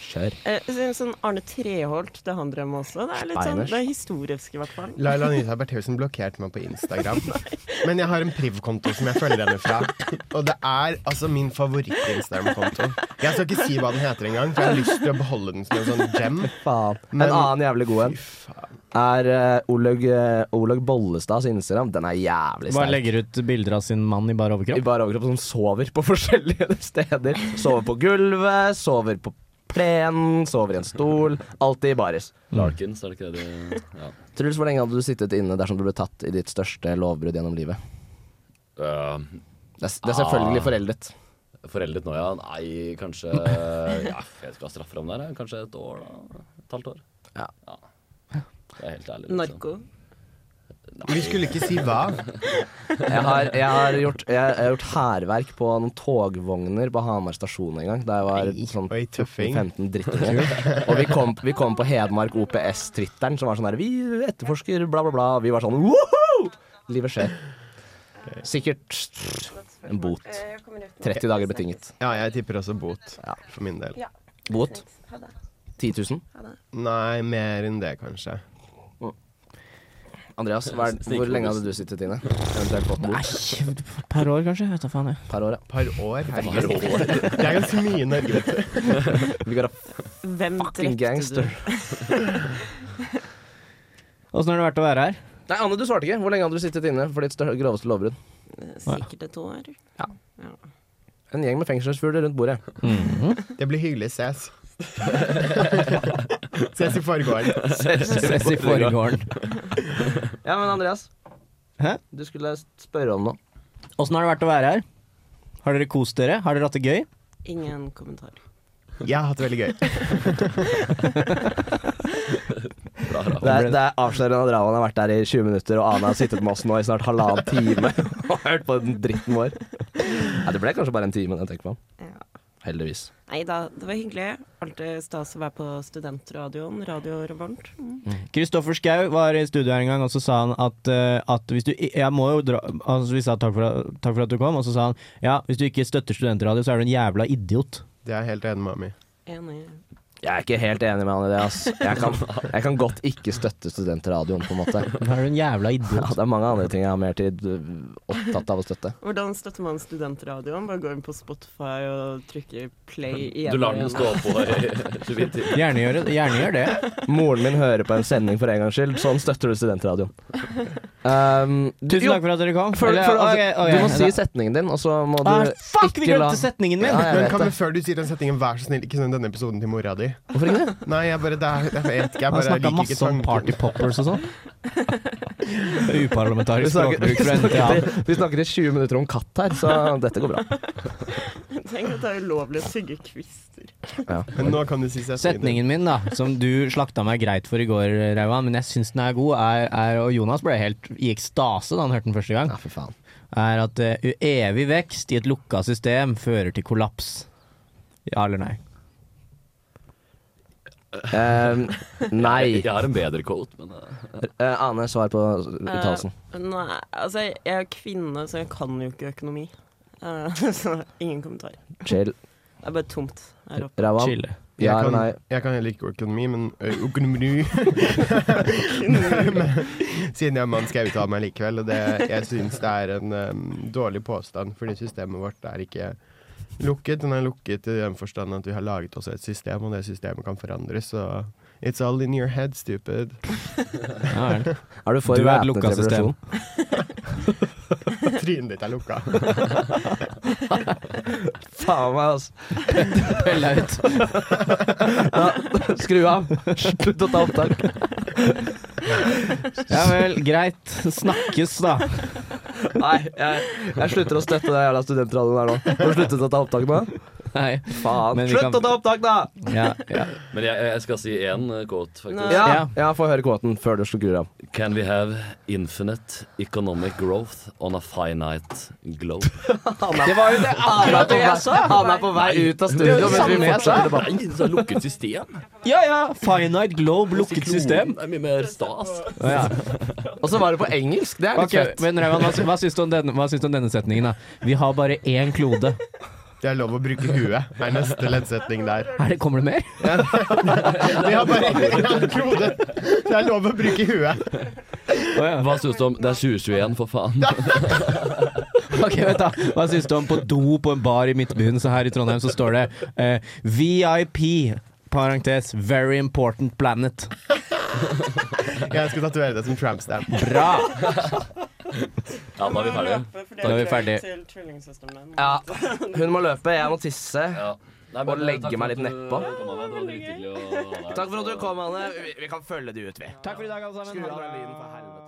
Speaker 2: Kjør.
Speaker 4: Eh, så- sånn Arne Treholt, det han drev med også. Det er litt sånn,
Speaker 2: Steiners.
Speaker 4: det er historisk, i hvert fall.
Speaker 5: Laila Anita Bertheussen blokkerte meg på Instagram. Men jeg har en privkonto som jeg følger henne fra. Og det er altså min favoritt-Instagram-konto. Jeg skal ikke si hva den heter engang, for jeg har lyst til å beholde den som en sånn gem.
Speaker 2: Faen.
Speaker 5: Men-
Speaker 2: en annen jævlig god en
Speaker 5: Fy faen.
Speaker 2: er eh, Olaug, eh, Olaug Bollestads Instagram. Den er jævlig
Speaker 1: Bare
Speaker 2: sterk.
Speaker 1: legger ut bilder av sin mann i bar
Speaker 2: I
Speaker 1: overkropp.
Speaker 2: bar overkropp som sover på forskjellige steder. Sover på gulvet, sover på plenen, sover i en stol. Alltid i baris.
Speaker 3: Larkins, er det ikke det de ja.
Speaker 2: Truls, hvor lenge hadde du sittet inne dersom du ble tatt i ditt største lovbrudd gjennom livet?
Speaker 3: Eh,
Speaker 2: Det er, det er selvfølgelig
Speaker 3: Ah.
Speaker 2: foreldet.
Speaker 3: Foreldet nå, ja. Nei, kanskje ja, Jeg vet ikke hva strafferammen er. jeg. Kanskje et år, da. Et halvt år.
Speaker 2: Ja.
Speaker 3: Det er helt ærlig.
Speaker 2: sånn.
Speaker 3: liksom.
Speaker 4: Narko.
Speaker 5: Vi skulle ikke si hva.
Speaker 2: Jeg har, jeg har gjort, jeg, jeg har gjort hærverk på noen togvogner på Hamar stasjon en gang. Da jeg var sånn
Speaker 5: Oi, tøffing.
Speaker 2: 14-15 drittinger. Og vi kom, vi kom på Hedmark OPS-tritteren, som var sånn der Vi etterforsker, bla, bla, bla. Og vi var sånn woho! Livet skjer. Sikkert en bot. 30 dager betinget.
Speaker 5: Ja, jeg tipper også bot. For min del.
Speaker 2: Bot? 10 000.
Speaker 5: Nei, mer enn det, kanskje.
Speaker 2: Andreas, hva er, hvor lenge hadde du sittet inne? Eventuelt fått bot?
Speaker 1: Per år, kanskje? Vet da faen, jeg.
Speaker 2: Per år, ja.
Speaker 5: Par år. Herregud. Det er ganske mye i Norge, vet du.
Speaker 2: Vi går av
Speaker 4: Hvem
Speaker 2: fucking
Speaker 4: drepte
Speaker 2: gangster.
Speaker 4: du?
Speaker 1: Åssen har det vært å være her?
Speaker 2: Nei, Anne, du svarte ikke. Hvor lenge hadde du sittet inne for ditt stør- groveste lovbrudd?
Speaker 4: Sikkert et år.
Speaker 2: En gjeng med fengselsfugler rundt bordet.
Speaker 5: Det blir hyggelig. Ses. Ses i forgården.
Speaker 1: Ses i forgården.
Speaker 2: Ja, men Andreas.
Speaker 1: Hæ?
Speaker 2: Du skulle spørre om noe.
Speaker 1: Åssen har det vært å være her? Har dere kost dere? Har dere hatt det gøy?
Speaker 4: Ingen kommentar.
Speaker 5: Jeg har hatt det veldig gøy.
Speaker 3: Bra, bra.
Speaker 2: Det er, det er avslørende at Ravan har vært der i 20 minutter, og Ane har sittet med oss nå i snart halvannen time og hørt på den dritten vår. Nei, det ble kanskje bare en time, når jeg tenker meg om. Heldigvis.
Speaker 4: Nei da, det var hyggelig. Alltid stas å være på studentradioen. Radio Revolt. Mm.
Speaker 1: Kristoffer Schau var i studio her en gang, og så sa han at, eh, at hvis du i- Jeg må jo dra altså, Vi sa takk for, takk for at du kom, og så sa han ja, hvis du ikke støtter studentradio, så er du en jævla idiot.
Speaker 5: Det er jeg helt enig med Ami.
Speaker 4: Enig.
Speaker 2: Jeg er ikke helt enig med han i det, ass. Jeg kan, jeg kan godt ikke støtte studentradioen, på en måte.
Speaker 1: Da er du en jævla idiot.
Speaker 2: Ja, det er mange andre ting jeg har mer tid øh, opptatt av å støtte.
Speaker 4: Hvordan støtter man studentradioen? Bare gå inn på Spotify og trykke play
Speaker 3: liksom.
Speaker 4: igjen.
Speaker 3: Du lar
Speaker 4: og
Speaker 3: den
Speaker 4: igjen.
Speaker 3: stå på i- så vidt.
Speaker 1: Gjerne gjør, det, gjerne gjør det.
Speaker 2: Moren min hører på en sending for en gangs skyld. Sånn støtter du studentradioen. Um,
Speaker 1: Tusen
Speaker 2: jo,
Speaker 1: takk for at dere kom.
Speaker 2: for-
Speaker 1: Eller,
Speaker 2: for- altså,
Speaker 1: ok, ok,
Speaker 2: Du må
Speaker 1: da-
Speaker 2: si setningen din, og så må du
Speaker 1: Ah, fuck, vi
Speaker 2: ikke la
Speaker 1: glemte setningen min!
Speaker 2: Ja, jeg
Speaker 5: Men
Speaker 2: vet
Speaker 5: kan
Speaker 2: det.
Speaker 5: vi før du sier den setningen, vær så snill, ikke send denne episoden til mora di?
Speaker 2: Hvorfor ikke det?
Speaker 5: Nei, jeg bare, det er, jeg vet ikke. Jeg
Speaker 1: Han
Speaker 5: bare
Speaker 1: snakka
Speaker 5: liker ikke
Speaker 1: masse om
Speaker 5: tanken.
Speaker 1: party poppers og sånn.
Speaker 2: Vi
Speaker 1: Uparlamentarisk
Speaker 2: snakker, vi,
Speaker 1: språkbruk fra NTA.
Speaker 2: snakker, vi snakker i 20 minutter om katt her, så dette går bra.
Speaker 4: Tenk at det er ulovlig å tygge kvister.
Speaker 2: Ja.
Speaker 5: Men nå kan du si setningen.
Speaker 1: Setningen min, da, som du slakta meg greit for i går, Rauan, men jeg syns den er god, er, er Og Jonas ble helt i ekstase da han hørte den første gang.
Speaker 2: Ja, for faen.
Speaker 1: Er at eh, evig vekst i et lukka system fører til kollaps. Ja eller nei?
Speaker 2: Um, nei.
Speaker 3: Jeg har en bedre quote, men eh,
Speaker 2: Eh, Ane, svar på uttalelsen.
Speaker 4: Eh, nei, altså jeg er kvinne, så jeg kan jo ikke økonomi. Eh, så ingen kommentar.
Speaker 2: Chill.
Speaker 4: Det er bare tomt her oppe.
Speaker 2: Rawan.
Speaker 1: Chille.
Speaker 2: Ja
Speaker 5: Jeg
Speaker 2: eller
Speaker 5: kan,
Speaker 2: nei?
Speaker 5: jeg kan heller ikke økonomi, men ø, økonomi Men Siden jeg er mann, skal jeg uttale meg likevel. Og det, jeg syns det er en ø, dårlig påstand, fordi systemet vårt er ikke lukket. Den er lukket i den forstand at vi har laget også et system, og det systemet kan forandres. Så it's all in your head, stupid.
Speaker 1: Ja, vel.
Speaker 2: Er du for
Speaker 1: Du er et
Speaker 2: væpnet
Speaker 1: lukka system.
Speaker 2: revolusjon?
Speaker 5: Trynet ditt er lukka.
Speaker 2: Faen meg, altså.
Speaker 1: Pell deg ut.
Speaker 2: Skru av. Slutt å ta opptak.
Speaker 1: Ja vel, greit. Snakkes, da.
Speaker 2: Nei, jeg, jeg slutter å støtte den jævla studentradioen her nå. Har du sluttet å ta opptak nå?
Speaker 1: Nei.
Speaker 2: Faen.
Speaker 1: Men vi
Speaker 2: Slutt
Speaker 1: kan-
Speaker 2: å ta opptak, da!
Speaker 1: Ja, ja.
Speaker 3: Men jeg, jeg skal si én eh, quote, faktisk.
Speaker 4: Nei.
Speaker 2: Ja,
Speaker 1: Ja.
Speaker 2: ja få høre kåten før du skrur av.
Speaker 3: Can we have infinite economic growth on a finite globe?
Speaker 2: Det var jo det andre jeg sa! Han er på vei ut av studio mens vi fortsetter debatten.
Speaker 3: Nei, det er lukket system.
Speaker 1: ja ja. Finite globe, lukket system.
Speaker 3: Det er mye mer stas.
Speaker 1: Ja.
Speaker 2: Og så var det på engelsk. Det er litt
Speaker 1: Ok,
Speaker 2: fett.
Speaker 1: men Rauan, hva, sy- hva, syns du om denne- hva syns du om denne setningen? da? Vi har bare én klode.
Speaker 5: Det er lov å bruke huet, er neste leddsetning der.
Speaker 1: Er det, kommer det mer?
Speaker 5: Vi har bare én klode! Det er lov å bruke huet.
Speaker 3: Hva syns du om Det er 2021, for faen.
Speaker 1: Ok, vent da Hva syns du om på do på en bar i Midtbyen? Så her i Trondheim så står det eh, VIP, parentes, Very Important Planet.
Speaker 5: Jeg skal tatovere det som tramp stamp.
Speaker 1: Bra!
Speaker 3: Ja, da er vi ferdige.
Speaker 1: Da er vi ferdige.
Speaker 4: Til tvillingsøsteren min.
Speaker 2: Ja, hun må løpe, jeg må tisse.
Speaker 3: Ja. Nei, eh,
Speaker 2: Og legge meg litt nedpå.
Speaker 3: Takk
Speaker 2: Takk for at du kom, Anne. Vi, vi kan følge det ut, vi.
Speaker 1: Takk for i dag, alle sammen.
Speaker 2: Skru av den lyden, for helvete.